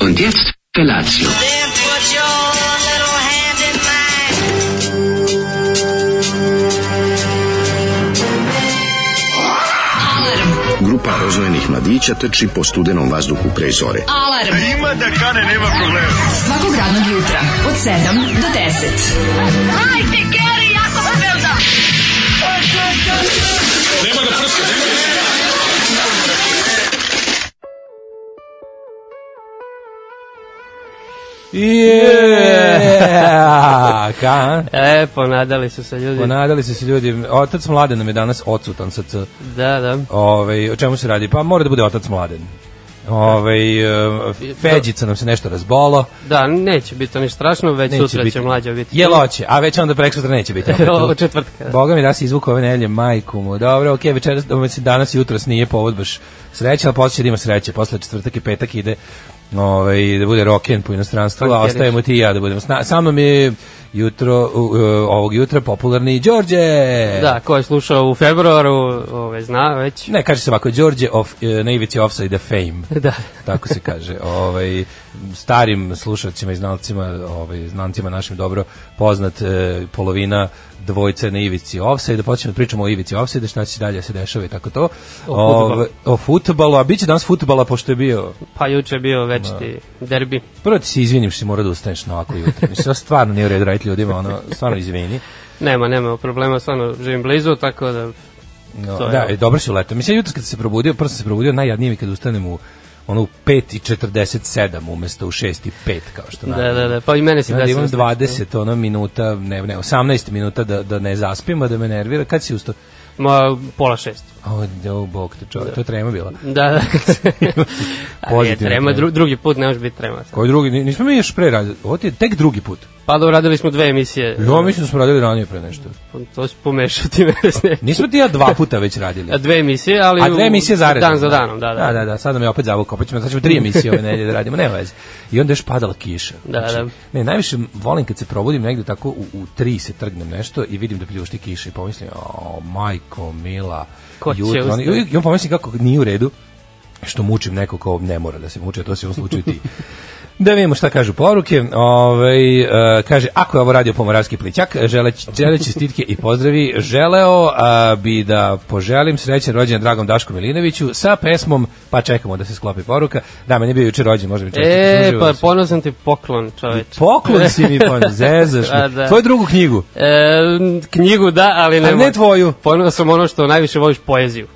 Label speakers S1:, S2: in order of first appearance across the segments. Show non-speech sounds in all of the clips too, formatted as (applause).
S1: Und jetzt Felatio.
S2: Then put your little hand in mine.
S3: Grupa rozvojenih mladića trči po studenom vazduhu pre zore.
S4: Alarm. Ima da kane, nema problema. Svakog radnog jutra, od 7 do 10.
S5: Yeah! (laughs) Ka,
S6: E, ponadali su se ljudi.
S5: ponadali su se ljudi. Otac mladen nam je danas odsutan sa C.
S6: Da, da.
S5: Ovaj, o čemu se radi? Pa mora da bude otac mladen. Ovaj, e, Feđica nam se nešto razbolo.
S6: Da, neće biti to ni strašno, već
S5: Neće
S6: sutra
S5: biti.
S6: će mlađa biti.
S5: Jel oće, a već onda prek sutra neće biti.
S6: (laughs)
S5: opet tu.
S6: Ovo četvrtka. Da.
S5: Boga mi da se izvuku ove nedelje, majku mu. Dobro, okej, večeras, dobro, mislim, danas i jutros nije povod baš sreća, ali posle će da ima sreće. Posle četvrtak i petak ide ovaj, da bude roken po inostranstvu, a
S6: Rockeriš.
S5: ostajemo ti i ja da budemo. Sna, sa mnom je jutro, u, u, ovog jutra popularni Đorđe.
S6: Da, ko je slušao u februaru, ove, zna već.
S5: E. Ne, kaže se ovako, Đorđe of, e, na ivici offside fame.
S6: (laughs) Da.
S5: Tako se kaže. Ovaj, starim slušalcima i znalcima, ovaj, znancima našim dobro poznat e, polovina dvojce na ivici offside, da počnemo da pričamo o ivici offside, šta će dalje da se dešava i tako to.
S6: O fudbalu.
S5: Ovaj, o futbalu, a bit će danas futbala pošto je bio
S6: Pa juče je bio
S5: Da.
S6: večiti derbi.
S5: Prvo ti se izvinim što si morao da ustaneš na ovako jutro. Mislim, ja stvarno nije u redu raditi ljudima, ono, stvarno izvini.
S6: Nema, nema problema, stvarno živim blizu, tako da...
S5: No,
S6: To je
S5: da,
S6: ono.
S5: e, dobro si uletao. Mislim, jutros kad sam se probudio, prvo sam se probudio, najjadnije mi je kad ustanem u ono u 5.47 umesto u 6.05 kao što
S6: Da, da, da, pa i mene se
S5: Da, da
S6: desilo.
S5: imam 20 ono minuta, ne, ne, 18 minuta da, da ne zaspim, a da me nervira. Kad si ustao?
S6: Ma, pola šest.
S5: O, do, bog te čovjek, to je trema bila.
S6: Da,
S5: (laughs)
S6: da. Ali je
S5: Pozitivno da. trema.
S6: trema, dru, drugi put ne može biti trema.
S5: Koji drugi, Ni- nismo mi još pre radili, ovo ti je tek drugi put.
S6: Pa dobro, radili smo dve emisije.
S5: Jo, mislim da smo radili ranije pre nešto.
S6: To si pomešao ti mene s ne.
S5: Nismo ti ja dva puta već radili.
S6: Dve emisije, ali...
S5: A dve
S6: u-
S5: emisije zaredom.
S6: Dan za danom, da, da.
S5: Da, da, da sad nam je opet zavukao, pa ćemo, sad ćemo tri emisije ove nedelje da radimo, nema veze. I onda je još padala kiša. Znači,
S6: Da, da.
S5: Ne, najviše volim kad se probudim negde tako u, u tri se trgnem nešto i vidim da pljušti kiša i pomislim, o, majko, mila,
S6: Ko će
S5: jutro. ono- I
S6: ustati?
S5: uvijek- I on pomislim kako nije u redu, što mučim neko ko ne mora da se muče, a to si u ovom slučaju ti. Da vidimo šta kažu poruke. Ovaj e, kaže, ako je ovo radio Pomoravski plićak, želeći, želeći stitke i pozdravi, želeo a, bi da poželim srećan rođendan dragom Dašku Milinoviću sa pesmom, pa čekamo da se sklopi poruka. Da, meni je bio juče rođen, može mi čestiti.
S6: E,
S5: uživao
S6: pa
S5: sam.
S6: ponosan ti poklon, čoveče.
S5: da Poklon si mi,
S6: (laughs)
S5: pa zezaš
S6: A,
S5: mi.
S6: da.
S5: Tvoju drugu knjigu,
S6: E, knjigu da, ali ne.
S5: a ne tvoju.
S6: sam ono što najviše voliš poeziju.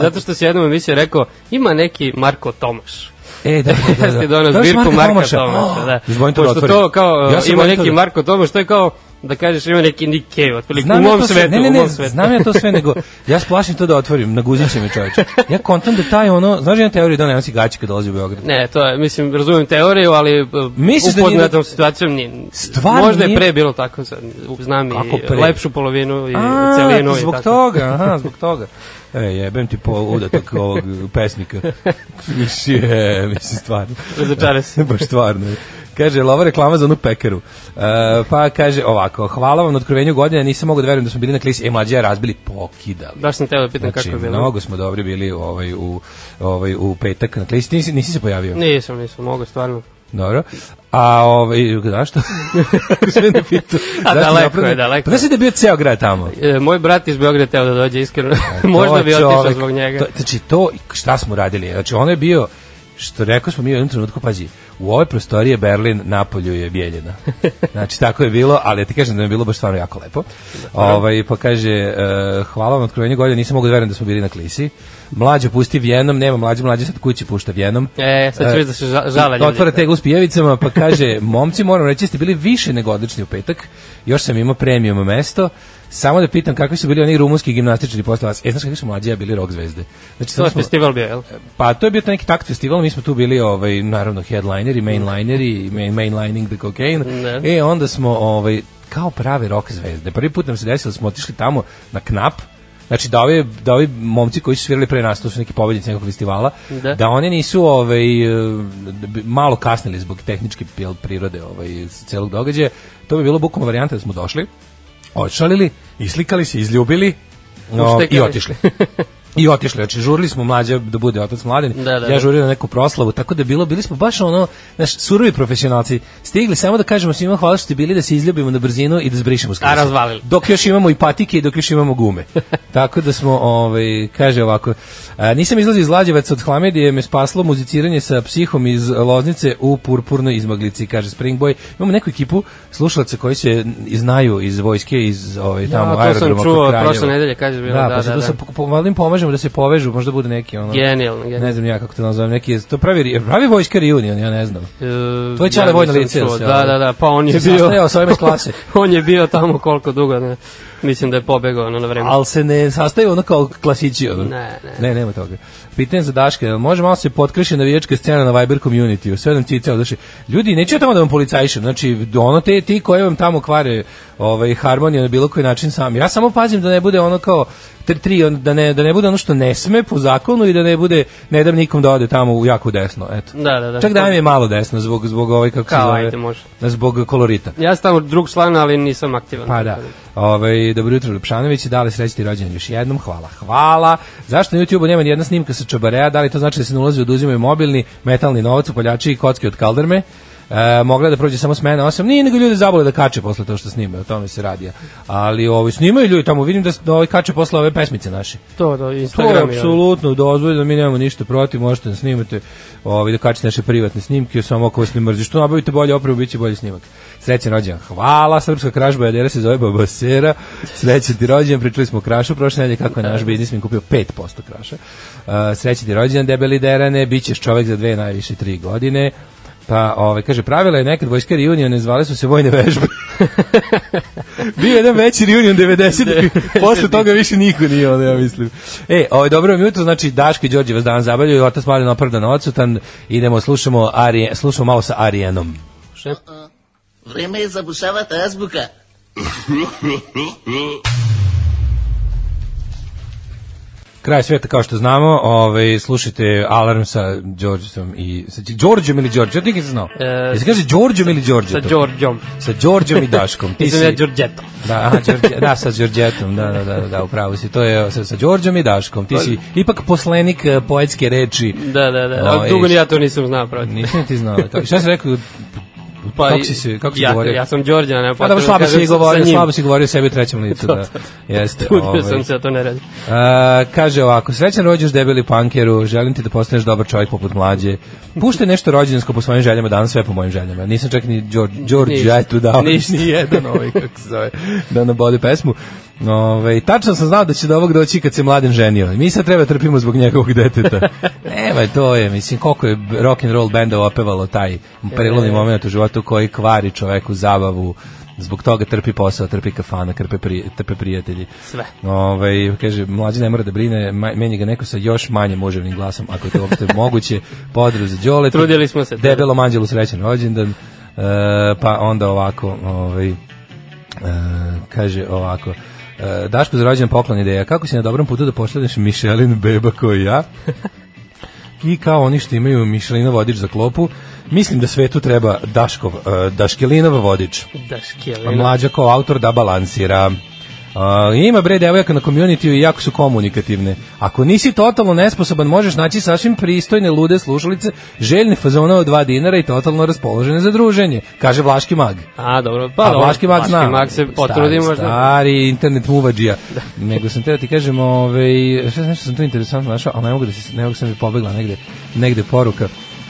S6: Zato što si jednom emisiji rekao, ima neki Marko Tomaš.
S5: E, (laughs) da, da,
S6: (laughs)
S5: da. da.
S6: Da, da. donao
S5: Da, još
S6: zbirku
S5: Marka
S6: Marka
S5: Tomaša.
S6: Tomaša. da.
S5: Još volim to da
S6: Pošto
S5: otvorim.
S6: to kao,
S5: Ja sam
S6: ima
S5: volim to
S6: neki
S5: da-
S6: Marko Tomaš, to je kao da kažeš ima neki Nick Cave, otprilike u
S5: Znam ja
S6: mom
S5: to sve,
S6: svetu,
S5: ne, ne,
S6: u
S5: ne,
S6: mom svetu.
S5: znam ja to sve, nego ja se plašim to da otvorim, naguzit će me čovječe. Ja kontam da taj ono, znaš jedna teorija da on nema si gaći kad dolazi u Beograd.
S6: Ne, to je, mislim, razumijem teoriju, ali e,
S5: Misliš da nije-
S6: upoznatom situacijom nije.
S5: Stvarno
S6: Možda je
S5: nije-
S6: pre bilo tako, sad, znam
S5: Kako
S6: i
S5: pre?
S6: lepšu polovinu i
S5: A,
S6: celinu. i
S5: zbog
S6: tako.
S5: toga, aha, zbog toga. E, jebem ti po udatak ovog pesnika. Mislim, je, mislim, stvarno.
S6: Razočara se.
S5: Baš stvarno. je. Kaže, jel ova reklama za onu pekaru. E, pa kaže ovako, hvala vam na otkrovenju godine, nisam mogao da verujem da smo bili na klisi. E, mlađe, razbili, pokidali.
S6: Baš sam teo da pitam
S5: Znači,
S6: kako je bilo.
S5: mnogo smo dobri bili ovaj, u, ovaj, u petak na klisi. Nisi, nisi se pojavio?
S6: Nisam, nisam mogao stvarno.
S5: Dobro. A ovaj
S6: (laughs)
S5: zašto? Sve ne pitu.
S6: A
S5: Zašto
S6: daleko
S5: napravljeno?
S6: je, daleko
S5: Pa znaš da je bio ceo grad tamo.
S6: E, moj brat iz Beograda teo da dođe, iskreno.
S5: E, To
S6: (laughs) Možda bi otišao
S5: čovek-
S6: zbog njega.
S5: To, znači to šta smo radili? Znači ono je bio što rekao smo mi u jednom trenutku, pazi, u ovoj prostoriji je Berlin, napolju je
S6: (laughs)
S5: Bijeljina. Znači, tako je bilo, ali ja ti kažem da mi je bilo baš stvarno jako lepo. Ovaj, pa kaže, e, hvala vam na otkrovenju godine, nisam mogu da verujem da smo bili na klisi. Mlađo pusti vjenom, nema mlađe, mlađe sad kući pušta vjenom.
S6: E, sad ću
S5: E,
S6: vidjeti da se ža- žale ljudi.
S5: Otvara tegu s pijevicama, pa kaže, momci, moram reći, ste bili više nego odlični u petak, još sam imao premium mesto, samo da pitam kakvi su bili oni rumunski gimnastičari posle vas. E, znaš kakvi su mlađi, ja bili rock zvezde. Znači,
S6: To
S5: samo
S6: je
S5: smo,
S6: festival bio, jel?
S5: pa to je bio taj neki takt festival, mi smo tu bili, ovaj, naravno, headlineri, mainlineri, main, mainlining the cocaine.
S6: Ne.
S5: E, onda smo, ovaj, kao prave rock zvezde. Prvi put nam se desilo, da smo otišli tamo na knap, Znači da ovi, da ovi momci koji su svirali pre nas, to su neki pobednici nekog festivala, da,
S6: Da.
S5: da oni nisu ovaj, e, da bi malo kasnili zbog tehničke jel, prirode ovaj, celog događaja, to bi bilo bukvalno varijanta da smo došli, odšalili, islikali se, izljubili no, i
S6: Uštekali. (laughs)
S5: otišli. I otišli, znači žurili smo mlađe da bude otac mladen,
S6: Da, da,
S5: ja
S6: da.
S5: žurio na neku proslavu, tako da bilo, bili smo baš ono, znaš, surovi profesionalci, stigli samo da kažemo svima hvala što ste bili, da se izljubimo na brzinu i da zbrišemo skrsa.
S6: A, razvalili.
S5: Dok još imamo i patike i dok još imamo
S6: (laughs)
S5: gume. tako da smo, ovaj, kaže ovako, a, nisam izlazio iz Lađevaca od Hlamedije, me spaslo muziciranje sa psihom iz Loznice u purpurnoj izmaglici, kaže Springboy. Imamo neku ekipu slušalaca koji se znaju iz vojske, iz ovaj, tamo
S6: to sam
S5: aerodroma kod
S6: čuo
S5: Kraljeva.
S6: prošle nedelje, kaže, bilo,
S5: da,
S6: da,
S5: pa
S6: da,
S5: zato
S6: da.
S5: sam po- po- valjda im pomažemo da se povežu, možda bude neki ono.
S6: Genijalno, genijalno.
S5: Ne znam ja kako to nazovem, neki to pravi ri- pravi vojska reunion, ja ne znam.
S6: E,
S5: To je Ćale
S6: ja
S5: vojna
S6: nisam
S5: licenca,
S6: čuo.
S5: jel?
S6: Da, da, da, pa on je
S5: Se
S6: bio...
S5: sastajao sa ovima iz klase.
S6: (laughs) on je bio tamo koliko dugo, ne. Mislim da je pobegao ono na vreme.
S5: Ali se ne sastaju ono kao klasići. Ono.
S6: Ne, ne.
S5: Ne, nema toga. Pitanje za Daška, jel može malo se potkreši navijačka scena na Viber community, u sve nam cica odaše. Ljudi, neću ja tamo da vam policajišem, znači, ono te, ti koji vam tamo kvare ovaj, harmoniju na bilo koji način sam. Ja samo pazim da ne bude ono kao tri, tri on, da, ne, da ne bude ono što ne sme po zakonu i da ne bude, ne dam nikom da ode tamo u jako desno, eto.
S6: Da, da, da.
S5: Čak da mi je malo desno zbog, zbog ovaj, kako se
S6: Kao,
S5: zove,
S6: ajde, može.
S5: zbog kolorita.
S6: Ja sam tamo drug član, ali nisam aktivan.
S5: Pa da. Ove, dobro jutro, Lepšanović, da li srećete rođendan još jednom? Hvala, hvala. Zašto na YouTube-u nema nijedna snimka sa čabareja? Da li to znači da se ne ulazi oduzimaju mobilni, metalni novac, upaljači i kocke od kalderme? E, mogla je da prođe samo smena 8, nije nego ljudi zabole da kače posle to što snime, o tome se radi. Ali ovi snimaju ljudi tamo, vidim da, s- da ovi kače posle ove pesmice naše.
S6: To, da,
S5: To je
S6: Instagram. i ono.
S5: apsolutno dozvoljeno, mi nemamo ništa protiv, možete da snimate, ovaj, da kačete naše privatne snimke, samo ako vas ne mrzi. Što nabavite bolje opremu, bit će bolji snimak. Srećan rođendan. Hvala, srpska kražba, jadera se zove Babasera. Srećan ti rođendan, pričali smo o krašu prošle nedelje, kako je naš biznismen kupio 5% kraša. Uh, srećan ti rođendan, debeli derane, bit ćeš čovek za dve, najviše tri godine. Pa, ove, kaže, pravila je nekad vojska reunione, zvale su se vojne vežbe. Bio je jedan veći reunion 90. Posle toga više niko nije ono, ja mislim. E, ovaj, dobro vam jutro, znači Daško i Đorđe vas dan zabavljaju, otac Malin opravdan odsutan, idemo, slušamo, Arije, slušamo malo sa Arijenom.
S1: Vreme je za bušavata azbuka.
S5: (laughs) Kraj sveta, kao što znamo, ovaj, slušajte Alarm sa Đorđicom i... Sa Đ- Đorđom ili Đorđe? Ja nikad nisam znao.
S6: E,
S5: Jel se kaže Đorđom ili Đorđe?
S6: Sa Đorđom.
S5: Sa Đorđom i
S6: (laughs)
S5: Daškom. Ti
S6: Mislim
S5: si...
S6: da je Đorđeto.
S5: Da, aha, Đorđe, da, sa Đorđetom, da, da, da, da, upravo si, to je sa, sa Đorđom i Daškom, ti si ipak poslenik eh, poetske reči.
S6: Da, da, da.
S5: O,
S6: Ali dugo
S5: i-
S6: ni ja to nisam znao praviti.
S5: Nisam ti znao. Kako, šta si rekao? Pa, kako si, se, kako si
S6: ja,
S5: govorio?
S6: Ja sam Đorđan, nema
S5: Pa
S6: potrebe
S5: dobro, slabo
S6: da kažem
S5: si
S6: sa- sa
S5: govorio,
S6: njim.
S5: slabo
S6: (laughs)
S5: si govorio sebi u trećem licu. da. Jeste,
S6: Trudio
S5: ovaj.
S6: sam se da to ne radi.
S5: A, kaže ovako, srećan rođeš debeli pankeru, želim ti da postaneš dobar čovjek poput mlađe. Pušte nešto rođendansko po svojim željama, danas sve po mojim željama. Nisam čak ni Đor- Đorđe
S6: Ništa.
S5: eto dao.
S6: Ništa.
S5: Ni jedan ovaj, kako se zove, da nam bode pesmu. Ove, tačno sam znao da će do ovog doći kad se mladen ženio. Mi sad treba trpimo zbog njegovog deteta. Nema, to je, mislim, koliko je rock and roll benda opevalo taj prelomni moment u životu koji kvari čoveku zabavu, zbog toga trpi posao, trpi kafana, trpe, pri, trpe prijatelji.
S6: Sve.
S5: Ove, kaže, mlađi ne mora da brine, ma- meni ga neko sa još manje muževnim glasom, ako je to uopšte moguće. Podru za Đole.
S6: Trudili smo se.
S5: Debelom anđelu srećan rođendan. E, pa onda ovako, ovaj, e, kaže ovako, e, Daško za rođendan poklon ideja, kako si na dobrom putu da pošalješ Mišelin beba koji ja? (laughs) I kao oni što imaju Mišelinov vodič za klopu, mislim da svetu treba Daškov, e, Daškelinov vodič.
S6: Daškjelina.
S5: Pa mlađa kao autor da balansira. Uh, ima bre devojaka na community i jako su komunikativne. Ako nisi totalno nesposoban, možeš naći sasvim pristojne lude slušalice, željne fazona od 2 dinara i totalno raspoložene za druženje, kaže Vlaški mag.
S6: A, dobro, pa
S5: Pa,
S6: dobro.
S5: Vlaški mag zna.
S6: Vlaški mag se potrudi
S5: Stari,
S6: možda.
S5: Stari internet muvađija. Nego sam teo ti kažem, ovaj, šta nešto sam tu interesantno našao, ali ne mogu da se, ne mogu sam mi pobegla negde, negde poruka.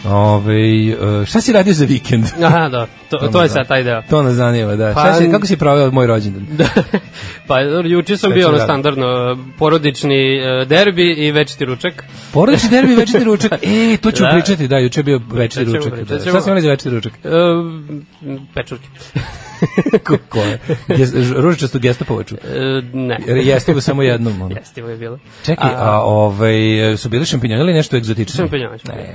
S5: Ovaj, e, šta si radio za
S6: (laughs)
S5: vikend?
S6: Aha, da, to, to je sad taj deo.
S5: To nas zanima, da.
S6: Pa-
S5: Šta si, kako si proveo moj rođendan?
S6: pa juče sam
S5: Šta
S6: bio
S5: ćemo
S6: ono
S5: raditi?
S6: standardno e, porodični e, derbi i večiti ručak.
S5: (laughs) Porodični derbi, večiti ručak. E, to ću
S6: Da.
S5: pričati, da, juče je bio večiti
S6: ćemo,
S5: ručak.
S6: pričat
S5: Da.
S6: ćemo.
S5: Šta smo imali za večiti (laughs) ručak?
S6: E, pečurke.
S5: Ko je? Ges- Ružičastu gestapovaču.
S6: E, ne.
S5: Jer jeste ga samo jednom. Ono.
S6: Jestivo je bilo.
S5: Čekaj, a, ovaj, su bili šampinjoni ili nešto egzotično?
S6: Šampinjoni, šampinjoni.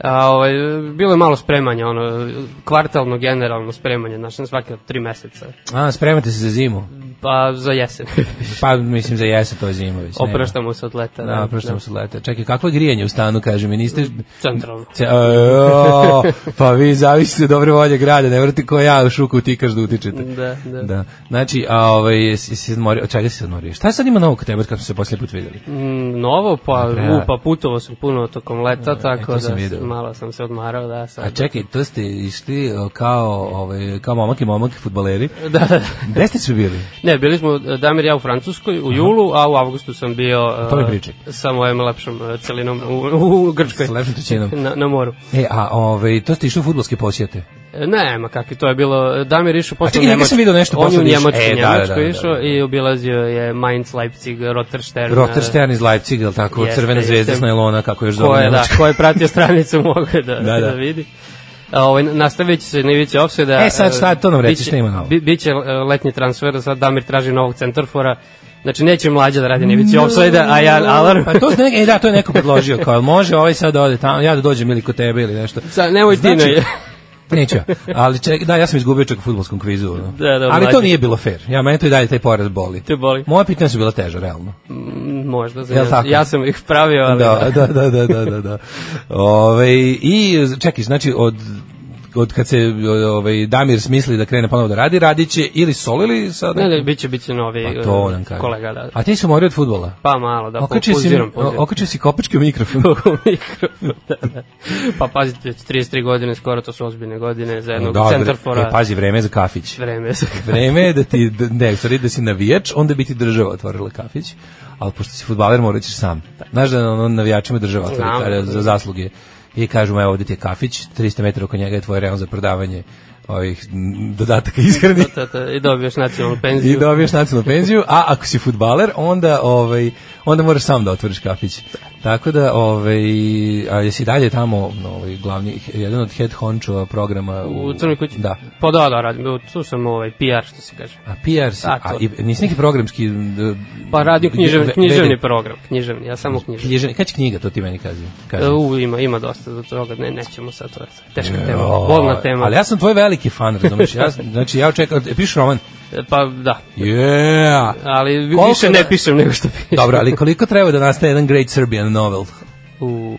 S6: A, ovaj, bilo je malo spremanja, ono, kvartalno, generalno spremanje, znači na svake tri meseca.
S5: A, spremate se za zimu.
S6: Pa za jesen.
S5: (laughs) Pa, mislim, za jesen to je zima već. nema.
S6: Opraštamo se od leta.
S5: Da, opraštamo se od leta. Čekaj, kakvo je grijanje u stanu, kaže mi, niste...
S6: Da. Centralno.
S5: Ce, o, pa vi zavisite dobre volje grada, ne vrti ko ja u šuku tikaš da utičete.
S6: Da, da.
S5: da. Znači, a ovaj, si, si odmorio, od čega si se odmorio? Šta sad ima novo kod tebe od kad smo se poslije put vidjeli?
S6: Mm, Novo, pa,
S5: Da.
S6: u, pa putovo sam puno tokom leta, tako
S5: to
S6: da
S5: sam
S6: sam-
S5: video.
S6: malo sam se odmarao, da, sad.
S5: A čekaj, to ste išli o, kao, ovaj, kao momak i momak futbaleri.
S6: Da, da.
S5: Gde ste svi bili?
S6: Ne, bili smo e, Damir i ja u Francuskoj u julu, a u avgustu sam bio e,
S5: To mi pričaj.
S6: sa mojom lepšom e, celinom u, u Grčkoj.
S5: Sa lepšom trećinom.
S6: Na, na moru.
S5: E, a ovaj, to ste išli u futbolske posjete?
S6: E, Ne, ma kakvi, to je bilo, Damir išao posle
S5: čekaj, njega sam video nešto
S6: on je
S5: posle
S6: u
S5: da išao.
S6: Njemačku,
S5: E,
S6: e,
S5: da, da,
S6: Njemačku
S5: da, da,
S6: išao
S5: da, da.
S6: i obilazio je Mainz, Leipzig, Rotterstern.
S5: Rotterstern iz Leipziga, je li tako?
S6: Da. Jeste,
S5: Crvena
S6: jeste.
S5: zvezda s najlona, kako još
S6: ko
S5: zove
S6: je, da,
S5: Nemačka.
S6: ko je pratio stranicu (laughs) mogu da,
S5: Da,
S6: da,
S5: da.
S6: da. vidi. A, ovaj, nastavit će se na ivici offseda.
S5: E, sad šta, to nam reci,
S6: biće-
S5: šta ima novo?
S6: Bi, biće e, letnji transfer, sad Damir traži novog centarfora. Znači, neće mlađa da radi na ivici offseda, a ja alarm.
S5: Pa to ste neke, e, da, to je neko predložio, kao jel može ovaj sad da ode tamo, ja da dođem ili kod tebe ili nešto.
S6: (laughs) Sa, nemoj ti
S5: Znači-
S6: (laughs) ne.
S5: Neću, ja. ali ček, da, ja sam izgubio čak u futbolskom kvizu. ono.
S6: Da, da,
S5: ali to
S6: mlađi.
S5: nije bilo fair, ja, meni to i dalje taj poraz boli.
S6: Te boli.
S5: Moja pitanja su bila teža, realno.
S6: Mm, Možda, za
S5: Jel
S6: ja,
S5: tako?
S6: ja sam ih pravio, ali...
S5: Da, da, da, da, da, da, da. Ove, I, čekaj, znači, od od kad se ovaj Damir smisli da krene ponovo da radi, radiće ili solo ili sad
S6: da. Ne, ne, biće, biće novi
S5: Pa to nam
S6: e,
S5: kaže.
S6: kolega, da.
S5: A ti si umorio od futbola?
S6: Pa malo, da,
S5: Okačio si,
S6: poziram, poziram. (laughs)
S5: okačio si kopačke u mikrofon.
S6: mikrofon, da, da. Pa pazite, 33 godine, skoro to su ozbiljne godine za (laughs) jednog
S5: Dobro,
S6: centarfora.
S5: E, pazi, vreme je za kafić.
S6: Vreme je za-
S5: Vreme je da ti, d- ne, sorry, da si navijač, onda bi ti država otvorila kafić, ali pošto si futbaler morat ćeš sam. Znaš da ono, navijačima država otvori
S6: Znam.
S5: kare za zasluge. I kažu mu, evo ovdje ti je kafić, 300 metara oko njega je tvoj reon za prodavanje ovih m, dodataka ishrani
S6: Ta, ta, ta, Da, I dobiješ nacionalnu penziju.
S5: i dobiješ nacionalnu penziju, a ako si futbaler, onda, ovaj, onda moraš sam da otvoriš kafić. Tako da, ovaj, a jesi dalje tamo ovaj, glavni, jedan od head hončova programa
S6: U Crnoj kući?
S5: Da.
S6: Pa da, da, radim. evo, Tu sam ovaj PR, što se kaže.
S5: A PR si, a,
S6: A, to.
S5: i, nisi neki programski... uh, d-
S6: Pa radim književni,
S5: ve-
S6: književni
S5: vede-
S6: program. Književni, ja samo književni.
S5: Književni, kada će knjiga, to ti meni kaži. kaži.
S6: E, U, ima, ima dosta do toga. Ne, nećemo sad to. je Teška tema,
S5: O,
S6: bolna tema.
S5: Ali ja sam tvoj veliki fan, razumiješ? Ja, sam- znači, ja očekam, e, piš roman.
S6: E, Pa da,
S5: Yeah!
S6: ali vi-
S5: Koliko
S6: više
S5: da-
S6: ne pišem nego što pišem.
S5: Dobro, ali koliko treba da nastaje jedan Great Serbian novel?
S6: U,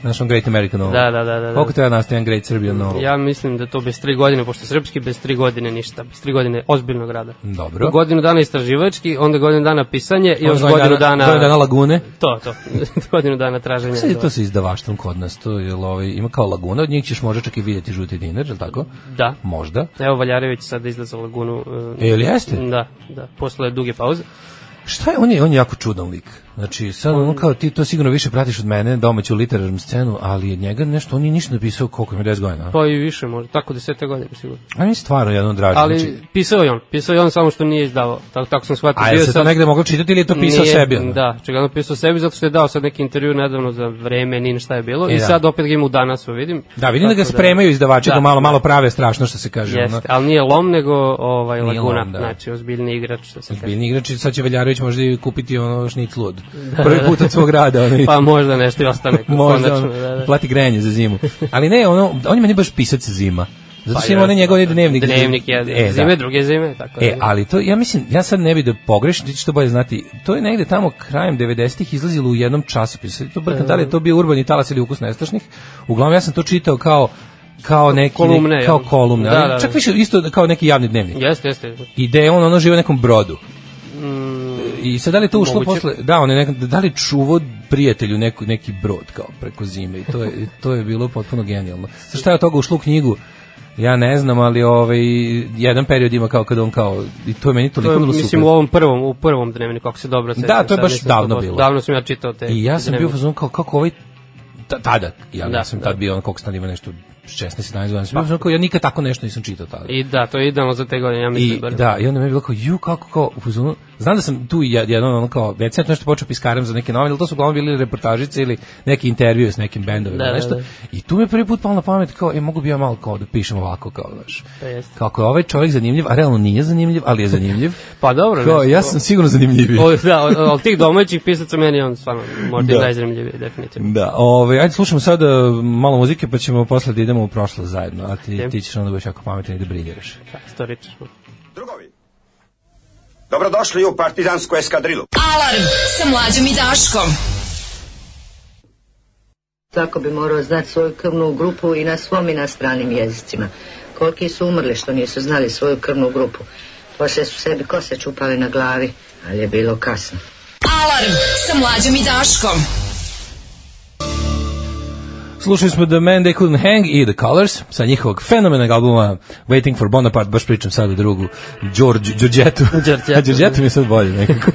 S5: Znaš, on Great American novel.
S6: Da, da, da, da, da.
S5: Koliko treba da nastaje jedan Great Serbian novel?
S6: ja mislim da to bez tri godine, pošto srpski bez tri godine ništa, bez tri godine ozbiljnog rada.
S5: Dobro.
S6: Godinu dana istraživački, onda godinu dana pisanje i još
S5: Ono,
S6: godinu dana... Da,
S5: Godinu dana lagune.
S6: To, to. (laughs) godinu dana traženja.
S5: Sad je
S6: do-
S5: to sa izdavaštvom kod nas, to je, ovaj, ima kao laguna, od njih ćeš možda čak i vidjeti žuti dinar, je li tako?
S6: Da.
S5: Možda.
S6: Evo Valjarević sada izlaza u lagunu. e,
S5: E, jel jeste?
S6: Da, da, posle duge pauze.
S5: Šta je, on je, on je jako čudan lik. Znači, sad on kao ti to sigurno više pratiš od mene, domaću literarnu scenu, ali je njega nešto, on nije ništa napisao koliko ima 10 godina.
S6: Pa i više možda, tako desete godine sigurno.
S5: A mi je stvarno jedno draži.
S6: Ali
S5: znači,
S6: pisao je on, pisao je on samo što nije izdavao. Tako, tako sam shvatio.
S5: a je
S6: Bio
S5: se to
S6: sam-
S5: negde moglo čitati ili je to pisao
S6: Nije,
S5: sebi? ono?
S6: Da, čega on pisao sebi zato što je dao sad neki intervju nedavno za vreme, nin šta je bilo.
S5: I
S6: I,
S5: da.
S6: sad opet ga ima u danas, vidim.
S5: Da, vidim da ga
S6: Tako
S5: spremaju izdavači, da,
S6: Da,
S5: malo, malo prave strašno što se kaže. ono.
S6: Jeste, ali nije lom nego ovaj,
S5: Nije
S6: laguna,
S5: lom, da.
S6: znači ozbiljni igrač što se kaže.
S5: Biljni igrači, sad će Veljarović možda i kupiti ono šniclu od prvi put od svog rada. Ono, i-
S6: Pa možda nešto i
S5: (laughs)
S6: ostane.
S5: možda
S6: konačno,
S5: on
S6: da, da.
S5: plati grejanje za zimu. Ali ne, ono, on je meni baš pisac zima.
S6: Pa
S5: Zato što ima onaj njegov
S6: da.
S5: onaj dnevnik.
S6: Dnevnik je,
S5: E, da.
S6: zime, druge zime, tako
S5: E,
S6: da.
S5: ali to, ja mislim, ja sad ne bi da pogrešim, ti ćeš to bolje znati, to je negde tamo krajem 90-ih izlazilo u jednom časopisu, Sad to brkam, da li je to bio urbani talas ili ukus nestašnih, uglavnom ja sam to čitao kao kao neki
S6: Kolumne,
S5: neki, kao
S6: jel?
S5: kolumne,
S6: Da,
S5: ali
S6: da, da.
S5: čak više isto kao neki javni dnevnik.
S6: Jeste, jeste.
S5: I da je on ono živo na nekom brodu.
S6: Mm.
S5: I sad da li je to ušlo posle, da, on je nekam, da li je čuvao prijatelju neku, neki brod kao preko zime i to je, to je bilo potpuno genijalno. Sa šta je od toga ušlo u knjigu? Ja ne znam, ali ovaj, jedan period ima kao kad on kao, i to je meni
S6: To
S5: toliko
S6: je,
S5: bilo
S6: mislim,
S5: super.
S6: u ovom prvom, u prvom dnevniku, kako se dobro sećam.
S5: Da, to je
S6: sad
S5: baš
S6: nisam
S5: davno
S6: 100%.
S5: bilo.
S6: Davno sam ja čitao te.
S5: I ja sam bio u
S6: dnevnike.
S5: fazonu kao kako ovaj ta- tada, ja,
S6: Da,
S5: ja sam
S6: da. Pa.
S5: tad bio on koliko sam ima nešto 16 17 godina, sam bio u fazonu kao ja nikad tako nešto nisam čitao tada.
S6: I da, to je idealno za te godine, ja mislim.
S5: I,
S6: bar.
S5: da, i onda mi je bilo kao, ju, kako, kao, u fazonu, znam da sam tu jed- jednom, ono kao, već sam nešto počeo piskarem za neke novine, ali to su uglavnom bili reportažice ili neki intervju s nekim bendovima,
S6: Da, da,
S5: nešto.
S6: da.
S5: I tu mi je prvi put palo na pamet, kao, e, mogu bi ja malo kao da pišem ovako, kao, znaš.
S6: Pa jeste.
S5: Kako je ovaj čovjek zanimljiv, a realno nije zanimljiv, ali je zanimljiv.
S6: (laughs) Pa dobro.
S5: kao,
S6: mislim,
S5: ja
S6: o-
S5: sam sigurno zanimljiviji.
S6: (laughs) O, da, od, od tih domaćih pisaca meni je on stvarno možda
S5: Da.
S6: i najzanimljiviji, definitivno.
S5: Da, ovaj ajde slušamo sada malo muzike pa ćemo posle da idemo u prošlo zajedno, a ti,
S6: Idem.
S5: ti ćeš onda da budeš jako pametan i da briljiraš.
S6: Da, storično.
S7: Drugovi, Dobrodošli u partizansku eskadrilu.
S4: Alarm sa mlađom i Daškom.
S8: Svako bi morao znati svoju krvnu grupu i na svom i na stranim jezicima. Koliki su umrli što nisu znali svoju krvnu grupu. Poslije su sebi kose čupali na glavi, ali je bilo kasno.
S4: Alarm sa mlađom i Daškom.
S5: Slušali smo The Man They Couldn't Hang i The Colors sa njihovog fenomenog albuma Waiting for Bonaparte, baš pričam sad o drugu Đorđ,
S6: (laughs)
S5: Đorđetu.
S6: Đorđetu.
S5: A Đorđetu mi je sad bolje
S6: (laughs)
S5: nekako.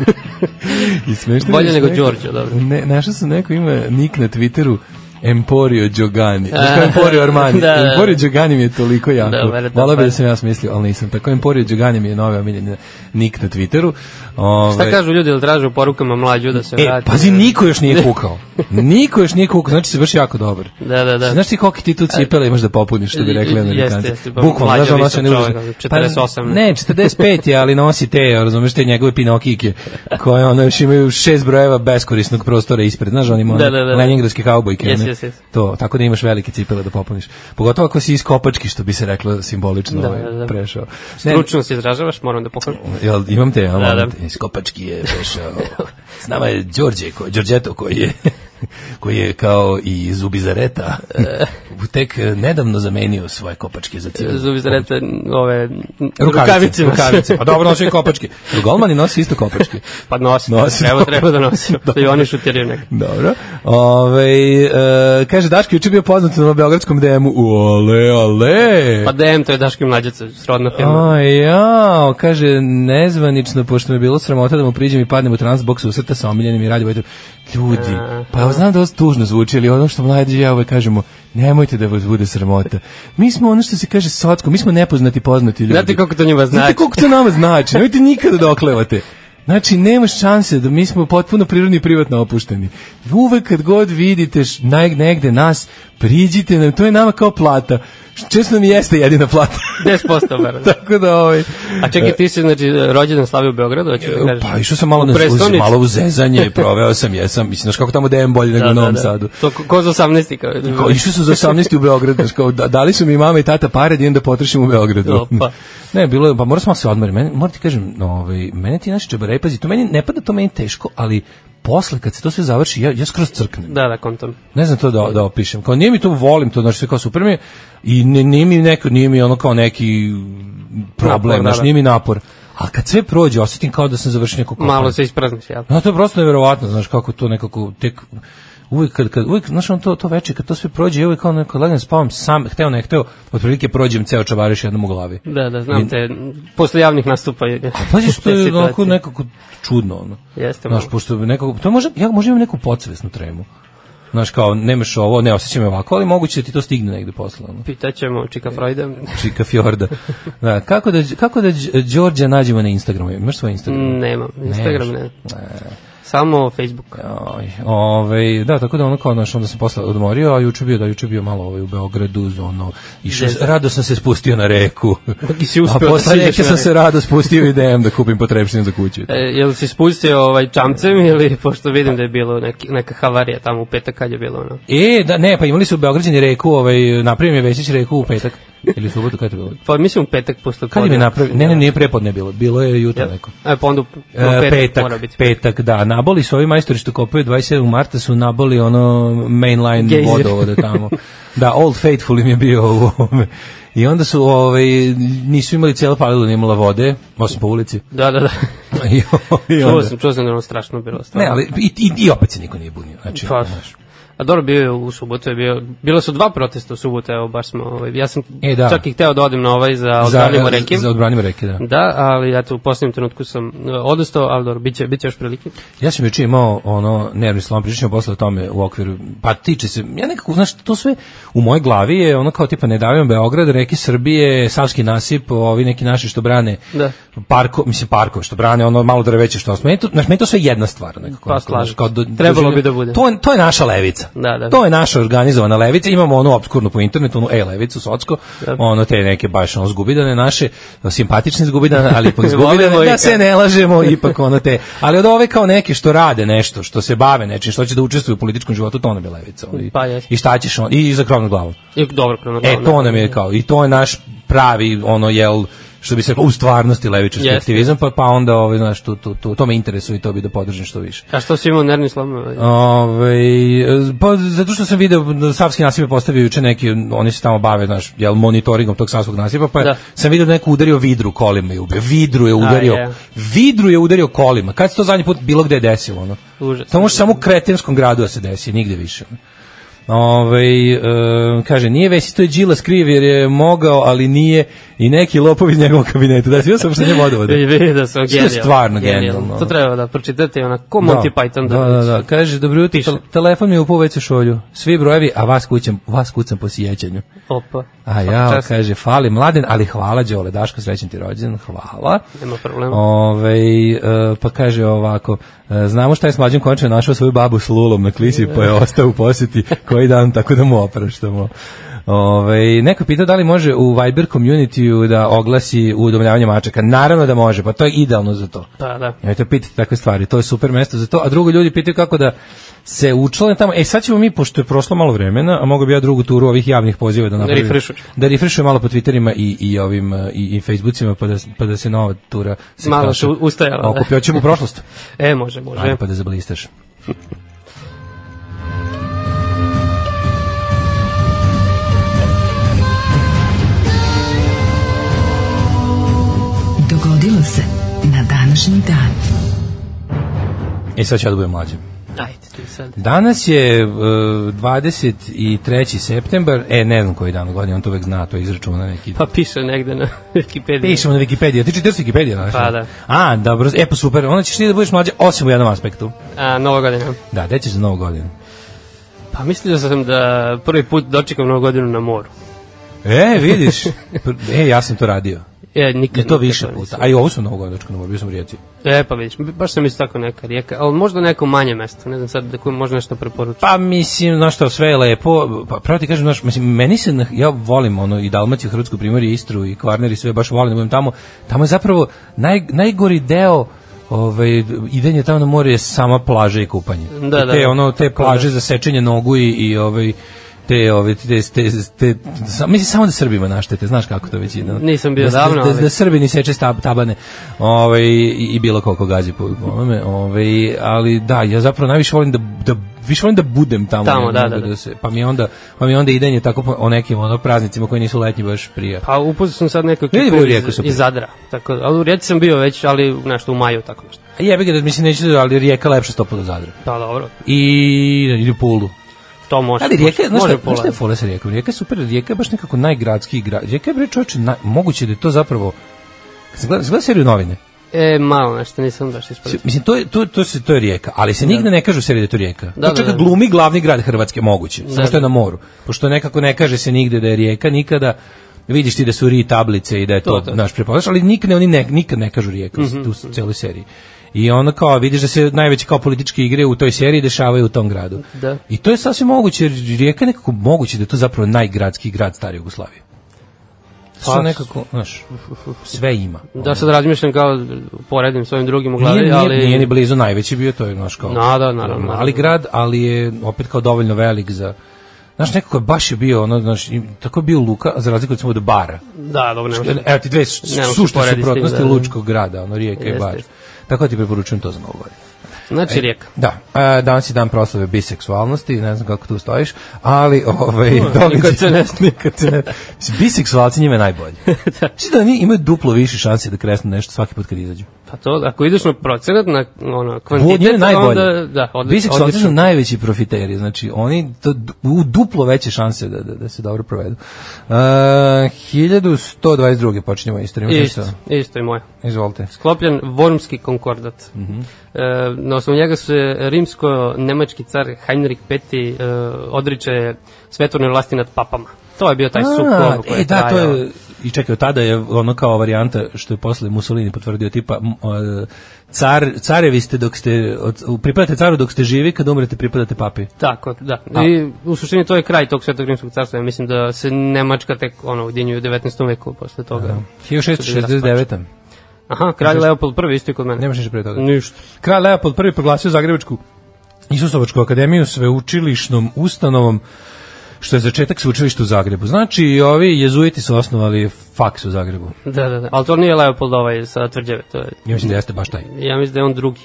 S5: I smešno mi je
S6: Bolje
S5: što
S6: nego
S5: neko-
S6: Đorđe, dobro.
S5: Ne, našao sam neko ima nik na Twitteru Emporio Giogani. Znaš kao Emporio Armani.
S6: (laughs) Da, da, da.
S5: Emporio Giogani mi je toliko jako.
S6: Da, mene to
S5: Volao bi da
S6: fali.
S5: sam ja smislio, ali nisam. Tako Emporio Giogani mi je nove omiljene nik na Twitteru. Ove,
S6: Šta kažu ljudi ili traže u porukama mlađu da se
S5: E,
S6: vrati?
S5: pazi, niko još nije kukao.
S6: (laughs)
S5: Niko još nije kukao, znači si baš jako dobar.
S6: Da, da, da.
S5: Znaš ti koliko ti tu cipele imaš da popuniš, što bi rekli
S6: Jeste,
S5: amerikanci.
S6: jeste, pa mlađa
S5: znaš, ono
S6: visok
S5: se ne uzme- Pa,
S6: čovek, 48.
S5: ne, 45 je, ali nosi te, razumeš, te njegove pinokike, koje ono još imaju šest brojeva beskorisnog prostora ispred, znaš, oni imaju
S6: Da,
S5: one
S6: da, da, da.
S5: leningradske kaubojke.
S6: Jes,
S5: one.
S6: jes, jes.
S5: To, tako da imaš velike cipele da popuniš. Pogotovo ako si iz kopački, što bi se reklo simbolično
S6: Da,
S5: ovaj,
S6: da, da.
S5: prešao. Ne,
S6: Stručno se izražavaš, moram da pokažem.
S5: Jel, imam te, ja,
S6: Da, da.
S5: Iz Kopački je prešao. S nama je Đorđe, ko, Đorđeto koji je, koji je kao i Zubizareta
S6: (laughs)
S5: tek nedavno zamenio svoje kopačke za cijelu.
S6: Zubi zarete ove
S5: Rukavice, (laughs)
S6: rukavicima.
S5: rukavice. Pa dobro, nosi i kopačke. Golmani nosi isto kopačke.
S6: pa nosi,
S5: Nosi,
S6: treba,
S5: dobro.
S6: treba da
S5: (laughs)
S6: nosi. Da i oni šutiraju nek.
S5: Dobro. Ove, e, kaže, Daško juče bio poznat na Beogradskom DM-u. Ole, ole.
S6: Pa DM, to je Daški mlađaca, srodna firma.
S5: A, jao, kaže, nezvanično, pošto mi je bilo sramota da mu priđem i padnem u transbox usrta sa omiljenim i radio vojtom. Ljudi, pa ja znam da ovo tužno zvuči, ali ono što mlađi i ja uvek kažemo, nemojte da vas bude sramota. Mi smo ono što se kaže socko, mi smo nepoznati poznati ljudi.
S6: Znate koliko to njima
S5: Znate
S6: znači?
S5: koliko to nama znači, nemojte nikada da oklevate. Znači, nemaš šanse da mi smo potpuno prirodni i privatno opušteni. Uvek kad god vidite š- neg- negde nas, priđite nam, to je nama kao plata. Često mi jeste jedina plata. (laughs)
S6: 10% (laughs) bar.
S5: Tako da ovaj
S6: A čekaj, ti si znači, rođendan slavi u Beogradu, hoću da kažeš.
S5: Pa išao sam malo
S6: U
S5: na uz,
S6: prestonicu.
S5: malo u zezanje, proveo sam, jesam, mislim, znaš kako tamo dajem bolje nego u Novom Sadu.
S6: Da, To ko, ko za 18. kao.
S5: Kao, išao sam za 18 u Beograd, znaš, kao, da, dali su mi mama i tata pare da idem da potrošim u Beogradu.
S6: Opa.
S5: Ne, bilo je, pa moram sam malo se odmori. Meni, moram ti kažem, no, ovaj, mene ti naši čabarej, pazi, to meni, ne pada to meni teško, ali posle kad se to sve završi, ja, ja skroz crknem.
S6: Da, da, kontom.
S5: Ne znam to da, da opišem. Kao nije mi to volim, to znači sve kao super mi je i ne, nije mi neko, nije mi ono kao neki problem,
S6: Napor, da,
S5: znaš,
S6: da.
S5: nije mi napor. A kad sve prođe, osetim kao da sam završio neku kopanje.
S6: Malo se isprazniš, jel?
S5: No, to je prosto neverovatno, znaš, kako to nekako tek uvek kad, kad uvek znaš on to to veče kad to sve prođe ja uvek kao nekako legnem spavam sam hteo ne hteo otprilike prođem ceo čavariš jednom u glavi
S6: Da, da, znam te. Posle javnih nastupa je... (laughs)
S5: Pazi pa, što
S6: te
S5: je
S6: situacije.
S5: onako nekako čudno ono.
S6: Jeste
S5: Znaš,
S6: malo.
S5: pošto bi nekako, to može, ja možda imam neku podsvesnu tremu. Znaš, kao, nemaš ovo, ne osjećam je ovako, ali moguće da ti to stigne negde posle. Ono.
S6: Pitaćemo Čika Freuda.
S5: Čika
S6: (laughs)
S5: Fjorda. Da, kako da, kako da Đ- Đorđa nađemo na Instagramu? Imaš svoj Instagram?
S6: Nemam, Instagram ne. Samo Facebook.
S5: Aj, ovaj, da, tako da ono kao naš, onda sam posle odmorio, a juče bio, da, juče bio malo ovaj, u Beogradu, uz ono, išao,
S6: Zez-
S5: rado sam se spustio na
S6: (laughs)
S5: reku.
S6: I si uspeo
S5: a
S6: da
S5: posle
S6: siđeš
S5: reke
S6: na
S5: sam
S6: reku.
S5: se rado spustio i idem da kupim potrebštine za kuću.
S6: E, jel si spustio ovaj čamcem (laughs) ili pošto vidim da je bilo neki, neka havarija tamo u petak kad je bilo ono.
S5: E, da, ne, pa imali su u Beograđani reku, ovaj, napravim je Vesić reku u petak, ili u subotu, kada je to bilo?
S6: Pa mislim u petak posle
S5: Kad im je napravio? Ne, ne, nije prepodne bilo, bilo je jutro
S6: Jel?
S5: neko.
S6: E, pa onda u,
S5: E,
S6: petak, petak mora
S5: petak,
S6: biti.
S5: petak, da. Naboli su ovi majstori što kopaju 27. marta su naboli ono mainline
S6: Gejzer.
S5: vodovode tamo. da, Old Faithful im je bio u ovome. I onda su, ovaj, nisu imali cijelo palilo, nije imala vode, osim po ulici. (laughs)
S6: Da, da, da.
S5: I, i
S6: Čuo
S5: onda,
S6: sam, čuo sam da je ono strašno bilo.
S5: ne,
S6: Stvarno.
S5: ali i, i, i opet se niko nije bunio. Znači,
S6: Pa,
S5: znaš.
S6: a dobro bio je u subotu, je bio, bilo su dva protesta u subotu, evo baš smo, ovaj, ja sam
S5: E, da.
S6: čak i hteo da odem na ovaj za odavljamo rekim.
S5: Za odbranimo reke, da.
S6: Da, ali ja tu u poslednjem trenutku sam e, odustao, ali dobro, bit će, bit će još prilike.
S5: Ja sam juče imao ono nervni slom, pričat ćemo posle o tome u okviru, pa tiče se, ja nekako, znaš, to sve u mojoj glavi je ono kao tipa ne davimo Beograd, reke Srbije, Savski nasip, ovi neki naši što brane
S6: Da.
S5: parko, mislim parko, što brane ono malo drveće što osme, to, znaš, meni to sve jedna stvar nekako.
S6: Pa,
S5: onako, znaš,
S6: slažem se. Trebalo bi da bude.
S5: To, je- to je naša levica.
S6: Da, da.
S5: To je naša organizovana levica, imamo onu obskurnu po internetu, onu e-levicu, socko,
S6: Da.
S5: ono te neke baš ono zgubidane naše, simpatične zgubidane,
S6: (laughs)
S5: ali ipak
S6: Volimo
S5: zgubidane,
S6: ih,
S5: da se
S6: da.
S5: ne
S6: (laughs)
S5: lažemo, ipak ono te, ali od ove kao neke što rade nešto, što se bave nečim, što će da učestvuju u političkom životu, to nam je levica. ono, i-
S6: Pa jest.
S5: I šta ćeš on, i za krovnu glavu.
S6: I dobro, krono
S5: E, to nam je kao, i to je naš pravi, ono, jel, što bi se reklo, u stvarnosti levičarski
S6: Jeste.
S5: aktivizam, pa, pa onda, ovaj, znaš, tu, tu, tu, to me interesuje i to bi da podržim što više.
S6: A što si imao nervni slom? ovaj?
S5: Ove, pa, zato što sam video da Savski nasip je postavio juče neki, oni se tamo bave, znaš, jel, monitoringom tog Savskog nasipa, pa
S6: Da.
S5: sam video da neko udario vidru kolima i ubio. Vidru je udario.
S6: je.
S5: Vidru je udario kolima. Kad se to zadnji put bilo gde desilo, ono?
S6: Užas.
S5: To može samo u kretinskom gradu da se desi, nigde više. Ove, e, kaže, nije već to je Đilas kriv jer je mogao, ali nije i neki lopov iz njegovog kabineta. Da, svi sam što
S6: (laughs)
S5: vodovoda.
S6: Vidi, vidi da sam
S5: Što je
S6: genijalno.
S5: stvarno genijalno.
S6: To treba da pročitate, ona, ko Monty Python.
S5: Da, da, da. Kaže, dobro jutro,
S6: Piše.
S5: tel- telefon mi je u poveću šolju. Svi brojevi, a vas kućam, vas kucam po sjećanju.
S6: Opa.
S5: A
S6: Svaka
S5: ja,
S6: Pa, čast.
S5: kaže, fali mladen, ali hvala, Đole, Daško, srećan ti rođen, hvala.
S6: Nema problema.
S5: Ove, pa kaže ovako, e, znamo šta je s mlađim končem našao svoju babu s lulom na klisi, pa
S6: (laughs)
S5: je ostao u posjeti koji dan, tako da mu opraštamo. Ove, neko pita da li može u Viber community da oglasi udomljavanje mačaka. Naravno da može, pa to je idealno za to.
S6: Da, da.
S5: Nemojte pitati takve stvari, to je super mesto za to. A drugo, ljudi pitaju kako da se učlane tamo. E, sad ćemo mi, pošto je prošlo malo vremena, a mogu bi ja drugu turu ovih javnih poziva da napravim.
S6: refrešuješ.
S5: Da refrešujem malo po Twitterima i, i ovim, e, i, i Facebookima, pa da, pa da se nova tura
S6: Malo se u- ustajala, da.
S5: Okupio ćemo u
S6: (laughs)
S5: prošlost.
S6: E, može, može.
S5: Ajde, pa da zablistaš.
S4: Dogodilo se na današnji dan.
S5: E, sad ću ja da budem mlađe.
S6: Ajde, ti sad.
S5: Danas je uh, 23. septembar, e, ne znam koji dan u godini, on to uvek zna, to je izračuna neki.
S6: Pa piše negde na (laughs) Wikipediji.
S5: Pišemo na Wikipediji, a ti čitaš Wikipediju, znaš?
S6: Pa, da.
S5: A, dobro, e pa super, onda ćeš ti da budeš mlađa osim u jednom aspektu.
S6: A, nova godina.
S5: Da, gde ćeš za novu godinu?
S6: Pa mislio sam da prvi put dočekam novu godinu na moru.
S5: E,
S6: (laughs)
S5: vidiš, pr- e, ja sam to radio.
S6: E, nikad.
S5: I to
S6: nikad
S5: više
S6: nisam.
S5: puta. A i ovo sam novu godinu dočekao na moru, bio sam u Rijeci.
S6: E, pa vidiš, baš sam isto tako neka rijeka, ali možda neko manje mesto, ne znam sad da kojem možda nešto preporučiti.
S5: Pa mislim, znaš što, sve je lepo, pa pravo ti kažem, znaš, mislim, meni se, na- ja volim ono i Dalmaciju, Hrvatsku primorje, Istru i Kvarner i sve, baš volim da budem tamo, tamo je zapravo naj, najgori deo Ovaj idenje tamo na more je sama plaža i kupanje.
S6: Da,
S5: I te
S6: da.
S5: ono te
S6: Tako
S5: plaže za sečenje nogu i, i ovaj te ove te te, te, sa- mislim samo da Srbima naštete, znaš kako to već ide.
S6: Nisam bio
S5: da,
S6: davno,
S5: da, da,
S6: ali-
S5: da Srbi ni seče stab, tabane ovaj, i, i bilo koliko gazi po ovome, ovaj, ali da, ja zapravo najviše volim da, da više volim da budem tamo, nego
S6: Tamo, da,
S5: da,
S6: da, da.
S5: se, pa mi onda, pa mi onda idenje tako po, o nekim ono praznicima koji nisu letnji baš prija.
S6: Pa upoznao sam sad neku
S5: Vidi
S6: ekipu
S5: u Rijeku
S6: iz,
S5: super.
S6: iz Zadra, tako, da- ali u Rijeci sam bio već, ali nešto u maju, tako nešto.
S5: A jebi ga da mislim neću da, ali rijeka lepša stopa do Zadra.
S6: Pa dobro,
S5: I ili pulu.
S6: to može.
S5: Ali rijeka,
S6: može,
S5: znaš šta,
S6: može da.
S5: znaš šta je
S6: pola.
S5: fora sa rijekom? Rijeka je super, rijeka je baš nekako najgradski grad. Rijeka je bre čoveče, naj- moguće da je to zapravo, kad se gleda, gleda seriju novine,
S6: E, malo nešto, nisam baš
S5: Si-
S6: ispratio.
S5: Mislim, to je, to, to, se, to je rijeka, ali se nigde ne kaže u seriji da je to rijeka.
S6: Da,
S5: Da,
S6: da,
S5: to čak
S6: da.
S5: glumi glavni grad Hrvatske, moguće,
S6: Da,
S5: samo što je na
S6: da.
S5: moru. Pošto nekako ne kaže se nigde da je rijeka, nikada vidiš ti da su ri tablice i da je to,
S6: To, Mhm, to.
S5: naš prepoznaš, ali nikad ne, oni ne, nikad ne kažu rijeka u s- u celoj seriji. I ono kao, vidiš da se najveće kao političke igre u toj seriji dešavaju u tom gradu.
S6: Da.
S5: I to je sasvim moguće, jer rijeka je nekako moguće da je to zapravo najgradski grad stare Jugoslavije.
S6: Pa,
S5: Što nekako, znaš, sve ima.
S6: Da sad razmišljam kao poredim s ovim drugim u glavi,
S5: Nije,
S6: ali...
S5: nije, nije ni blizu najveći bio, to je naš kao...
S6: Da, da, naravno,
S5: Mali
S6: naravno.
S5: grad, ali je opet kao dovoljno velik za... Znaš, nekako je baš je bio, ono, znaš, i tako je bio Luka, za razliku recimo od Bara.
S6: Da, dobro, nema šta.
S5: Evo ti dve
S6: Ne može
S5: su- sušte
S6: porediti s tim,
S5: suprotnosti
S6: da, da.
S5: Lučkog grada, ono, Rijeka i
S6: Jeste,
S5: Bar.
S6: jeste.
S5: Tako da ti preporučujem to za novu godinu.
S6: Znači rijeka.
S5: Da, a, danas je dan proslave biseksualnosti, ne znam kako tu stojiš, ali ovaj, dobiće...
S6: (laughs) nikad se ne
S5: (laughs) nikad se ne- Mislim, Biseksualci njima je
S6: (laughs)
S5: najbolje. da. da oni imaju duplo više šanse da kresnu nešto svaki put kad izađu.
S6: Pa to, ako ideš na procenat, na ono,
S5: Vod je
S6: kvantitet,
S5: najbolje.
S6: onda... Da, odlično.
S5: Biseksualci su
S6: odlično.
S5: najveći profiteri, znači oni to d- u duplo veće šanse da, da, da se dobro provedu. Uh, 1122. počinjemo istoriju. Imaš
S6: Isto,
S5: nešto?
S6: isto je moje.
S5: Izvolite.
S6: sklopljen Vormski konkordat.
S5: Mhm.
S6: e, na osnovu njega se rimsko-nemački car Heinrich V e, odriče svetovne vlasti nad papama. To je bio taj sukob koji
S5: e,
S6: je
S5: da, to
S6: trajao.
S5: je, i čekaj, od tada je ono kao varijanta što je posle Mussolini potvrdio, tipa m, e, car, carevi ste dok ste, od, pripadate caru dok ste živi, kad umrete pripadate papi.
S6: Tako, da.
S5: A.
S6: I u suštini to je kraj tog svetog rimskog carstva. Ja mislim da se Nemačka tek ono, ujedinjuje u 19. veku posle toga.
S5: 1669.
S6: Aha, kralj Leopold prvi isto je kod mene.
S5: Nemaš ništa pre toga.
S6: Ništa.
S5: Kralj Leopold prvi proglasio Zagrebačku Isusovačku akademiju sveučilišnom ustanovom što je začetak sveučilišta u Zagrebu. Znači, i ovi jezuiti su osnovali faks u Zagrebu.
S6: Da, da, da. Ali to nije Leopold ovaj sa tvrđave, to je,
S5: Ja mislim da jeste baš taj.
S6: ja mislim da je on drugi,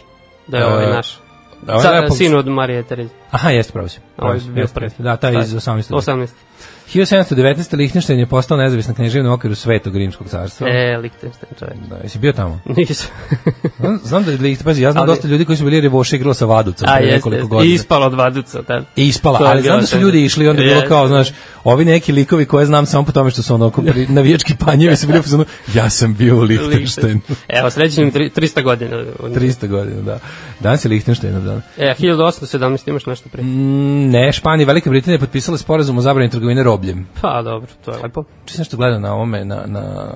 S6: da je
S5: E,
S6: ovaj naš.
S5: da, ovaj
S6: Sa-
S5: Leopold-
S6: Sin od Marije Terezije.
S5: Aha, jeste, pravo si.
S6: Ovo je
S5: Pravo si,
S6: bio
S5: jeste,
S6: prvi.
S5: jeste. Da, taj
S6: Taj.
S5: iz 18.
S6: 18.
S5: 1719. Lihtenštajn je postao nezavisna knježevna u okviru Svetog Rimskog carstva.
S6: E, Lichtenstein čovjek.
S5: Da, jesi bio tamo? (laughs)
S6: Nisam.
S5: Znam- Znam da je Licht, pazi, ja znam
S6: Ali-
S5: dosta ljudi koji su bili revoše igralo sa vaducom
S6: A,
S5: pre
S6: jeste,
S5: nekoliko
S6: jeste. I
S5: godina.
S6: ispalo od vaduca, da.
S5: I ispala,
S6: To je
S5: ali
S6: bila
S5: znam da su
S6: tema.
S5: ljudi išli i onda je bilo
S6: Jeste.
S5: kao, znaš, ovi neki likovi koje znam samo po tome što su ono oko pri- navijački panjevi su bili u fazonu, ja sam bio u Lichtenštajnu.
S6: (laughs)
S5: (laughs)
S6: Evo, srećenim 300 godina.
S5: 300 godina, da. Danas je Lichtenštajn dan.
S6: E, 1817 imaš nešto prije.
S5: Mm, ne, Španija i Velika Britanija potpisala sporazum o zabrani trgovine robljem.
S6: Pa, dobro, to je lepo.
S5: Čisto nešto gledao na ovome, na, na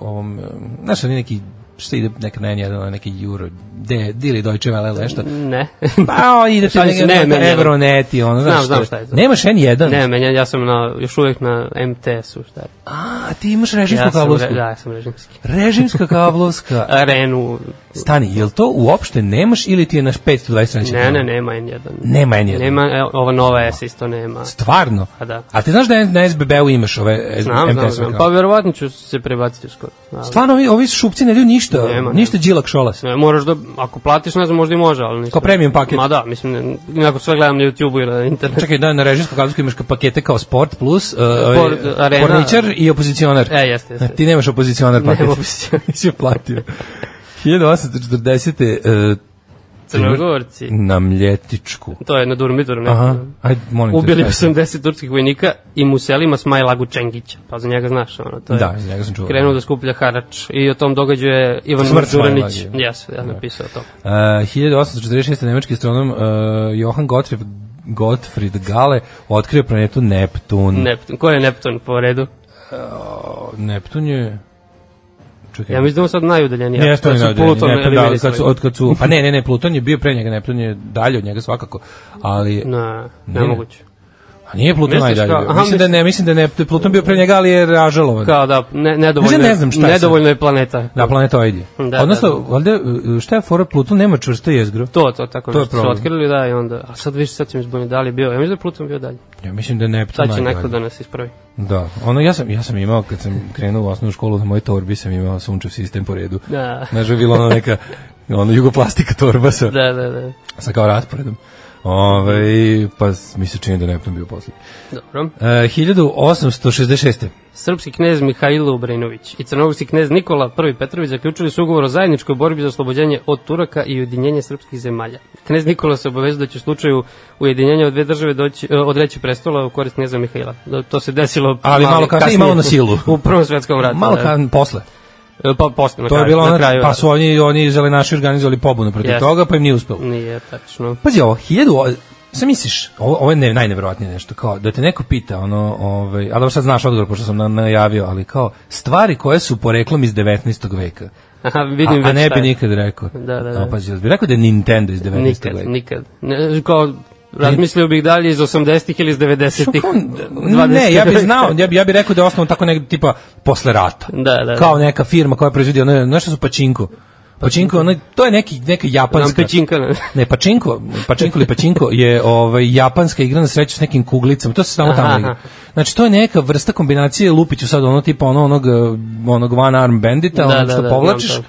S5: ovom, eh, znaš, oni neki, što ide neka na N1, onaj neki Euro, de, ili Deutsche Welle, ili nešto.
S6: Ne.
S5: Pa, on ide
S6: Šta
S5: ti
S6: mislim,
S5: ne,
S6: ne, ne,
S5: ne,
S6: ne.
S5: Evroneti, ono, znaš
S6: Znam, znam
S5: što-
S6: šta je to.
S5: Nemaš N1?
S6: (laughs) ne, meni, ja sam na, još uvijek na MTS-u, šta je.
S5: A, ti imaš režimsku
S6: Ja sam,
S5: kablovsku.
S6: re- da, ja sam režimski.
S5: Režimska (laughs) kablovska.
S6: Arenu,
S5: Stani, jel to uopšte nemaš ili ti je naš 520 stranića?
S6: ne, ne, nema N1.
S5: Nema N1.
S6: Nema, e, ova nova S isto nema.
S5: Stvarno?
S6: Pa da.
S5: A ti znaš da na SBB-u imaš ove
S6: Znam, znam, znam. Pa
S5: Pa,
S6: verovatno ću se prebaciti uskoro. ali-
S5: Stvarno, ovi, ovi šupci ne daju ništa,
S6: Nema,
S5: ništa đilak šolas.
S6: Ne, moraš da, ako platiš, ne znam, možda i može, ali ništa.
S5: Kao premium paket.
S6: Ma da, mislim, ne, nekako sve gledam na YouTube-u ili na internetu.
S5: Čekaj, da, na režimsku kablovsku imaš pakete kao Sport Plus, uh,
S6: Sport,
S5: ovaj,
S6: Arena.
S5: Porničar i opozicionar.
S6: E, jeste, jeste.
S5: A Znači, ti nemaš opozicionar paket.
S6: Nemam opozicionar.
S5: (laughs) Nisi je platio. 1840. Uh,
S6: Crnogorci.
S5: na Mljetičku.
S6: To je na Durmidoru. ne?
S5: Aha, Znači, ajde, molim te.
S6: Ubili
S5: šta je to?
S6: 80 turskih vojnika i muselima Smajlagu Čengića. Pa za njega znaš, ono, to je...
S5: Da, za njega sam čuo.
S6: Krenuo da skuplja harač i o tom događaju je Ivan
S5: Smrt
S6: Đuranić.
S5: Smajlagi.
S6: Jes, ja napisao to.
S5: Uh, 1846. nemački astronom uh, Johan Gottfried, Gottfried Gale otkrio planetu Neptun.
S6: Neptun. Ko je Neptun po redu?
S5: Neptun je... Čekaj.
S6: Ja mislim da je on sad najudaljeniji.
S5: Jeste
S6: Kad
S5: on
S6: su
S5: najudaljeniji,
S6: Pluton
S5: Neptun, da,
S6: eliminisali.
S5: od kad su, od kad su, pa ne, ne, ne, Pluton je bio pre njega, Neptun je dalje od njega svakako, ali,
S6: Ne,
S5: Ne.
S6: nemoguće.
S5: a nije Pluton
S6: Misliš
S5: najdalje
S6: kao-
S5: bio.
S6: aha,
S5: Mislim da ne, mislim da ne, Pluton bio pre njega, ali je ražalovan.
S6: Kao da, ne, nedovoljno,
S5: Mislim, ne
S6: je-
S5: znam šta je sad.
S6: nedovoljno je planeta.
S5: Da, planetoid je.
S6: Da,
S5: Odnosno,
S6: da,
S5: valjda, uh, šta je fora, Pluton nema čvrsto jezgro.
S6: To, to, tako
S5: To je
S6: to su
S5: problem.
S6: otkrili, da, i onda, a sad više sad ćemo izbuniti da li je bio, ja mislim da je Pluton bio dalje.
S5: Ja mislim da je Neptun
S6: Sad će neko
S5: najdalje.
S6: da nas ispravi.
S5: Da, ono ja sam, ja sam imao, kad sam krenuo u osnovnu školu, na mojoj torbi sam imao sunčev sistem po redu.
S6: Da.
S5: Znaš, je bilo ono neka, ono jugoplastika torba sa,
S6: Da, da, da.
S5: sa kao rasporedom. Ove, pa s- mi se čini da je Neptun bio poslije.
S6: Dobro.
S5: E, 1866.
S6: Srpski knez Mihajlo Obrenović i crnogorski knez Nikola I Petrović zaključili su ugovor o zajedničkoj borbi za oslobođenje od Turaka i ujedinjenje srpskih zemalja. Knez Nikola se obavezao da će u slučaju ujedinjenja od dve države doći, e, odreći prestola u korist kneza Mihajla. Da, to se desilo
S5: Ali malo kasnije, malo na silu.
S6: U Prvom svetskom ratu.
S5: Malo
S6: da.
S5: kan, posle.
S6: E, Pa posle, na
S5: To je
S6: kraju,
S5: bilo
S6: na
S5: ono,
S6: kraju,
S5: pa
S6: da.
S5: su oni, oni zelenaši organizovali pobunu protiv
S6: Jeste.
S5: toga, pa im nije uspelo.
S6: Nije tačno.
S5: Pazi ovo, 1000 o- Šta misliš? Ovo, ovo je ne, najneverovatnije nešto, kao da te neko pita, ono, ovaj, ali dobro sad znaš odgovor, pošto sam na, najavio, ali kao, stvari koje su poreklom iz 19. veka.
S6: Aha, vidim
S5: a, a
S6: već
S5: ne
S6: šta
S5: bi
S6: je.
S5: nikad rekao.
S6: Da, da, da.
S5: A, pazi, jel bi rekao da je Nintendo iz 19.
S6: Nikad,
S5: veka.
S6: nikad. Ne, kao, razmislio bih dalje iz 80-ih ili iz 90-ih. (laughs)
S5: N- Ne, ja bih
S6: 20.
S5: znao, ja bih ja bi rekao da je osnovan tako negde tipa posle rata.
S6: Da, da, da.
S5: Kao neka firma koja proizvodi, ono, znaš što su pačinko? Pačinko, ono, to je neki, neka
S6: Pa Nam
S5: japanska...
S6: pećinka, ne.
S5: Ne, pačinko, pačinko ili pačinko je ovaj, japanska igra na sreću s nekim kuglicama, to se samo tamo
S6: Aha.
S5: igra. Znači, to je neka vrsta kombinacije, lupiću sad ono tipa ono, onog, eh, onog one arm bandita,
S6: Da,
S5: onog
S6: da,
S5: što
S6: da,
S5: povlačiš,
S6: znam to.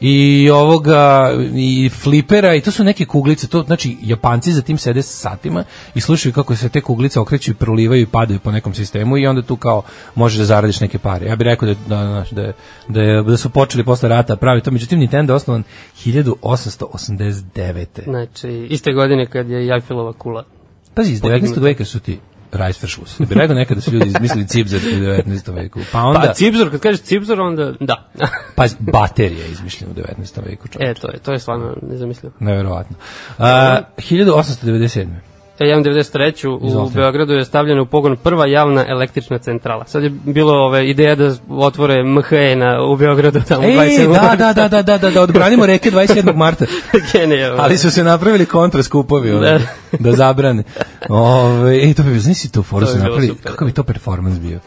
S5: i ovoga i flipera i to su neke kuglice to znači Japanci za tim sede satima i slušaju kako se te kuglice okreću i prolivaju i padaju po nekom sistemu i onda tu kao možeš da zaradiš neke pare ja bih rekao da da znaš, da je- da, je- da su počeli posle rata pravi to međutim Nintendo je osnovan 1889.
S6: Znači, iste godine kad je Jajfilova kula.
S5: Pazi iz 19. veka su ti Reisterschluss. Ja bih rekao da nekada su ljudi izmislili cipzer u 19. veku. Pa onda
S6: Pa Cibzor, kad kažeš Cibzor, onda da. (laughs)
S5: pa baterija je izmišljena u 19. veku.
S6: e,
S5: čovječe.
S6: to je, to je stvarno nezamislivo.
S5: Neverovatno. A, 1897.
S6: E, ja imam 93. u
S5: Izvolite.
S6: Beogradu je stavljena u pogon prva javna električna centrala. Sad je bilo ove, ideja da otvore MHE na, u Beogradu tamo u
S5: Ej,
S6: 27.
S5: da,
S6: (laughs)
S5: da, da, da, da, da, da, odbranimo reke 27. marta.
S6: Genijalno.
S5: Ali su se napravili kontra skupovi, ono, (laughs) da.
S6: Da.
S5: zabrane. Ove, ej, to bi, znaš si tu foru
S6: To
S5: su
S6: bi bilo
S5: napravili,
S6: super.
S5: kako bi to performans bio?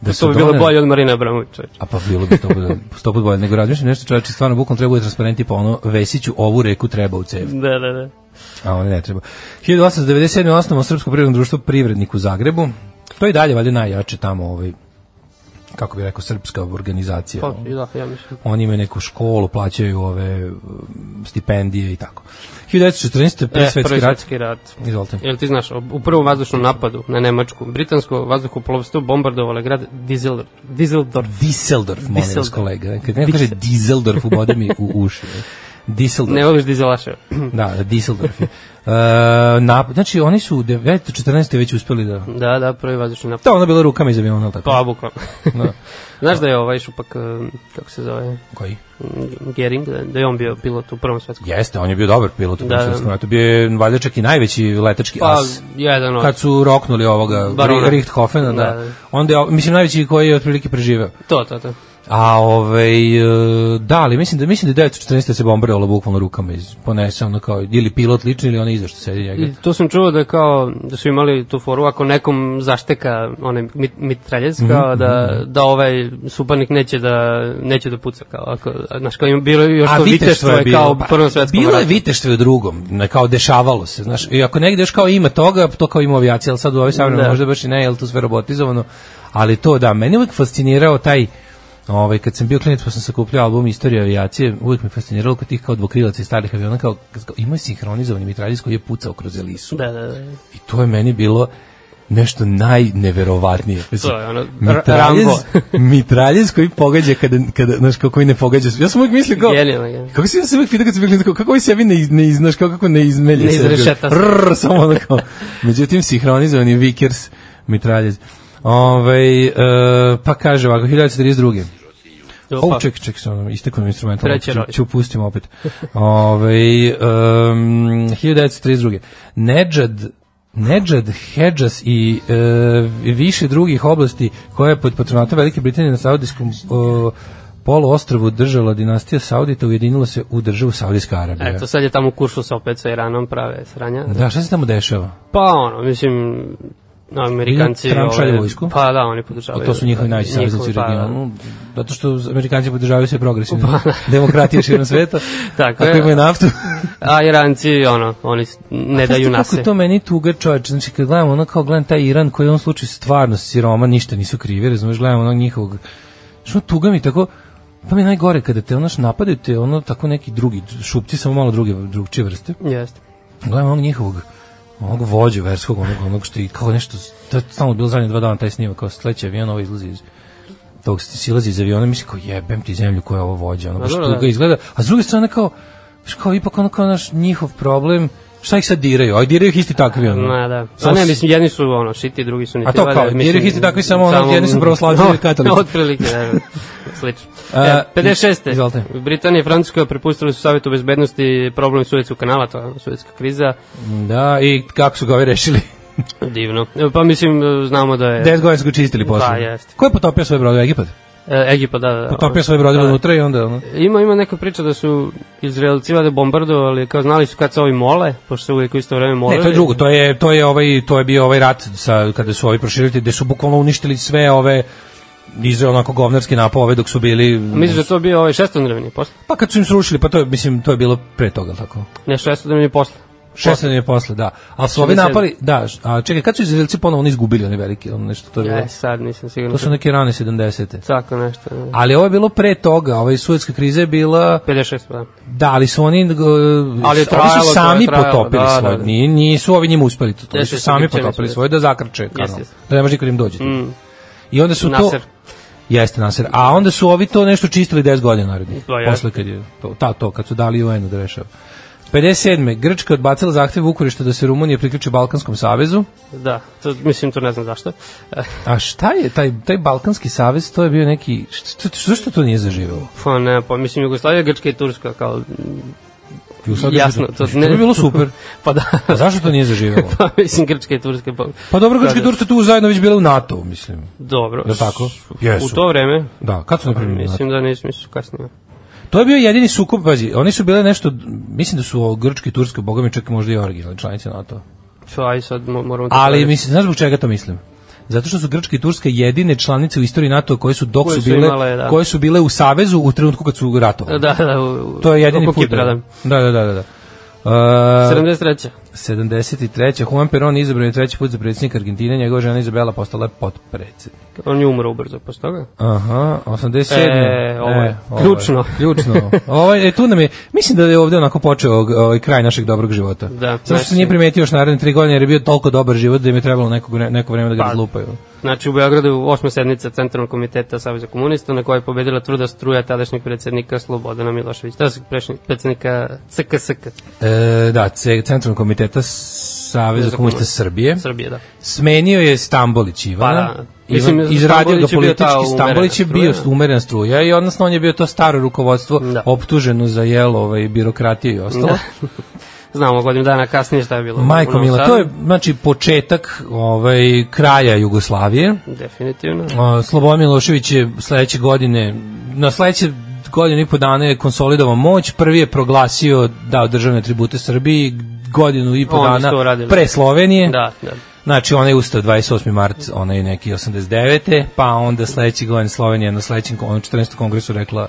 S5: Da su
S6: To bi bilo
S5: doneli-
S6: bolje od Marina Abramović. čovječe.
S5: A pa bilo bi sto put, sto put bolje, nego razmišljam nešto čoveče, stvarno bukom treba bude transparenti, pa ono, Vesiću ovu reku treba u cevi,
S6: Da, da, da.
S5: a ono ne treba. 1897. osnovno Srpsko privredno društvo Privrednik u Zagrebu, To je i dalje valjda najjače tamo ovaj kako bi rekao srpska organizacija.
S6: Pa, i da, ja mislim.
S5: Oni imaju neku školu, plaćaju ove um, stipendije i tako. 1914. prvi
S6: E,
S5: svetski
S6: prvi
S5: rat.
S6: svetski rat.
S5: Izvolite.
S6: Jel ti znaš, u prvom vazdušnom napadu na Nemačku, britansko vazduhoplovstvo bombardovalo je grad Dizel, Dizeldorf.
S5: Düsseldorf, molim vas
S6: Düsseldorf.
S5: kolega. Kad neko kaže Düsseldorf, ubode mi u uši. Düsseldorf.
S6: Ne voliš dizelaše.
S5: Da, Düsseldorf je. E, na, znači, oni su u 1914. već uspeli da...
S6: Da, da, prvi vazdušni napad.
S5: Da, ono je bilo rukama iz aviona, ali tako?
S6: Pa, bukvalno.
S5: Da.
S6: (laughs) Znaš da je ovaj šupak, um, kako se zove,
S5: Koji?
S6: mm, Gering, da- da je on bio pilot u prvom svetskom.
S5: Jeste, on je bio dobar pilot u
S6: Da,
S5: da,
S6: da.
S5: Svjetskom ratu. Bio je valjda čak i najveći letački
S6: Pa,
S5: as.
S6: jedan od,
S5: Kad su roknuli ovoga
S6: Barona.
S5: Ri- Richthofena, da.
S6: Da.
S5: Onda je, mislim, najveći koji je otprilike preživeo.
S6: to, to, to.
S5: A ovaj e, da, ali mislim da mislim da je 914 se bombardovalo bukvalno rukama iz ponese ono kao ili pilot lično ili onaj iza što sedi njega.
S6: I to sam čuo da kao da su imali tu foru ako nekom zašteka onaj mit, mitraljez
S5: Mhm.
S6: kao da da ovaj suparnik neće da neće da puca kao ako znaš kao im bilo je još to viteštvo je kao u
S5: pa,
S6: prvom svetskom
S5: Bilo je
S6: ratu.
S5: viteštvo i u drugom, ne, kao dešavalo se, znaš. I ako negde još kao ima toga, to kao ima u avijaciji, ali sad u ovoj savremenu
S6: Da.
S5: možda baš i ne, jel to sve robotizovano. Ali to da, meni je uvek fascinirao taj Ovaj, kad sam bio klinac pa sam sakupljao album Istorija avijacije, uvijek me fasciniralo kod tih kao dvokrilaca i starih aviona, kao, kao imaju sinhronizovani mitraljez koji je pucao kroz elisu.
S6: Da, da, da.
S5: I to je meni bilo nešto najneverovatnije. Mislim,
S6: To je ono,
S5: mitraljez,
S6: Rambo.
S5: (laughs) mitraljez koji pogađa kada, kada, znaš, kao koji ne pogađa. Ja sam uvijek mislio kao,
S6: Genijalno, genijalno.
S5: kako si ja se uvijek pitao kad sam bio klinac, kao, kako ovaj sebi ne, iz- ne iznaš, kao kako ne izmelje
S6: Ne
S5: sebi.
S6: izrešeta se.
S5: Rrr, samo ono kao. Međutim, sinhronizovani vikers mitraljez. Ove, e, pa kaže ovako, 1932.
S6: Opa.
S5: O, ček, ček, sam, istekao mi instrumental.
S6: Treće
S5: Ću,
S6: radi.
S5: ću pustim opet. (laughs) Ovaj, Ove, um, 1932. Nedžad Nedžad, Hedžas i e, više drugih oblasti koje je pod patronatom Velike Britanije na Saudijskom e, poluostrvu držala dinastija Saudita ujedinila se u državu Saudijska Arabija.
S6: Eto, sad je tamo u kuršu sa opet sa Iranom prave sranja.
S5: Da, šta se tamo dešava?
S6: Pa ono, mislim, Amerikanci...
S5: Trump
S6: ovaj,
S5: šalje vojsku?
S6: Pa da, oni podržavaju.
S5: A to su njihovi najveći
S6: njihovi,
S5: saveznici u
S6: pa,
S5: regionu. Zato što Amerikanci podržavaju sve
S6: (laughs)
S5: progresivne demokratije širom sveta.
S6: Tako
S5: Ako
S6: je.
S5: imaju naftu.
S6: (laughs) da. A Iranci, ono, oni s- ne
S5: Znaš
S6: daju
S5: ti Kako
S6: nase.
S5: je to meni tuga čoveč, znači kad gledam ono kao gledam taj Iran koji je u ovom slučaju stvarno siroma, ništa nisu krivi, razumiješ, gledam onog njihovog, što tuga mi tako, pa mi je najgore kada te onoš napadaju te ono tako neki drugi šupci, samo malo druge, drugčije vrste,
S6: Jeste.
S5: gledam onog njihovog onog vođu verskog, onog, onog što je kao nešto, to je stalno bilo zadnje dva dana taj snimak, kao sleće avion, ovo izlazi iz tog silazi iz aviona, mislim kao jebem ti zemlju koja je ovo vođa, ono,
S6: A
S5: baš
S6: dobro,
S5: tuga
S6: da.
S5: izgleda, a s druge strane kao, znaš, kao ipak ono kao naš njihov problem, šta ih sad diraju, aj diraju ih isti takvi, ono.
S6: Ma da. A
S5: Samo
S6: ne,
S5: s-
S6: mislim, jedni su ono šiti, drugi su niti.
S5: A to kao, jer ih isti takvi samo, ono, jedni su pravoslavci,
S6: (laughs)
S5: drugi katolici.
S6: Otprilike, da, da. slično.
S5: (laughs) A,
S6: E, 56.
S5: izvolite.
S6: Britanija i Francuska prepustili su Savjetu bezbednosti problem Suetskog kanala, to je Suetska kriza.
S5: Da, i kako su ga ovi rešili?
S6: Divno. E, Pa mislim, e, znamo da je...
S5: 10 godina su ga čistili posle.
S6: Da, jeste.
S5: Ko je potopio svoje brode? Egipat?
S6: E, Egipa, da, da. da.
S5: Potopio svoje brode
S6: Da, da.
S5: unutra i onda, ono.
S6: Ima, ima neka priča da su Izraelci vade bombardovali, kao znali su kad se ovi mole, pošto se uvijek u isto vreme mole.
S5: Ne, to je drugo, to je to je ovaj to je bio ovaj rat sa kada su ovi proširili, gde su bukvalno uništili sve ove Izrael onako govnarski napao ove dok su bili
S6: Misliš da je to bio ovaj šestodnevni posle?
S5: pa kad su im srušili, pa to je mislim to je bilo pre toga, jel tako.
S6: Ne, šestodnevni posle.
S5: 16 je posle, da. Ali su ovi
S6: 67.
S5: napali, da, š- a čekaj, kad su Izraelci ponovo oni izgubili, oni veliki, ono nešto to je bilo.
S6: E, sad nisam siguran.
S5: To su neke rane 70.
S6: Tako nešto. ne.
S5: Ali ovo je bilo pre toga, ovaj suetska kriza je bila
S6: 56, pa da.
S5: Da, ali su oni uh,
S6: Ali je
S5: ovi
S6: trajalo, to
S5: su
S6: je
S5: sami
S6: trajalo,
S5: potopili
S6: da,
S5: svoje.
S6: da, da.
S5: Ni- nisu ovi njima uspeli to. Oni
S6: Jeste,
S5: su
S6: jeste,
S5: sami
S6: pripremili
S5: potopili
S6: su,
S5: svoje da zakrče kanal.
S6: jeste.
S5: Da ne može niko da im dođe. Mm. I onda su
S6: Naser.
S5: to Jeste Nasir. A onda su ovi to nešto čistili 10 godina narednih.
S6: Pa, jeste.
S5: posle kad je to, ta, to, kad su dali UN-u da rešava. 57. Grčka odbacila zahtev Vukurišta da se Rumunija priključi Balkanskom savezu.
S6: Da, to, mislim, to ne znam zašto. E,
S5: A šta je taj, taj Balkanski savez? To je bio neki... Što, što, što to nije zaživelo?
S6: Pa ne, pa mislim, Jugoslavija, Grčka i Turska, kao, m,
S5: Jugoslavija-
S6: jasno. To,
S5: Što bi bilo super.
S6: (laughs) pa da,
S5: A zašto to nije zaživelo?
S6: pa mislim, Grčka i Turska, pa,
S5: Pa dobro, Grčka i
S6: Kada?
S5: Turska tu zajedno već bile u NATO, mislim.
S6: dobro.
S5: Je li tako?
S6: U to vreme,
S5: Da, kad su napravili NATO?
S6: mislim da nisu, mislim, kasnije.
S5: To je bio jedini sukob, pazi, oni su bile nešto, mislim da su o, Grčka i Turska, boga mi čak i možda i originalne članice NATO.
S6: Čo, aj sad mo- da moramo... to
S5: Ali,
S6: provjeriti.
S5: mislim, znaš zbog čega to mislim? Zato što su Grčka i Turska jedine članice u istoriji NATO koje su dok
S6: Koje
S5: su
S6: su
S5: bile,
S6: imale, da.
S5: koje su bile u savezu u trenutku kad su ratovali.
S6: Da, da, u,
S5: To je jedini
S6: oko
S5: put.
S6: Kipra, da.
S5: da, da, da. da. da. Uh,
S6: 73.
S5: 73. 73. Juan Perón izabran je treći put za predsjednika Argentine, njegova žena Izabela postala je potpredsjednik.
S6: On je umro ubrzo posle toga.
S5: Aha, 87.
S6: E, ovo je
S5: ovo
S6: ključno.
S5: (laughs) ključno. Ovo je, e, tu nam je, mislim da je ovde onako počeo ovaj, kraj našeg dobrog života.
S6: Da,
S5: Zato što se
S6: znači-
S5: nije primetio još naredne tri godine jer je bio toliko dobar život da im je trebalo neko, neko vreme da ga
S6: Pa,
S5: razlupaju.
S6: Znači u Beogradu je osma sednica Centralnog komiteta Saveza komunista na kojoj je pobedila truda struja tadašnjeg predsjednika Slobodana Miloševića, tadašnjeg prešn- predsjednika CKSK
S5: E, da, C- Centralnog komiteta Saveza
S6: Za
S5: komunista
S6: komunista.
S5: Srbije.
S6: Srbije, da.
S5: Smenio je Stambolić
S6: Pa
S5: Ivana.
S6: da.
S5: Ivan,
S6: Mislim,
S5: izradio ga
S6: Stambolić je bio ta
S5: politički, Stambolić je bio
S6: umerena
S5: struja.
S6: struja.
S5: umerena struja i odnosno on je bio to staro rukovodstvo
S6: Da.
S5: optuženo za jelo ovaj, birokratije i ostalo.
S6: Znamo godinu dana kasnije šta je bilo. u
S5: Majko
S6: Novom
S5: Mila,
S6: Sadu.
S5: to je znači početak ovaj, kraja Jugoslavije.
S6: Definitivno.
S5: A, Slobodan Milošević je sledeće godine, na sledeće godinu i po dana je konsolidovao moć, prvi je proglasio dao državne tribute Srbiji godinu i po
S6: Oni su to
S5: dana
S6: uradili.
S5: pre Slovenije.
S6: Da, da.
S5: Znači, onaj ustav 28. mart, onaj neki 89. Pa onda sledeći godin Slovenija na sledećem kon- onom 14. kongresu rekla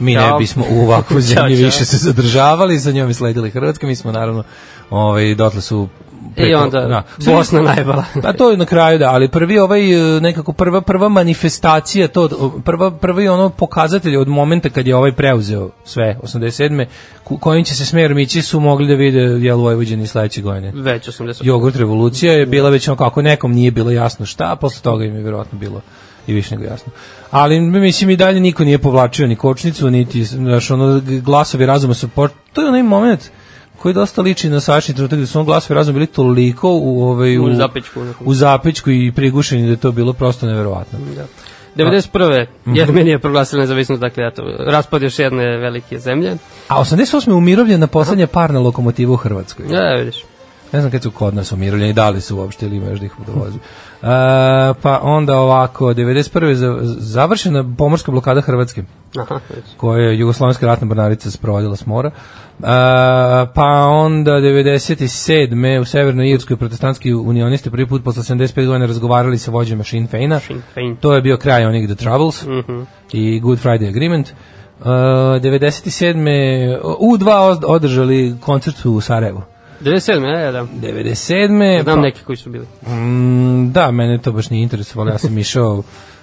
S5: mi ne
S6: Ćao.
S5: bismo u
S6: (laughs)
S5: ovakvu
S6: Ćao,
S5: zemlji
S6: ćao.
S5: više se zadržavali, za njom je sledila i Hrvatska, mi smo naravno, ovaj, dotle su da.
S6: I onda Bosna najbala.
S5: (laughs) pa to je na kraju da, ali prvi ovaj e, nekako prva prva manifestacija to od- prva prvi ono pokazatelj od momenta kad je ovaj preuzeo sve 87. ku- kojim će se smerom ići su mogli da vide jel Vojvođani sledeće godine.
S6: Već 80.
S5: Jogurt revolucija je bila već ono kako nekom nije bilo jasno šta, a posle toga im je verovatno bilo i više nego jasno. Ali mislim i dalje niko nije povlačio ni kočnicu, niti znaš, ono, g- glasovi razuma su po... To je onaj moment koji dosta liči na sačni trenutak gde su ono glasovi razuma bili toliko u, ovaj, u,
S6: U zapećku, onako.
S5: u zapećku i prigušeni da je to bilo prosto neverovatno.
S6: Da. 91.
S5: Mhm.
S6: Jermenija je proglasila nezavisnost, dakle, eto, raspad još jedne velike zemlje.
S5: A 88. je umirovljena poslednja parna lokomotiva u Hrvatskoj.
S6: Ja, Da, vidiš.
S5: Ne znam kad su kod nas umirovljeni, da li su uopšte ili ima još da ih dovozu. E, pa onda ovako, 91. za- završena pomorska blokada Hrvatske,
S6: Aha, vidiš.
S5: koju je Jugoslovenska ratna mornarica sprovodila s mora. E, pa onda 97. u Severnoj Irskoj protestantski unionisti prvi put posle 75 godina razgovarali sa vođama Sinn Feina.
S6: Sinn Mhm. Féin.
S5: To je bio kraj onih The Troubles i Good Friday Agreement. E, 97. U2 od- održali koncert u Sarajevu.
S6: 97. Ja, da.
S5: 97.
S6: Znam
S5: pa-
S6: neki koji su bili.
S5: Mm, da, mene to baš nije interesovalo, ja sam išao (laughs)